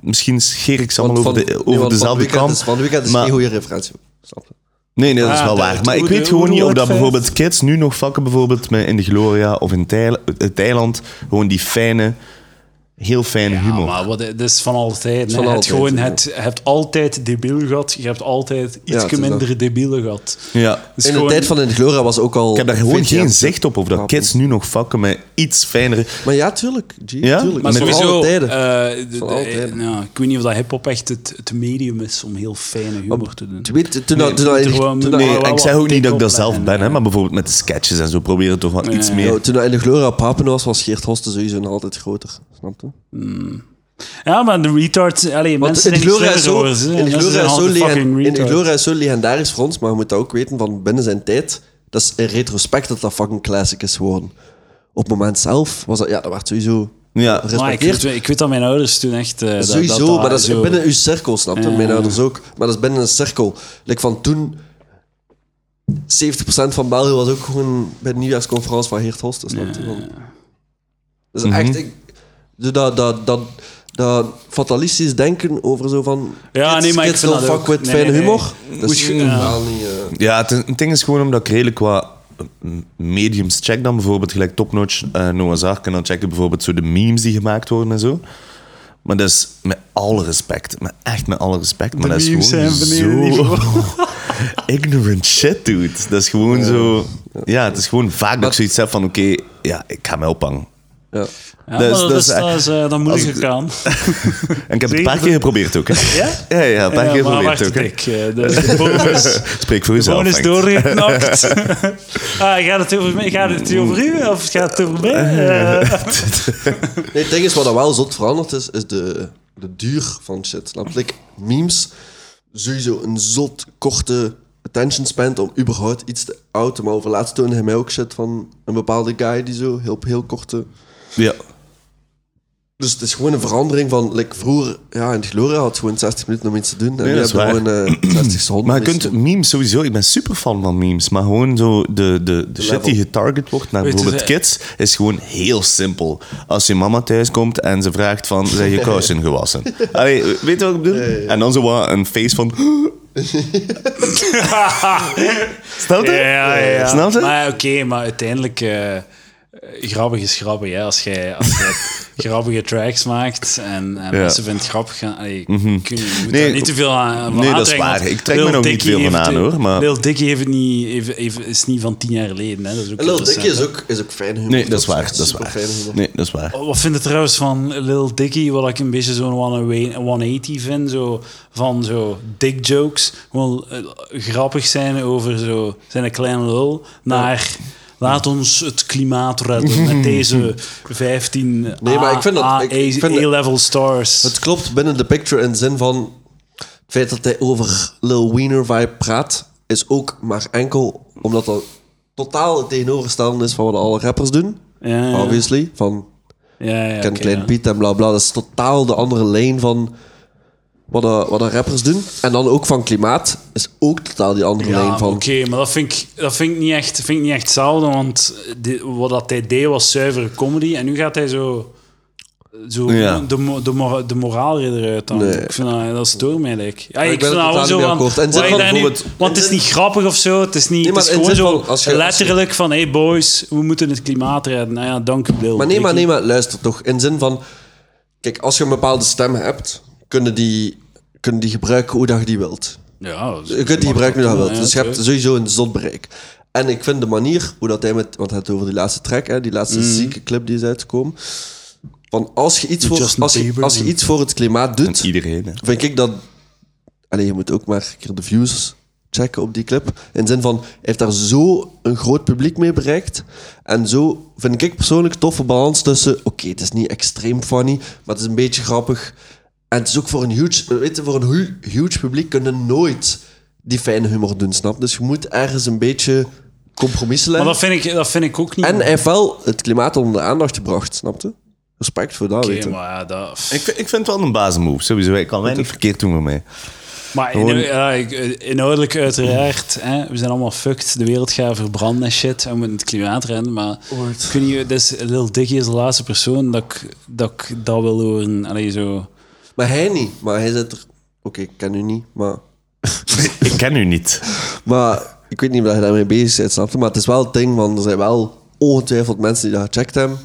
Speaker 3: misschien scheer ik ze allemaal
Speaker 2: Want
Speaker 3: over,
Speaker 2: van-
Speaker 3: de,
Speaker 2: nee,
Speaker 3: over
Speaker 2: want van
Speaker 3: dezelfde
Speaker 2: weekend
Speaker 3: kant.
Speaker 2: Is, van weekend is
Speaker 3: maar-
Speaker 2: geen goede referentie. Snap je?
Speaker 3: Nee, nee, dat is
Speaker 1: Ah,
Speaker 3: wel
Speaker 1: de-
Speaker 3: waar.
Speaker 1: het
Speaker 3: Maar ik
Speaker 1: oude-
Speaker 3: weet gewoon
Speaker 1: oude
Speaker 3: niet of dat
Speaker 1: Wordfest.
Speaker 3: bijvoorbeeld kids nu nog vakken, bijvoorbeeld met in de Gloria of in Thailand, Thailand gewoon die fijne, heel fijne humor.
Speaker 1: maar wat, dat is van altijd. hè.
Speaker 2: van
Speaker 1: je, hebt
Speaker 2: altijd,
Speaker 1: gewoon,
Speaker 2: ja.
Speaker 1: het, je hebt altijd debiel gehad. Je hebt altijd
Speaker 2: Ja, het
Speaker 1: iets
Speaker 2: is
Speaker 1: minder
Speaker 2: dat.
Speaker 1: debielen gehad.
Speaker 3: Ja.
Speaker 1: Dus
Speaker 2: In de
Speaker 1: gewoon-
Speaker 2: tijd van In de Gloria was ook al...
Speaker 3: Ik heb daar gewoon
Speaker 2: 14 jaar-
Speaker 3: geen zicht op of dat kids nu nog vakken met iets fijnere.
Speaker 2: Maar ja, tuurlijk. G,
Speaker 3: Ja?
Speaker 2: tuurlijk.
Speaker 1: Maar
Speaker 3: Met
Speaker 2: Van
Speaker 1: sowieso,
Speaker 2: alle tijden.
Speaker 1: eh, de-
Speaker 2: Van alle
Speaker 1: de-
Speaker 2: tijden.
Speaker 1: nou, ik weet niet of dat hip-hop echt het, het medium is om heel fijne humor te doen.
Speaker 2: Je weet, toen, toen, toen,
Speaker 1: moet
Speaker 2: hij-
Speaker 1: er
Speaker 2: toen,
Speaker 1: gewoon-
Speaker 2: hij-
Speaker 1: moet er
Speaker 3: Nee,
Speaker 1: wel
Speaker 3: ik
Speaker 1: wat
Speaker 3: zeg ook niet dat ik dat
Speaker 1: take-off
Speaker 3: zelf
Speaker 1: en,
Speaker 3: ben, hè,
Speaker 1: eh,
Speaker 3: maar bijvoorbeeld met de sketches en zo proberen toch wel iets
Speaker 1: Ja.
Speaker 3: meer.
Speaker 2: Ja, toen hij in de Gloria op Papen was, was Geert Hosten sowieso nog altijd groter. Snap je?
Speaker 1: Ja, maar de retards... Allee,
Speaker 2: Want
Speaker 1: mensen
Speaker 2: in de
Speaker 1: zijn niet
Speaker 2: Gloria is
Speaker 1: slimmer
Speaker 2: zo,
Speaker 1: geworden, hè.
Speaker 2: in de
Speaker 1: Mensen
Speaker 2: Gloria
Speaker 1: zijn
Speaker 2: is zo,
Speaker 1: altijd
Speaker 2: legen-
Speaker 1: fucking
Speaker 2: in de
Speaker 1: retards.
Speaker 2: Gloria is zo legendarisch voor ons, maar we moeten ook weten van binnen zijn tijd, dat is in retrospect dat dat fucking classic is geworden. Op het moment zelf was dat, ja, dat werd sowieso
Speaker 3: Ja.
Speaker 1: Maar ik,
Speaker 2: gerespecteerd.
Speaker 1: weet, ik weet dat mijn ouders toen echt... eh, dat-
Speaker 2: sowieso,
Speaker 1: dat,
Speaker 2: maar dat is
Speaker 1: zo-
Speaker 2: binnen uw cirkel, snap je?
Speaker 1: Ja.
Speaker 2: Mijn ouders ook. Maar dat is binnen een cirkel. Like van toen, 70% van België was ook gewoon bij de nieuwjaarsconferentie van Geert Hosten, snap je? Van- Dat is echt... ik- dat, dat, dat, dat fatalistisch denken over zo van...
Speaker 1: Ja,
Speaker 2: kids,
Speaker 1: nee, maar ik
Speaker 2: kids
Speaker 1: vind
Speaker 2: don't
Speaker 1: dat
Speaker 2: fuck
Speaker 1: ook-
Speaker 2: with
Speaker 1: nee,
Speaker 2: fijne
Speaker 1: nee, nee.
Speaker 2: humor. Dat is
Speaker 1: Moet je- ja.
Speaker 2: helemaal niet... eh,
Speaker 3: Ja, het, het ding is gewoon omdat ik redelijk wat mm, mediums check dan. Bijvoorbeeld gelijk Topnotch, eh Noah's Ark. En dan check ik bijvoorbeeld zo de memes die gemaakt worden en zo. Maar dat is met alle respect. Maar echt met alle respect. Maar dat is
Speaker 1: memes
Speaker 3: gewoon
Speaker 1: zijn beneden
Speaker 3: zo... ignorant shit, dude. Dat is gewoon zo... Ja, het is gewoon vaak dat ik zoiets heb van... Oké, ja, ik ga mij ophangen.
Speaker 2: ja.
Speaker 1: Ja,
Speaker 3: Dus-
Speaker 1: maar dat,
Speaker 3: dus
Speaker 1: is, dat is eh, dat moet
Speaker 3: als
Speaker 1: ik
Speaker 3: ik-
Speaker 1: gaan.
Speaker 3: En ik heb het een paar keer geprobeerd ook. Hè.
Speaker 1: Ja?
Speaker 3: Ja, ja, een paar keer
Speaker 1: Ja, maar
Speaker 3: geprobeerd
Speaker 1: wacht,
Speaker 3: ook. hè.
Speaker 1: ik. eh, Dus de boom is,
Speaker 3: Spreek voor
Speaker 1: de boom
Speaker 3: jezelf.
Speaker 1: is
Speaker 3: Henk.
Speaker 1: doorgeknakt. ah, gaat, het over, mij- gaat het over u of gaat het over mij? Eh,
Speaker 2: Nee, het ding is, wat er wel zot veranderd is, is de, de duur van shit. Snap je? Like, memes, sowieso een zot korte attention span om überhaupt iets te outen. Maar over laatst toonde hij mij ook shit van een bepaalde guy die zo heel, op heel korte...
Speaker 3: Ja.
Speaker 2: Dus het is gewoon een verandering van... Like, vroeger, ja, in de Gloria had gewoon 60 minuten om iets te doen. En nu
Speaker 3: dat is
Speaker 2: hebben we gewoon eh, 60 seconden.
Speaker 3: Maar je
Speaker 2: om iets
Speaker 3: kunt
Speaker 2: te doen.
Speaker 3: memes sowieso, ik ben super fan van memes, maar gewoon zo de, de, de shit
Speaker 2: level.
Speaker 3: die getarget wordt naar
Speaker 1: Weet je,
Speaker 3: bijvoorbeeld
Speaker 1: ze-
Speaker 3: kids, is gewoon heel simpel. Als je mama thuis komt en ze vraagt van, zijn je kousen gewassen? Allee, weet je wat ik bedoel? En dan zo wat een face van... Snap je?
Speaker 1: Eh. ja, ja, ja.
Speaker 3: Eh, Snap je?
Speaker 1: Maar oké, maar uiteindelijk... eh, eh, grappig is grappig, hè. Als jij, als jij grappige tracks maakt en, en
Speaker 3: Ja. Mhm.
Speaker 1: mensen vinden het grappig... gaan- allee, kun, je moet
Speaker 3: Nee,
Speaker 1: daar niet te veel aan van
Speaker 3: nee, dat is
Speaker 1: aantrekken,
Speaker 3: waar.
Speaker 1: want
Speaker 3: Ik trek
Speaker 1: Lil
Speaker 3: me ook niet
Speaker 1: Dicky
Speaker 3: veel van
Speaker 1: heeft-
Speaker 3: aan, hoor, maar-
Speaker 1: Lil Dicky heeft het niet, heeft, heeft- is niet van tien jaar geleden, hè. Dat is ook
Speaker 2: En Lil Dicky
Speaker 1: interessant,
Speaker 2: is ook, is ook fijn humor.
Speaker 3: Nee, dat is waar, dat is waar.
Speaker 2: superfijn humor.
Speaker 3: Nee, dat is waar.
Speaker 1: Wat vind je trouwens van Lil Dicky, wat ik een beetje zo'n 180 vind, zo, van zo dick jokes, gewoon eh, grappig zijn over zo, zijn een kleine lul, naar laat ons het klimaat redden met deze 15
Speaker 2: Nee, maar ik vind dat- ik- ik vind dat-
Speaker 1: A-level stars.
Speaker 2: Het klopt binnen de picture in de zin van... Het feit dat hij over Lil Wiener vibe praat... is ook maar enkel omdat dat totaal het tegenovergestelde is van wat alle rappers doen.
Speaker 1: Ja, ja.
Speaker 2: Obviously. Van
Speaker 1: Ja, ja,
Speaker 2: Ken
Speaker 1: oké,
Speaker 2: Klein
Speaker 1: ja.
Speaker 2: Piet en bla bla. Dat is totaal de andere lijn van wat de, wat de rappers doen. En dan ook van klimaat is ook totaal die andere
Speaker 1: Ja,
Speaker 2: lijn
Speaker 1: oké,
Speaker 2: van.
Speaker 1: maar dat vind ik, dat vind ik niet echt, vind ik niet echt hetzelfde, want die- wat dat hij deed was zuivere comedy en nu gaat hij zo, zo
Speaker 3: Ja.
Speaker 1: de, mo- de, mora- de moraal eruit aan.
Speaker 2: Nee.
Speaker 1: Ik vind dat, dat stoort mij, like. ja,
Speaker 2: ik
Speaker 1: ik
Speaker 2: ben
Speaker 1: vind
Speaker 2: het
Speaker 1: dat
Speaker 2: totaal
Speaker 1: ook zo
Speaker 2: niet
Speaker 1: van,
Speaker 2: akkoord. En
Speaker 1: wat
Speaker 2: zit
Speaker 1: ik
Speaker 2: van
Speaker 1: daar nu-
Speaker 2: bijvoorbeeld-
Speaker 1: want het is
Speaker 2: en zit-
Speaker 1: niet grappig of zo, het is, niet,
Speaker 2: Nee,
Speaker 1: het is
Speaker 2: maar
Speaker 1: gewoon
Speaker 2: in zin
Speaker 1: zo
Speaker 2: van, als je- als je-
Speaker 1: letterlijk van, hey boys, we moeten het klimaat redden. Nou ja, dank u Bill.
Speaker 2: Maar nee, maar
Speaker 1: Ik-
Speaker 2: nee, maar luister toch. In zin van, kijk, als je een bepaalde stem hebt, kunnen die, kunnen die gebruiken hoe dat je die wilt.
Speaker 1: Ja, dat is-
Speaker 2: Je kunt die gebruiken hoe dat je wilt.
Speaker 1: Ja,
Speaker 2: Dus je hebt
Speaker 1: tuurlijk.
Speaker 2: sowieso een zot bereik. En ik vind de manier hoe dat hij met, want hij had het over die laatste track, hè, die laatste zieke clip die is uitgekomen. Van als je iets, voor,
Speaker 1: Justin
Speaker 2: als je,
Speaker 1: Bieber.
Speaker 2: als je iets voor het klimaat doet,
Speaker 3: Iedereen, hè.
Speaker 2: vind ik dat. Allee, je moet ook maar een keer de views checken op die clip. In de zin van, hij heeft daar zo een groot publiek mee bereikt. En zo vind ik persoonlijk toffe balans tussen. Oké, het is niet extreem funny, maar het is een beetje grappig. En het is ook voor een huge, weet je, voor een hu- huge publiek kunnen nooit die fijne humor doen, snap? Dus je moet ergens een beetje compromissen
Speaker 1: Maar
Speaker 2: leggen.
Speaker 1: dat vind ik, dat vind ik ook niet.
Speaker 2: En hij heeft wel het klimaat onder de aandacht gebracht, snapte? Respect voor dat,
Speaker 1: Oké,
Speaker 2: weet je.
Speaker 1: maar ja, dat...
Speaker 3: Ik, vind- ik vind het wel een basismove, sowieso. Ik kan mij niet verkeerd doen voor mij.
Speaker 1: Maar in,
Speaker 3: Gewoon-
Speaker 1: ja, ik- inhoudelijk uiteraard, hè, we zijn allemaal fucked. De wereld gaat verbranden en shit. En we moeten het klimaat rennen. Maar ik weet niet, dus Lil Dicky is de laatste persoon dat ik dat, ik dat wil horen. Allee, zo.
Speaker 2: Maar hij niet. Maar hij zit er... Oké, ik ken u niet, maar...
Speaker 3: Ik ken u niet.
Speaker 2: Maar ik weet niet of je daarmee bezig bent, snap je? Maar het is wel het ding, want er zijn wel ongetwijfeld mensen die dat gecheckt hebben,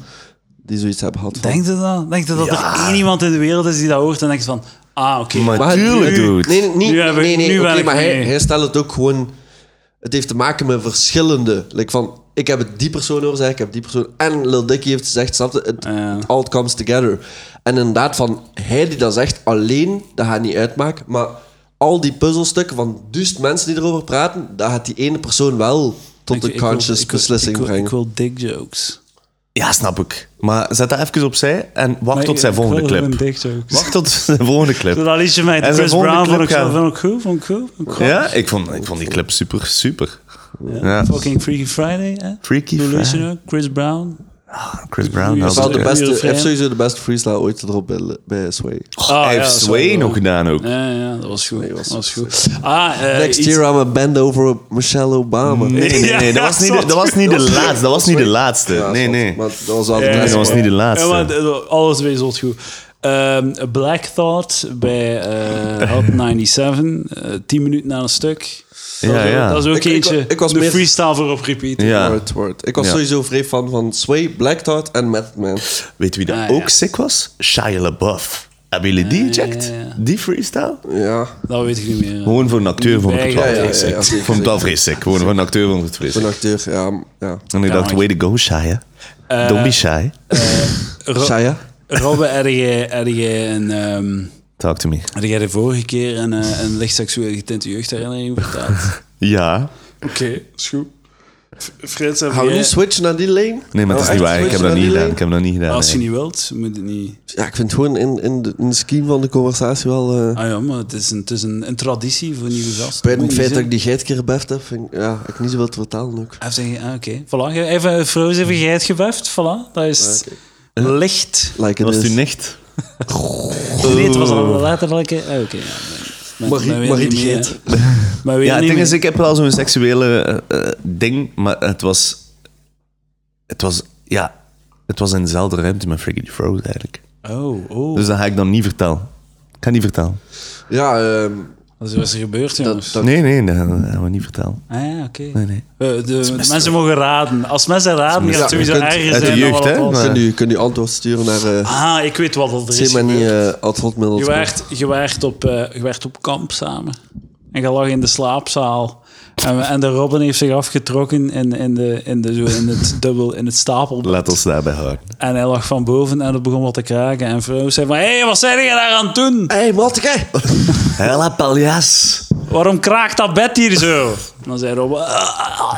Speaker 2: die zoiets hebben gehad. van-
Speaker 1: Denk je dat? Denk je dat er
Speaker 3: Ja.
Speaker 1: één iemand in de wereld is die dat hoort en denkt van... Ah, oké.
Speaker 3: Maar,
Speaker 2: Maar
Speaker 3: tuurlijk,
Speaker 2: nu-
Speaker 3: dude.
Speaker 2: Nee, nee, niet-
Speaker 1: Nu heb ik-
Speaker 2: nee, nee,
Speaker 1: nu ben
Speaker 2: oké,
Speaker 1: ik
Speaker 2: maar hij,
Speaker 1: mee.
Speaker 2: hij stelt het ook gewoon... Het heeft te maken met verschillende... Like van, ik heb het die persoon horen zeggen, ik heb die persoon... En Lil Dicky heeft gezegd, snap je? Het
Speaker 1: Ja.
Speaker 2: it all comes together. En inderdaad, van hij die dat zegt, alleen, dat gaat niet uitmaken. Maar al die puzzelstukken van duist mensen die erover praten, dat gaat die ene persoon wel tot
Speaker 1: Ik-
Speaker 2: een
Speaker 1: ik wil-
Speaker 2: conscious
Speaker 1: ik wil-
Speaker 2: beslissing
Speaker 1: ik wil-
Speaker 2: brengen.
Speaker 1: Ik wil dick jokes.
Speaker 3: Ja, snap ik. Maar zet dat even opzij en wacht
Speaker 1: Nee,
Speaker 3: tot zijn
Speaker 1: ik
Speaker 3: volgende
Speaker 1: wil
Speaker 3: clip.
Speaker 1: gewoon dick jokes.
Speaker 3: Wacht tot zijn volgende
Speaker 1: Zo,
Speaker 3: clip.
Speaker 1: Dat liedje met
Speaker 3: En zijn
Speaker 1: Chris
Speaker 3: volgende
Speaker 1: Brown vond ik,
Speaker 3: clip gaan.
Speaker 1: vond ik goed, vond ik goed, vond ik goed.
Speaker 3: Ja, ik vond, ik vond die clip super, super. Ja.
Speaker 1: Fucking Freaky Friday, hè?
Speaker 3: Freaky Friday.
Speaker 1: Delusional, Chris Brown.
Speaker 3: Chris Brown.
Speaker 1: Dat
Speaker 3: Dat
Speaker 1: is
Speaker 2: Wel
Speaker 3: was
Speaker 2: de
Speaker 1: een
Speaker 3: ook-
Speaker 2: beste,
Speaker 1: uur
Speaker 2: hij heeft
Speaker 1: vrij.
Speaker 2: sowieso de beste freestyle ooit erop bij, bij Sway.
Speaker 1: Ah,
Speaker 3: Oh, Hij
Speaker 1: ja,
Speaker 3: heeft
Speaker 1: sorry,
Speaker 3: Sway
Speaker 1: wel.
Speaker 3: nog gedaan ook.
Speaker 1: Ja, ja, dat was goed.
Speaker 2: was-
Speaker 1: dat was goed. Ah, eh,
Speaker 2: Next
Speaker 1: iets-
Speaker 2: year I'm a band over Michelle Obama.
Speaker 3: Nee, nee, nee. Dat was niet de, dat was niet de laatste. Dat was niet de laatste.
Speaker 2: Ja,
Speaker 3: Nee,
Speaker 2: zot,
Speaker 3: nee.
Speaker 2: Maar dat was wel de
Speaker 1: Ja,
Speaker 3: Nee,
Speaker 2: beste.
Speaker 3: dat was niet de
Speaker 1: Ja, maar
Speaker 3: laatste.
Speaker 1: d- alles weer zot goed. Ehm, Black Thought bij eh Hot 97, eh 10 minuten aan een stuk. Dat
Speaker 3: Ja,
Speaker 1: is ook-
Speaker 3: ja.
Speaker 1: Dat is ook
Speaker 2: Ik- ik-
Speaker 1: eentje.
Speaker 2: ik was
Speaker 1: de
Speaker 2: meer-
Speaker 1: freestyle voor op repeat.
Speaker 3: Ja.
Speaker 2: Word, word. Ik was
Speaker 3: Ja.
Speaker 2: sowieso vrij fan van Sway, Black Thought en Method Man.
Speaker 3: Weet wie dat
Speaker 1: Ah, ja. Ah,
Speaker 3: ook sick was? Shia LaBeouf. Hebben jullie die gecheckt?
Speaker 1: ja, ja.
Speaker 3: Die freestyle?
Speaker 2: Ja,
Speaker 1: Dat weet ik niet meer.
Speaker 3: Gewoon voor een acteur vond ik het wel
Speaker 1: Ja, ja,
Speaker 2: ja,
Speaker 3: vreselijk.
Speaker 2: ja, zeker,
Speaker 3: Ik vond het wel
Speaker 2: zeker.
Speaker 3: vreselijk. Gewoon voor een acteur vond ik het
Speaker 2: een
Speaker 3: vreselijk.
Speaker 2: acteur. Ja, ja.
Speaker 3: En ik
Speaker 1: Ja, Eh,
Speaker 3: dacht,
Speaker 1: maar-
Speaker 3: way to go, Shia. Don't be shy.
Speaker 1: Ro-
Speaker 2: Oh. Shia?
Speaker 1: Robbe, had jij- had jij een, ehm,
Speaker 3: Talk to me.
Speaker 1: had jij de vorige keer een, eh, een licht seksueel getinte jeugdherinnering verteld?
Speaker 3: Ja.
Speaker 1: Oké, is goed. F- Frits, heb
Speaker 2: Gaan we
Speaker 1: jij-
Speaker 2: nu switchen naar die lane?
Speaker 3: Nee, maar het
Speaker 1: Oh,
Speaker 3: is niet waar. Ik heb dat niet gedaan. Ik heb dat niet gedaan.
Speaker 1: Als je
Speaker 3: nee.
Speaker 1: niet wilt, moet het niet.
Speaker 2: Ja, ik vind het gewoon in, in, de, in de scheme van de conversatie wel... eh
Speaker 1: Ah ja, maar het is een, het is een, een traditie voor nieuwe gasten.
Speaker 2: buiten het
Speaker 1: Moet
Speaker 2: feit dat
Speaker 1: niet
Speaker 2: ik die geit keer beft heb, vind ik, ja, heb ik niet zoveel te vertellen ook.
Speaker 1: zijn. Even, ah, oké. Voilà, ge- even Froze even geit gebuft. Voilà, dat is
Speaker 3: Ah,
Speaker 1: het. licht.
Speaker 2: Like it
Speaker 3: Was
Speaker 2: is.
Speaker 3: het uw nicht?
Speaker 1: Nee, het was
Speaker 3: Oh.
Speaker 1: al letterlijk. eh, Oké, ja. Maar,
Speaker 2: Marie-
Speaker 1: maar weer
Speaker 2: Marie
Speaker 1: niet
Speaker 2: de
Speaker 1: meer,
Speaker 2: Geet.
Speaker 1: hè. Maar weer
Speaker 3: Ja, het
Speaker 1: niet
Speaker 3: ding is,
Speaker 1: meer.
Speaker 3: ik heb wel zo'n seksuele eh, eh, ding, maar het was... Het was, ja... Het was in dezelfde ruimte met Freaky Froze eigenlijk.
Speaker 1: Oh, oh.
Speaker 3: Dus dat ga ik dan niet vertellen. Ik ga niet vertellen.
Speaker 2: Ja, ehm,
Speaker 1: Wat is er gebeurd, jongens?
Speaker 2: dat-
Speaker 3: Nee, nee, dat gaan we niet vertellen.
Speaker 1: Ah ja, oké.
Speaker 3: Nee, nee.
Speaker 1: Eh, de- de mensen mogen raden. Als mensen raden, gaat het
Speaker 2: mystery.
Speaker 1: sowieso
Speaker 2: Je kunt-
Speaker 1: erger
Speaker 3: uit de
Speaker 1: zijn dan
Speaker 3: jeugd,
Speaker 1: wat het
Speaker 3: hè,
Speaker 1: was.
Speaker 3: maar-
Speaker 2: kunt u, kunt u antwoord sturen naar... eh,
Speaker 1: Ah, ik weet wat er
Speaker 2: Zeg
Speaker 1: is
Speaker 2: maar
Speaker 3: eh,
Speaker 2: niet
Speaker 1: gebeurd.
Speaker 2: uh, ad hotmail.
Speaker 1: Je werd, je, werd op, eh, je werd op kamp samen. En je lag in de slaapzaal. En, we- en de Robin heeft zich afgetrokken in, in, de, in, de, zo in het dubbel, in het stapelbed.
Speaker 3: Laat ons daarbij houden.
Speaker 1: En hij lag van boven en het begon wat te kraken. En vrouw zei van, hé, hey, wat zijn jij daar aan het doen?
Speaker 2: Hé, hey, Matteke!
Speaker 3: Hella paljas.
Speaker 1: Waarom kraakt dat bed hier zo? En dan zei Robin, "Ah."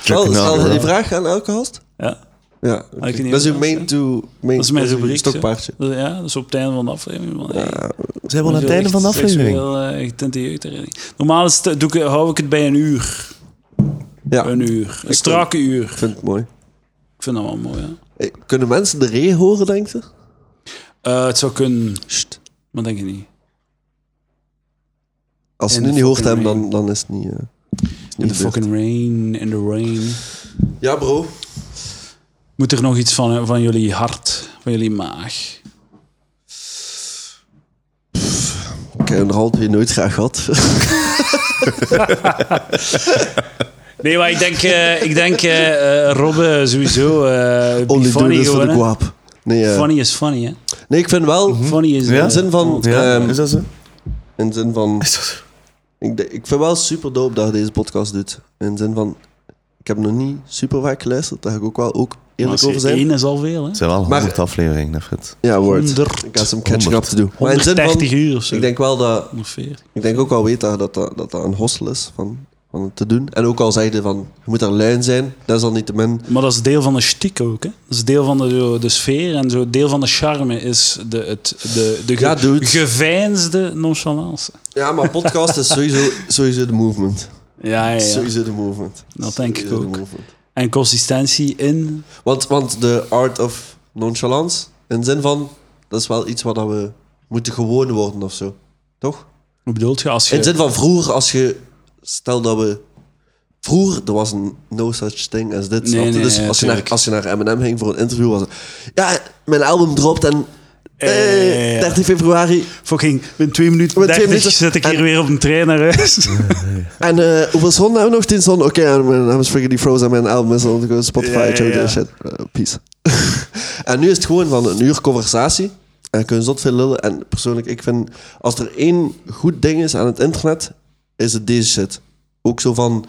Speaker 2: Stel, stel je
Speaker 3: hoor.
Speaker 2: die vraag aan elke gast?
Speaker 1: ja.
Speaker 2: Ja,
Speaker 1: ik
Speaker 2: oké.
Speaker 1: niet
Speaker 2: dat is uw
Speaker 1: meer
Speaker 2: main
Speaker 1: vast,
Speaker 2: to... Main
Speaker 1: Dat is mijn
Speaker 2: uw
Speaker 1: rubriek. zo.
Speaker 2: Stokpaardje.
Speaker 1: Dat- Ja, dat is op het einde van de aflevering. man. Hey,
Speaker 3: Zijn we al aan het einde van de aflevering?
Speaker 1: eh, seksueel, eh, getinte jeugdherinnering. Normaal is het- doe ik, hou ik het bij een uur.
Speaker 2: Ja.
Speaker 1: Een uur. Een strakke uur.
Speaker 2: Ik vind het mooi.
Speaker 1: Ik vind dat wel mooi, ja.
Speaker 2: Eh, Kunnen mensen de ree horen, denk je?
Speaker 1: Eh, het zou kunnen... Sst, maar denk ik niet.
Speaker 2: Als ze
Speaker 1: In
Speaker 2: nu
Speaker 1: de
Speaker 2: niet hoort
Speaker 1: fucking
Speaker 2: hebben, dan, dan is het niet... eh,
Speaker 1: In
Speaker 2: niet
Speaker 1: the
Speaker 2: de beurt.
Speaker 1: fucking rain, in the rain.
Speaker 2: Ja, bro.
Speaker 1: Moet er nog iets van, van jullie hart, van jullie maag?
Speaker 2: Ik heb er altijd weer nooit graag gehad.
Speaker 1: Nee, maar ik denk, eh, ik denk eh, eh, Robbe sowieso. eh
Speaker 2: Only do
Speaker 1: funny
Speaker 2: this for
Speaker 1: gewoon,
Speaker 2: the
Speaker 1: hè.
Speaker 2: guap. Nee, eh,
Speaker 1: Funny is funny, hè?
Speaker 2: nee, ik vind wel...
Speaker 1: Funny is...
Speaker 3: Ja?
Speaker 1: eh,
Speaker 2: In zin van...
Speaker 3: Ja,
Speaker 2: ehm,
Speaker 3: is dat zo?
Speaker 2: in zin van...
Speaker 3: Is dat zo?
Speaker 2: Ik, de- ik vind wel super dope dat je deze podcast doet. In de zin van... Ik heb nog niet super vaak geluisterd. Daar ga ik ook wel ook
Speaker 1: maar
Speaker 2: eerlijk over zijn.
Speaker 1: één is al veel, hè?
Speaker 3: Het zijn wel
Speaker 2: Maar-
Speaker 3: 100 afleveringen, dat het.
Speaker 2: Ja, word.
Speaker 1: Honderd-
Speaker 2: Ik ga some catching up
Speaker 3: honderd.
Speaker 2: te doen. Maar in de zin
Speaker 1: 130
Speaker 2: van...
Speaker 1: uur of zo.
Speaker 2: Ik denk wel dat...
Speaker 1: 140.
Speaker 2: Ik denk ook al weet dat dat, dat, dat dat een hostel is van, van het te doen. En ook al zeiden van... Je moet er luin zijn. Dat is al niet te min.
Speaker 1: Maar dat is deel van de stiek ook, hè? Dat is deel van de, zo, de sfeer en zo. Deel van de charme is de, het, de, de
Speaker 2: Ja, dude.
Speaker 1: geveinsde nonchalance.
Speaker 2: Ja, maar podcast is sowieso, sowieso de movement.
Speaker 1: Ja, ja, ja.
Speaker 2: Sowieso de movement.
Speaker 1: Dat denk ik
Speaker 2: Sowieso de
Speaker 1: ook.
Speaker 2: movement.
Speaker 1: En consistentie in...
Speaker 2: Want, want de art of nonchalance, in de zin van, dat is wel iets wat dat we moeten gewoon worden of zo. Toch?
Speaker 1: Hoe bedoelt je als
Speaker 2: In de zin
Speaker 1: je...
Speaker 2: van vroeger, als je, stel dat we. Vroeger, er was een no such thing als dit.
Speaker 1: Nee,
Speaker 2: snap je?
Speaker 1: nee,
Speaker 2: dus
Speaker 1: ja,
Speaker 2: als, je naar,
Speaker 1: tuurlijk.
Speaker 2: als je naar Eminem ging voor een interview, was het. Ja, mijn album dropt en.
Speaker 1: Eh, ja, ja,
Speaker 2: eh,
Speaker 1: ja.
Speaker 2: 13 februari.
Speaker 1: Fucking, in 2 minuten
Speaker 2: Met
Speaker 1: 30
Speaker 2: twee minuten-
Speaker 1: zit ik hier
Speaker 2: en-
Speaker 1: weer op een trein naar huis.
Speaker 2: En eh, hoeveel seconden hebben we nog? 10 seconden? Oké, en mijn naam is Friggedy Frozen en mijn album is op Spotify.
Speaker 1: Ja, ja,
Speaker 2: check
Speaker 1: ja.
Speaker 2: that shit. Eh, peace. en nu is het gewoon van een uur conversatie. En je kunt zot veel lullen. En persoonlijk, ik vind... Als er één goed ding is aan het internet, is het deze shit. Ook zo van...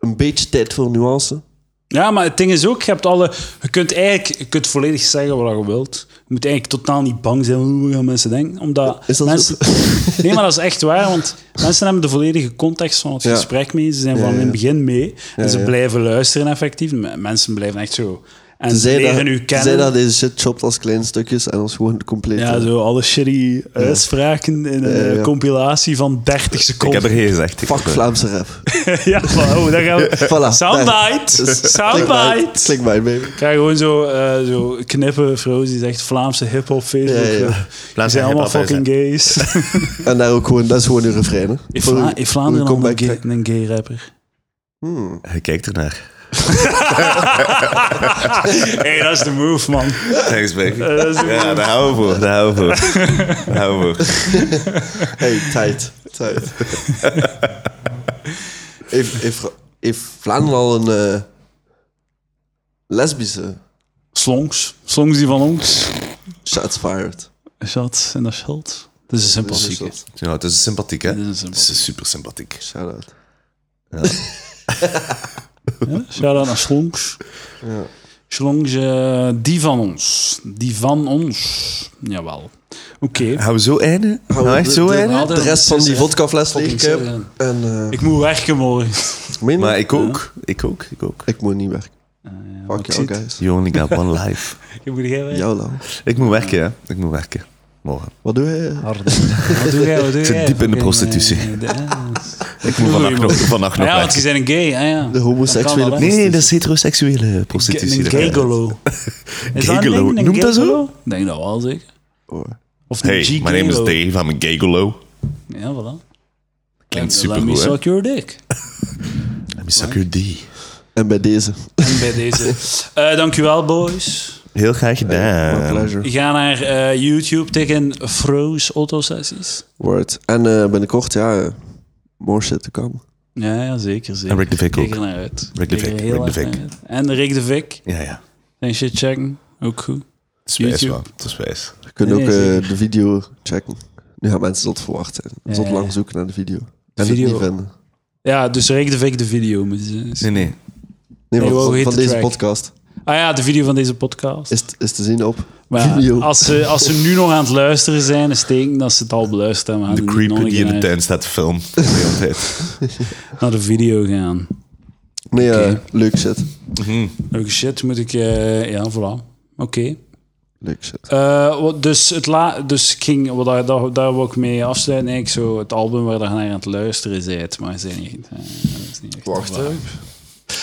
Speaker 2: Een beetje tijd voor nuance.
Speaker 1: Ja, maar het ding is ook, je, hebt alle, je kunt eigenlijk je kunt volledig zeggen wat je wilt. Je moet eigenlijk totaal niet bang zijn hoe gaan mensen denken. Omdat
Speaker 2: Is dat
Speaker 1: mensen, Nee, maar dat is echt waar, want mensen hebben de volledige context van het
Speaker 2: Ja.
Speaker 1: gesprek mee. Ze zijn van
Speaker 2: ja,
Speaker 1: in
Speaker 2: ja.
Speaker 1: het begin mee. En
Speaker 2: Ja,
Speaker 1: ze
Speaker 2: ja.
Speaker 1: blijven luisteren effectief. M- Mensen blijven echt zo... En ze
Speaker 2: Zij
Speaker 1: leren
Speaker 2: dat,
Speaker 1: u
Speaker 2: zij
Speaker 1: kennen.
Speaker 2: dat deze shit chopt als kleine stukjes en als gewoon compleet...
Speaker 1: ja,
Speaker 2: eh,
Speaker 1: zo alle shitty uitspraken in een
Speaker 2: Ja, ja.
Speaker 1: eh, compilatie van 30
Speaker 3: Ik heb er
Speaker 1: seconden.
Speaker 3: geen gezegd. ik
Speaker 2: Fuck
Speaker 3: heb er-
Speaker 2: Vlaamse rap.
Speaker 1: ja, wow, daar gaan we...
Speaker 2: Voilà.
Speaker 1: Soundbite! Soundbite!
Speaker 2: Clickbait, baby.
Speaker 1: Ik ga gewoon zo, eh, zo knippen, vrouw die zegt Vlaamse hip-hop Facebook.
Speaker 2: Ja, ja, ja.
Speaker 1: eh, Die zijn allemaal
Speaker 3: hip-hop,
Speaker 1: fucking gays.
Speaker 2: En daar ook gewoon, dat is gewoon een refrein. hè.
Speaker 1: In,
Speaker 2: Voor
Speaker 1: Vla
Speaker 2: een-
Speaker 1: in Vlaanderen
Speaker 2: voor een
Speaker 1: al een gay,
Speaker 2: comeback track.
Speaker 1: een gay rapper.
Speaker 3: Hij kijkt ernaar.
Speaker 1: Hé, hey, dat is de move, man. Eh,
Speaker 3: Thanks, baby.
Speaker 1: Dat is de
Speaker 3: Ja, daar houden we voor. Daar houden we voor. Daar houden we voor.
Speaker 2: Hey, tijd. Tijd. heeft, heeft, heeft Vlaanderen al een eh, lesbische
Speaker 1: Slongs. Slongs die van ons.
Speaker 2: shots fired? Dus
Speaker 1: Zat en dat schuld. Dat is een sympathiek. hè.
Speaker 2: Shout
Speaker 3: Ja, het is sympathiek, hè?
Speaker 1: Dit is
Speaker 3: Het
Speaker 1: sympathiek.
Speaker 3: is super sympathiek. Nou,
Speaker 2: out.
Speaker 1: Ja, Shout-out naar Slongs.
Speaker 2: Ja.
Speaker 1: Slongs, eh, die van ons. Die van ons. Jawel. Oké.
Speaker 3: Gaan we zo eindigen? Gaan we echt zo
Speaker 2: de,
Speaker 3: eindigen?
Speaker 1: nou,
Speaker 2: de, de rest van die
Speaker 1: Fucking
Speaker 2: vodkafles leeg.
Speaker 1: sorry,
Speaker 2: En
Speaker 1: man.
Speaker 2: eh,
Speaker 1: Ik moet werken morgen.
Speaker 2: meen je?
Speaker 3: Maar ik ook. Ik ook. Ik ook.
Speaker 2: ik moet niet werken. Fuck
Speaker 1: Ah, ik
Speaker 2: jou,
Speaker 1: zit-
Speaker 2: guys.
Speaker 3: You only got one life.
Speaker 1: Ik moet jij werken.
Speaker 2: Jou, Lau.
Speaker 3: Ik moet werken, hè? Ik moet werken. Morgen.
Speaker 2: Wat doe jij?
Speaker 1: Hard. Wat doe jij? Wat doe
Speaker 3: zit
Speaker 1: jij?
Speaker 3: diep in de
Speaker 1: Fucking,
Speaker 3: prostitutie.
Speaker 1: eh, de- ah.
Speaker 3: Ik moet vannacht nog, vannacht nog
Speaker 1: ja, want je
Speaker 3: werken.
Speaker 1: bent een gay. Ah, ja.
Speaker 2: De homoseksuele
Speaker 1: Dat kan wel, hè.
Speaker 3: Nee, nee, dat is heteroseksuele prostitutie.
Speaker 1: Een
Speaker 3: dat kan.
Speaker 1: gaygolo. Is dat een
Speaker 3: Gaygolo.
Speaker 1: ding, een
Speaker 3: Noemt dat zo?
Speaker 1: gaygolo? Ik denk dat wel, zeker.
Speaker 2: Hoor.
Speaker 1: Of een
Speaker 3: Hey, my name is
Speaker 1: G-gaylo.
Speaker 3: Dave. I'm a gaygolo.
Speaker 1: Ja, voilà.
Speaker 3: Klinkt
Speaker 1: Let- Let me
Speaker 3: supergoed, hè?
Speaker 1: suck your dick.
Speaker 3: Let me suck your D.
Speaker 2: En bij deze.
Speaker 1: En bij deze. Eh dankjewel, boys.
Speaker 3: Heel graag
Speaker 2: My
Speaker 3: gedaan.
Speaker 2: pleasure.
Speaker 1: Ga naar eh, YouTube, tegen Froze Autosessies.
Speaker 2: Word. En eh, binnenkort, ja, eh, more shit te komen.
Speaker 1: Ja, ja, zeker, zeker.
Speaker 3: En Rick de Vick
Speaker 1: Kijk
Speaker 3: ook.
Speaker 1: er naar uit.
Speaker 3: Rick de
Speaker 1: Kijk er
Speaker 3: Vick,
Speaker 1: heel
Speaker 3: Rick de
Speaker 1: erg naar
Speaker 3: Vick.
Speaker 1: uit. En Rick de Vick.
Speaker 3: Ja, ja.
Speaker 1: En shit checken. Ook goed.
Speaker 3: Het is wijs,
Speaker 1: YouTube.
Speaker 3: man. Het is wijs.
Speaker 2: Je kunt
Speaker 1: Nee,
Speaker 2: ook
Speaker 1: nee,
Speaker 2: eh,
Speaker 1: zeker.
Speaker 2: de video checken. Nu gaan mensen zot verwachten.
Speaker 1: Ja,
Speaker 2: zot
Speaker 1: ja,
Speaker 2: lang
Speaker 1: ja.
Speaker 2: zoeken naar de video. En
Speaker 1: video-
Speaker 2: het niet vinden.
Speaker 1: Ja, dus Rick de Vick, de video. moet je zeggen.
Speaker 3: Nee, nee.
Speaker 2: Nee,
Speaker 1: Nee,
Speaker 2: want
Speaker 1: hoe
Speaker 2: van,
Speaker 1: heet
Speaker 2: van
Speaker 1: de
Speaker 2: deze
Speaker 1: track?
Speaker 2: podcast
Speaker 1: Ah ja, de video van deze podcast.
Speaker 2: is, t- is te zien op
Speaker 1: Maar ja,
Speaker 2: video.
Speaker 1: als ze, als ze nu nog aan het luisteren zijn, is het teken dat ze het al beluisterd hebben. maar
Speaker 3: De
Speaker 1: hadden
Speaker 3: creeper
Speaker 1: nog een
Speaker 3: die in de
Speaker 1: keer
Speaker 3: tuin staat te filmen. De hele tijd.
Speaker 1: Naar de video gaan. Oh,
Speaker 2: Nee, eh,
Speaker 1: Oké.
Speaker 2: leuk shit.
Speaker 1: Leuke shit, moet ik... eh, ja, voilà. Oké.
Speaker 2: Leuk shit.
Speaker 1: Eh, wat- dus, het la dus ik ging, wat daar, daar, daar wil ik mee afsluiten. Eigenlijk zo het album waar je naar aan het luisteren bent. Maar ze zijn niet, eh, dat is niet echt
Speaker 2: Wacht,
Speaker 1: waar.
Speaker 2: hè.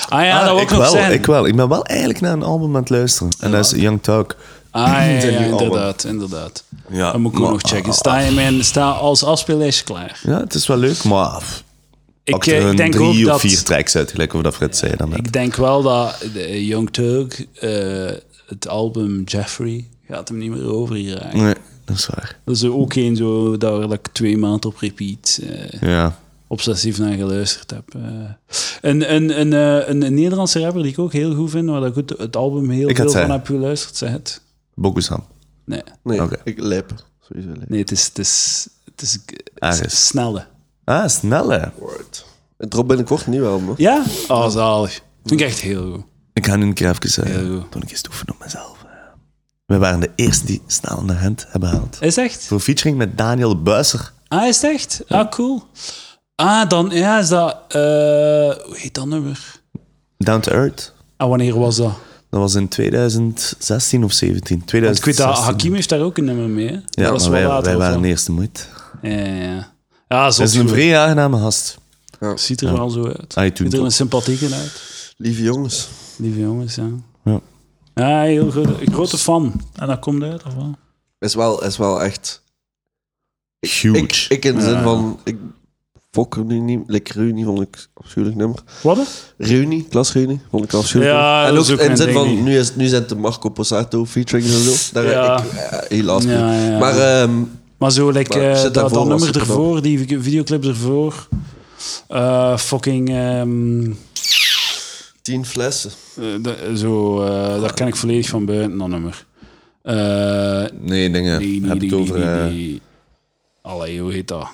Speaker 1: Ah ja, dat
Speaker 3: Ah,
Speaker 1: wil ik,
Speaker 3: ik,
Speaker 1: nog
Speaker 3: wel,
Speaker 1: zeggen.
Speaker 3: ik wel. Ik ben wel eigenlijk naar een album aan het luisteren. En dat is Young Talk.
Speaker 1: Ah ja, ja,
Speaker 3: Zijn nieuw album.
Speaker 1: inderdaad, inderdaad.
Speaker 3: Ja,
Speaker 1: dat moet ik ook
Speaker 3: maar- ah,
Speaker 1: nog checken. Sta, je mijn, sta als afspeellijstje klaar?
Speaker 3: Ja, het is wel leuk, maar pff,
Speaker 1: Ik,
Speaker 3: pakte
Speaker 1: eh, ik
Speaker 3: hun
Speaker 1: denk
Speaker 3: drie
Speaker 1: ook
Speaker 3: of
Speaker 1: dat...
Speaker 3: vier tracks uit, gelijk of dat Fred zei dan. net.
Speaker 1: Ik denk wel dat de Young Turk eh, het album Jeffrey gaat hem niet meer over hier raken.
Speaker 3: Nee, dat is waar.
Speaker 1: Dat is er ook één zo daar dat ik twee maanden op repeat eh,
Speaker 3: Ja.
Speaker 1: obsessief naar geluisterd heb. eh. een, een, een, eh, een, een Nederlandse rapper die ik ook heel goed vind, waar dat ik het, het album heel
Speaker 3: Ik ga
Speaker 1: veel
Speaker 3: het
Speaker 1: van
Speaker 3: zeggen.
Speaker 1: heb geluisterd, zeg het.
Speaker 3: Bokusam.
Speaker 1: Nee,
Speaker 2: Nee,
Speaker 3: Oké.
Speaker 2: ik lijp. Sowieso lijp.
Speaker 1: nee het is, het is, het is, het is
Speaker 3: Aris.
Speaker 1: snelle.
Speaker 3: Ah, snelle.
Speaker 2: Word. Het drop binnenkort een nieuw album. hè?
Speaker 1: Ja? Oh, zalig. Vind ik echt heel goed.
Speaker 3: Ik ga nu een keer even zeggen.
Speaker 1: Heel goed.
Speaker 3: toen ik eens oefenen op mezelf. We waren de eerste die snel naar hand hebben gehaald.
Speaker 1: Is het echt?
Speaker 3: Voor featuring met Daniel Buiser.
Speaker 1: Ah, is het echt? Ah, cool. Ah, dan ja, is dat... eh, hoe heet dat nummer?
Speaker 3: Down to Earth.
Speaker 1: Ah, wanneer was dat?
Speaker 3: Dat was in 2016 of 17.
Speaker 1: Ik weet
Speaker 3: 2016.
Speaker 1: dat Hakim heeft daar ook een nummer mee. hè? dat
Speaker 3: Ja, maar
Speaker 1: wel
Speaker 3: wij,
Speaker 1: later
Speaker 3: wij
Speaker 1: of
Speaker 3: waren
Speaker 1: zo.
Speaker 3: de eerste moed.
Speaker 1: Ja, ja, ja. Ja, zo
Speaker 3: Dat is een vrij aangename gast.
Speaker 1: ziet er wel zo uit.
Speaker 3: Ah, je doet
Speaker 1: ziet er
Speaker 3: het
Speaker 1: een sympathieke uit.
Speaker 2: Lieve jongens.
Speaker 1: Lieve jongens, ja.
Speaker 3: Ja.
Speaker 1: Ja, heel goed. Ik grote fan. En dat komt uit, of wel?
Speaker 2: Is wel, is wel echt...
Speaker 3: Huge.
Speaker 2: Ik, ik in de zin van... Ik fok hem nu niet. Like, Reunie vond ik een afschuwelijk nummer.
Speaker 1: Wat?
Speaker 2: Reunie, klasreunie, vond ik een afschuwelijk
Speaker 1: Ja,
Speaker 2: nummer. En
Speaker 1: dat
Speaker 2: ook
Speaker 1: is ook
Speaker 2: in de
Speaker 1: mijn
Speaker 2: zin
Speaker 1: ding
Speaker 2: van...
Speaker 1: niet.
Speaker 2: Nu, is, nu zijn het de Marco Passato featuring en zo. Daar
Speaker 1: Ja.
Speaker 2: heb ik eh, helaas
Speaker 1: Ja,
Speaker 2: mee.
Speaker 1: ja, ja.
Speaker 2: Maar ehm,
Speaker 1: Maar zo, like,
Speaker 2: Maar
Speaker 1: eh,
Speaker 2: zit
Speaker 1: dat,
Speaker 2: daarvoor
Speaker 1: dat
Speaker 2: was
Speaker 1: nummer
Speaker 2: het wel.
Speaker 1: ervoor, die vi- videoclip ervoor. Eh, fucking... ehm,
Speaker 2: tien flessen.
Speaker 1: eh, de- zo, eh, daar ken ik volledig van buiten, dat nummer. Eh,
Speaker 3: Nee, dingen.
Speaker 1: Nee, nee,
Speaker 3: heb
Speaker 1: nee,
Speaker 3: het over.
Speaker 1: nee,
Speaker 3: eh,
Speaker 1: nee. Allee, hoe heet dat?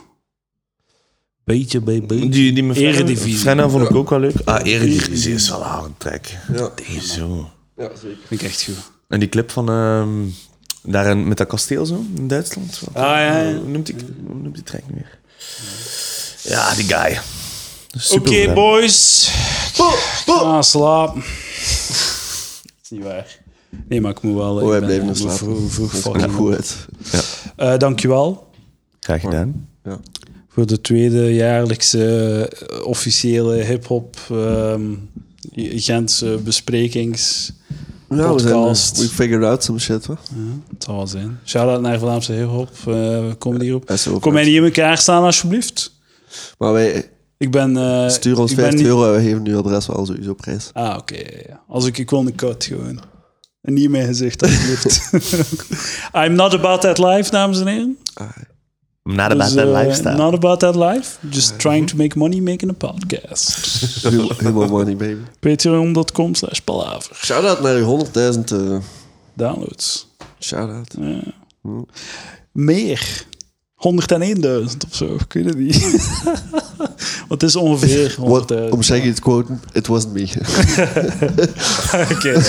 Speaker 1: Beetje bij
Speaker 3: Die, die met Frenna-
Speaker 1: Eredivisie.
Speaker 3: Frenna vond ik ook wel leuk. Ah, Eredivisie is wel een harde track.
Speaker 2: Ja.
Speaker 3: Zo.
Speaker 2: ja, zeker.
Speaker 1: Vind ik echt goed.
Speaker 3: En die clip van... ehm daar in- met dat kasteel zo, in Duitsland. Wat-
Speaker 1: Ah, ja, ja.
Speaker 3: Hoe noemt die, hoe noemt die track nu weer? Ja, die guy.
Speaker 1: Oké,
Speaker 3: Super gedaan.
Speaker 1: boys. Ah, slaap. Dat is niet waar. Nee, maar ik moet wel...
Speaker 2: Oh,
Speaker 1: ik
Speaker 2: hij
Speaker 1: ben-
Speaker 2: blijft nog
Speaker 1: ik moet
Speaker 2: slapen.
Speaker 1: vroeg- vroeg
Speaker 2: Dat
Speaker 1: fucking
Speaker 2: komt goed uit.
Speaker 1: Eh, dankjewel
Speaker 3: Graag gedaan.
Speaker 2: Ja.
Speaker 1: voor de tweede jaarlijkse eh, officiële hip-hop ehm, Gentse besprekings.
Speaker 2: Ja, we zijn, eh,
Speaker 1: Podcast.
Speaker 2: we figured out some shit, hoor.
Speaker 1: Het zal wel zijn. Shout-out naar Vlaamse hip-hop. eh comedy hierop.
Speaker 2: Dat is ook
Speaker 1: Kom mij
Speaker 2: uit.
Speaker 1: niet in elkaar staan, alsjeblieft.
Speaker 2: Maar wij
Speaker 1: Ik ben... eh,
Speaker 2: sturen ons
Speaker 1: ik ben
Speaker 2: 50
Speaker 1: niet-
Speaker 2: euro en we geven nu adres wel sowieso prijs.
Speaker 1: Ah, oké. ja, ja. Als ik, ik wil een cut gewoon. En niet in mijn gezicht, alsjeblieft. I'm not about that life, dames en heren.
Speaker 3: Not about
Speaker 1: Dus,
Speaker 3: that
Speaker 1: eh,
Speaker 3: lifestyle.
Speaker 1: Not about that life. Just trying to make money making a podcast.
Speaker 2: Helemaal money, baby.
Speaker 1: Patreon.com slash palaver.
Speaker 2: Shout-out naar uw 100.000 eh,
Speaker 1: Downloads.
Speaker 2: shout-out.
Speaker 1: Meer. 101.000 of zo. Ik weet het niet. Want het is ongeveer 100.000.
Speaker 2: Wat- om zeggen het quote, it wasn't me.
Speaker 1: Oké.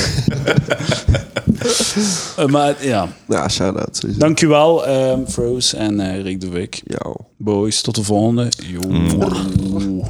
Speaker 1: Eh, maar ja,
Speaker 2: ja, shout-out sowieso.
Speaker 1: dankjewel ehm Froze en eh, Rick de Wik.
Speaker 2: Jou.
Speaker 1: Boys, tot de volgende. Yo.